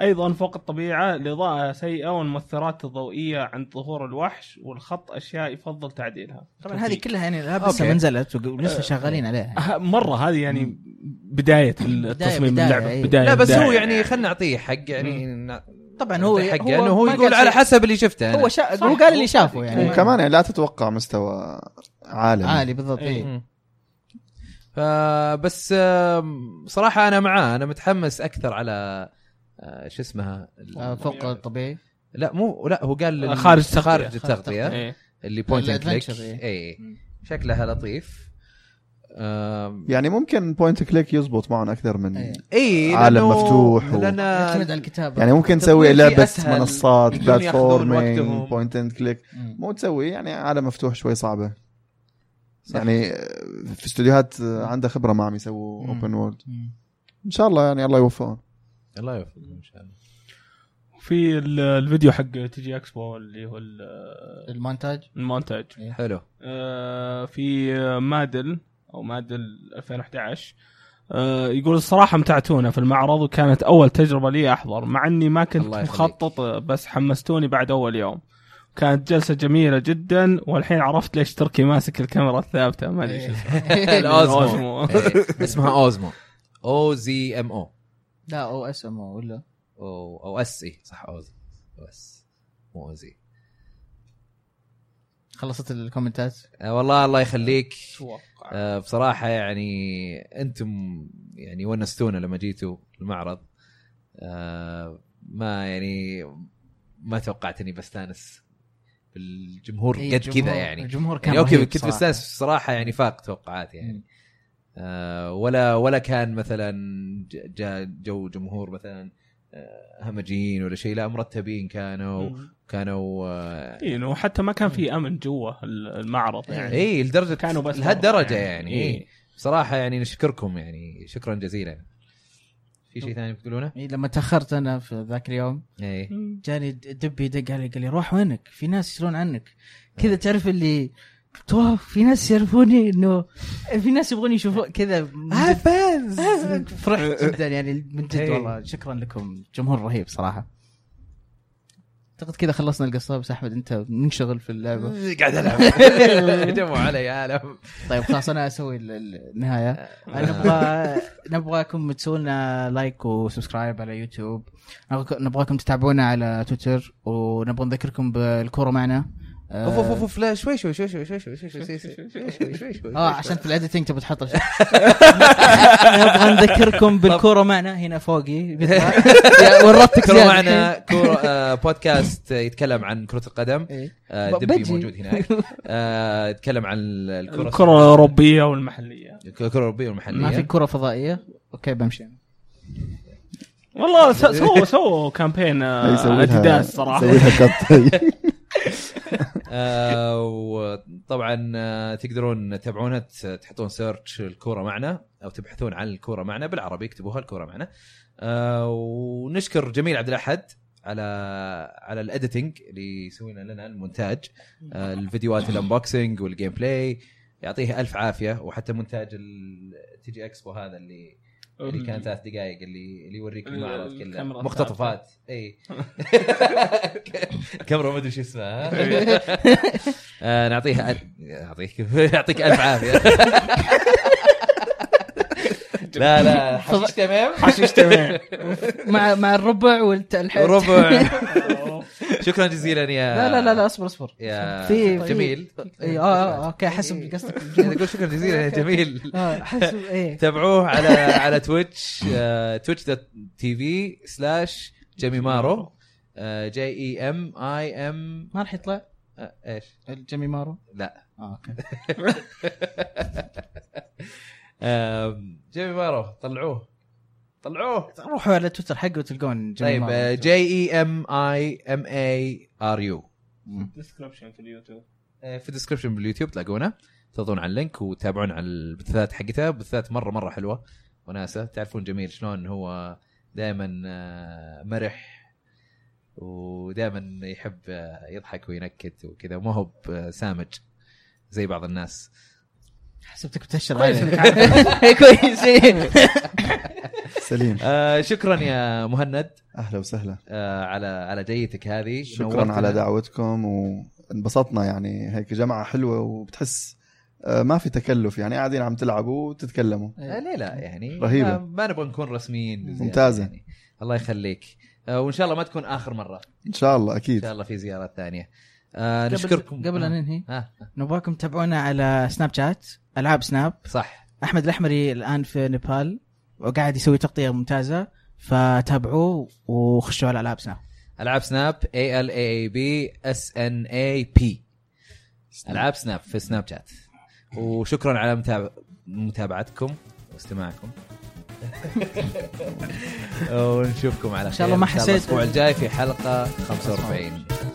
Speaker 2: أيضا فوق الطبيعة الإضاءة سيئة والمؤثرات الضوئية عند ظهور الوحش والخط أشياء يفضل تعديلها
Speaker 3: طبعا هذه
Speaker 2: توفيق.
Speaker 3: كلها يعني الالعاب لسه
Speaker 1: أوكي. أه.
Speaker 3: ما نزلت ولسه شغالين عليها
Speaker 2: ه- أه، مرة هذه يعني بداية التصميم
Speaker 3: بداية، إيه.
Speaker 2: اللعبة
Speaker 3: أي.
Speaker 2: بداية
Speaker 1: لا بس هو
Speaker 2: بداية.
Speaker 1: يعني خلينا نعطيه حق يعني ن-
Speaker 3: طبعا هو
Speaker 1: حقه انه هو
Speaker 3: ما
Speaker 1: يقول
Speaker 3: قال
Speaker 1: على
Speaker 3: شيء.
Speaker 1: حسب اللي شفته أنا.
Speaker 3: هو شا... هو قال اللي شافه يعني
Speaker 4: وكمان يعني لا تتوقع مستوى عالمي
Speaker 3: عالي بالضبط
Speaker 2: إيه.
Speaker 3: إيه.
Speaker 1: فبس آم، صراحة أنا معاه أنا متحمس أكثر على آه، شو اسمها ال-
Speaker 3: آه، فوق الطبيعي
Speaker 1: لا مو لا هو قال
Speaker 2: آه،
Speaker 1: لل-
Speaker 2: خارج التغطية.
Speaker 1: خارج التغطية
Speaker 2: إيه.
Speaker 1: اللي بوينت اند كليك
Speaker 3: الأدفنتشر، إيه.
Speaker 1: اي شكلها لطيف آم،
Speaker 4: يعني ممكن بوينت كليك يزبط معهم اكثر من
Speaker 3: إيه.
Speaker 1: اي
Speaker 4: عالم
Speaker 1: لأنه-
Speaker 4: مفتوح و-
Speaker 1: لأن
Speaker 3: آه، يعتمد على الكتابه
Speaker 4: يعني ممكن
Speaker 1: تطوير
Speaker 4: تسوي
Speaker 1: فيه
Speaker 4: لعبه
Speaker 1: أسهل،
Speaker 4: منصات
Speaker 1: يمكن ياخذون
Speaker 4: بلاتفورمينج
Speaker 1: وقتهم.
Speaker 4: بوينت اند كليك
Speaker 3: مم.
Speaker 4: مو تسوي يعني عالم مفتوح شوي صعبه
Speaker 1: صح.
Speaker 4: يعني آه، في استوديوهات آه، عندها خبره معهم يسووا
Speaker 3: مم.
Speaker 4: اوبن وورلد
Speaker 3: مم.
Speaker 4: ان شاء الله يعني الله يوفقهم
Speaker 1: الله يوفقهم ان شاء الله
Speaker 2: في ال- الفيديو حق تي جي اكسبو اللي هو ال-
Speaker 3: المونتاج
Speaker 2: المونتاج
Speaker 1: حلو
Speaker 2: آه، في مادل او مادل 2011 آه، يقول الصراحه متعتونا في المعرض وكانت اول تجربه لي احضر مع اني ما كنت
Speaker 1: الله يخليك.
Speaker 2: مخطط آه، بس حمستوني بعد اول يوم كانت جلسه جميله جدا والحين عرفت ليش تركي ماسك الكاميرا الثابته ما ادري
Speaker 1: إيه.
Speaker 2: شو اسمها
Speaker 1: الأوزمو.
Speaker 2: أوزمو.
Speaker 1: إيه، اسمها اوزمو او زي ام او
Speaker 3: لا او اس ام او ولا
Speaker 1: او او اس اي إيه، صح اوزمو او اس مو او زي
Speaker 3: خلصت الكومنتات
Speaker 1: آه، والله الله يخليك
Speaker 2: أتوقع.
Speaker 1: آه، بصراحه يعني انتم يعني ونستونا لما جيتوا المعرض آه، ما يعني ما توقعت اني بستانس بالجمهور
Speaker 3: إيه،
Speaker 1: قد
Speaker 3: الجمهور-
Speaker 1: كذا يعني
Speaker 3: الجمهور كان
Speaker 1: يعني اوكي
Speaker 3: رهيب
Speaker 1: كنت
Speaker 3: صراحة.
Speaker 1: مستانس صراحه يعني فاق توقعاتي يعني آه ولا ولا كان مثلا ج- جا جو جمهور مثلا آه، همجيين ولا شيء لا مرتبين كانوا كانوا آه،
Speaker 2: إيه، إنه حتى ما كان في امن جوا المعرض يعني
Speaker 1: اي لدرجه
Speaker 2: كانوا بس
Speaker 1: لهالدرجه إيه، يعني,
Speaker 2: إيه.
Speaker 1: يعني. بصراحه يعني نشكركم يعني شكرا جزيلا في شيء ثاني بتقولونه؟ إيه.
Speaker 3: إيه، لما تاخرت انا في ذاك اليوم
Speaker 1: اي
Speaker 2: إيه.
Speaker 3: جاني دب يدق علي قال لي روح وينك في ناس يسالون عنك كذا تعرف اللي قلت "واو، في ناس يعرفوني انه في ناس يبغوني يشوفون كذا
Speaker 1: آه، فانز
Speaker 3: فرحت جدا يعني من جد
Speaker 1: أه، إيه.
Speaker 3: والله شكرا لكم جمهور رهيب صراحه اعتقد كذا خلصنا القصه بس احمد انت منشغل في اللعبه
Speaker 1: قاعد العب هجموا علي يا عالم
Speaker 3: طيب خلاص انا اسوي ال- ال- النهايه
Speaker 1: أه.
Speaker 3: نبغى نبغاكم تسووا لنا لايك وسبسكرايب على يوتيوب نبغاك- نبغاكم تتابعونا على تويتر ونبغى نذكركم بالكوره معنا آه،
Speaker 1: اوف اوف اوف أوف، لا شوي شوي شوي شوي شوي شوي شوي شوي شوي شوي شوي شوي شوي
Speaker 3: اه عشان في الايديتنج تبغى تحط الش- نبغى نذكركم بالكوره معنا هنا فوقي ورطتك
Speaker 1: كرة معنا كورة آه، بودكاست آه، يتكلم عن كرة القدم آه، دبي
Speaker 3: بجي.
Speaker 1: موجود هناك آه، يتكلم عن الكرة
Speaker 2: الكره الاوروبيه والمحليه
Speaker 1: الكرة الأوروبية
Speaker 3: ما في
Speaker 1: والمحلية
Speaker 3: كره فضائيه اوكي بمشي
Speaker 2: والله س- سووا سووا كامبين آه،
Speaker 4: يعني يسوي لها-
Speaker 2: اديداس صراحه
Speaker 4: يسوي لها كت
Speaker 1: آه، وطبعا آه، تقدرون تتابعونها ت- تحطون سيرش الكورة معنا أو تبحثون عن الكورة معنا بالعربي اكتبوها الكورة معنا آه، ونشكر جميل عبد الأحد على على الاديتنج اللي يسوي لنا المونتاج آه، الفيديوهات الانبوكسنج والجيم بلاي يعطيه الف عافيه وحتى مونتاج التي جي اكسبو هذا اللي اللي كان ثلاث دقائق اللي اللي يوريك
Speaker 2: ال-
Speaker 1: المعرض كله
Speaker 2: الكاميرا
Speaker 1: مقتطفات اي كاميرا ما ادري شو اسمها آه، نعطيها أل... يعطيك يعطيك الف عافيه لا لا حشيش تمام
Speaker 2: حشيش تمام
Speaker 3: مع مع الربع والتلحيق
Speaker 1: ربع شكرا جزيلا يا
Speaker 3: لا لا لا لا اصبر اصبر
Speaker 1: يا
Speaker 3: في- في-
Speaker 1: جميل
Speaker 3: اي اه آه، اوكي حسب قصدك
Speaker 1: يعني تقول شكرا جزيلا يا جميل
Speaker 3: اه حسب ايه
Speaker 1: تابعوه على على تويتش آه، تويتش دوت تي في سلاش جيميمارو آه، E جي اي ام اي ام
Speaker 3: ما راح يطلع
Speaker 1: ايش؟
Speaker 3: الجيمي مارو
Speaker 1: لا.
Speaker 3: آه، اوكي
Speaker 1: جيميمارو طلعوه طلعوه
Speaker 3: روحوا على تويتر حقه وتلقون جيمي
Speaker 1: طيب
Speaker 3: مارو
Speaker 1: جي اي ام اي ام اي ار يو
Speaker 2: ديسكربشن في اليوتيوب
Speaker 1: في الديسكربشن باليوتيوب تلاقونه تضغطون على اللينك وتتابعون على البثات حقتها بثات مره مره حلوه وناسه تعرفون جميل شلون هو دائما مرح ودائما يحب آه، يضحك وينكت وكذا ما هو ب- آه، سامج زي بعض الناس
Speaker 3: حسبتك بتهشر
Speaker 2: كويس
Speaker 3: علي.
Speaker 2: إنك عارف.
Speaker 3: كويس إيه.
Speaker 4: سليم
Speaker 1: آه شكرا يا مهند
Speaker 4: اهلا وسهلا
Speaker 1: آه على على جيتك هذه
Speaker 4: شكرا
Speaker 1: نورتنا.
Speaker 4: على دعوتكم وانبسطنا يعني هيك جماعه حلوه وبتحس آه، ما في تكلف يعني قاعدين عم تلعبوا وتتكلموا
Speaker 3: إيه.
Speaker 1: آه ليه لا يعني ما,
Speaker 4: رهيبة.
Speaker 1: ما نبغى نكون رسميين بزيادة
Speaker 4: ممتازة.
Speaker 1: يعني. الله يخليك آه وان شاء الله ما تكون اخر مره
Speaker 4: ان شاء الله
Speaker 1: ان
Speaker 4: اكيد
Speaker 1: شاء الله في زيارات ثانيه آه
Speaker 3: قبل-
Speaker 1: نشكركم
Speaker 3: قبل
Speaker 1: آه.
Speaker 3: ان ننهي
Speaker 1: آه.
Speaker 3: نبغاكم تتابعونا على سناب شات العاب سناب
Speaker 1: صح
Speaker 3: احمد الاحمري الان في نيبال وقاعد يسوي تغطيه ممتازه فتابعوه وخشوا على العاب سناب
Speaker 1: العاب سناب اي ال اي بي اس ان اي بي العاب سناب في سناب شات وشكرا على متابع... متابعتكم واستماعكم ونشوفكم على خير
Speaker 3: شاء الله ما حسيت-
Speaker 1: الاسبوع الجاي في حلقه 45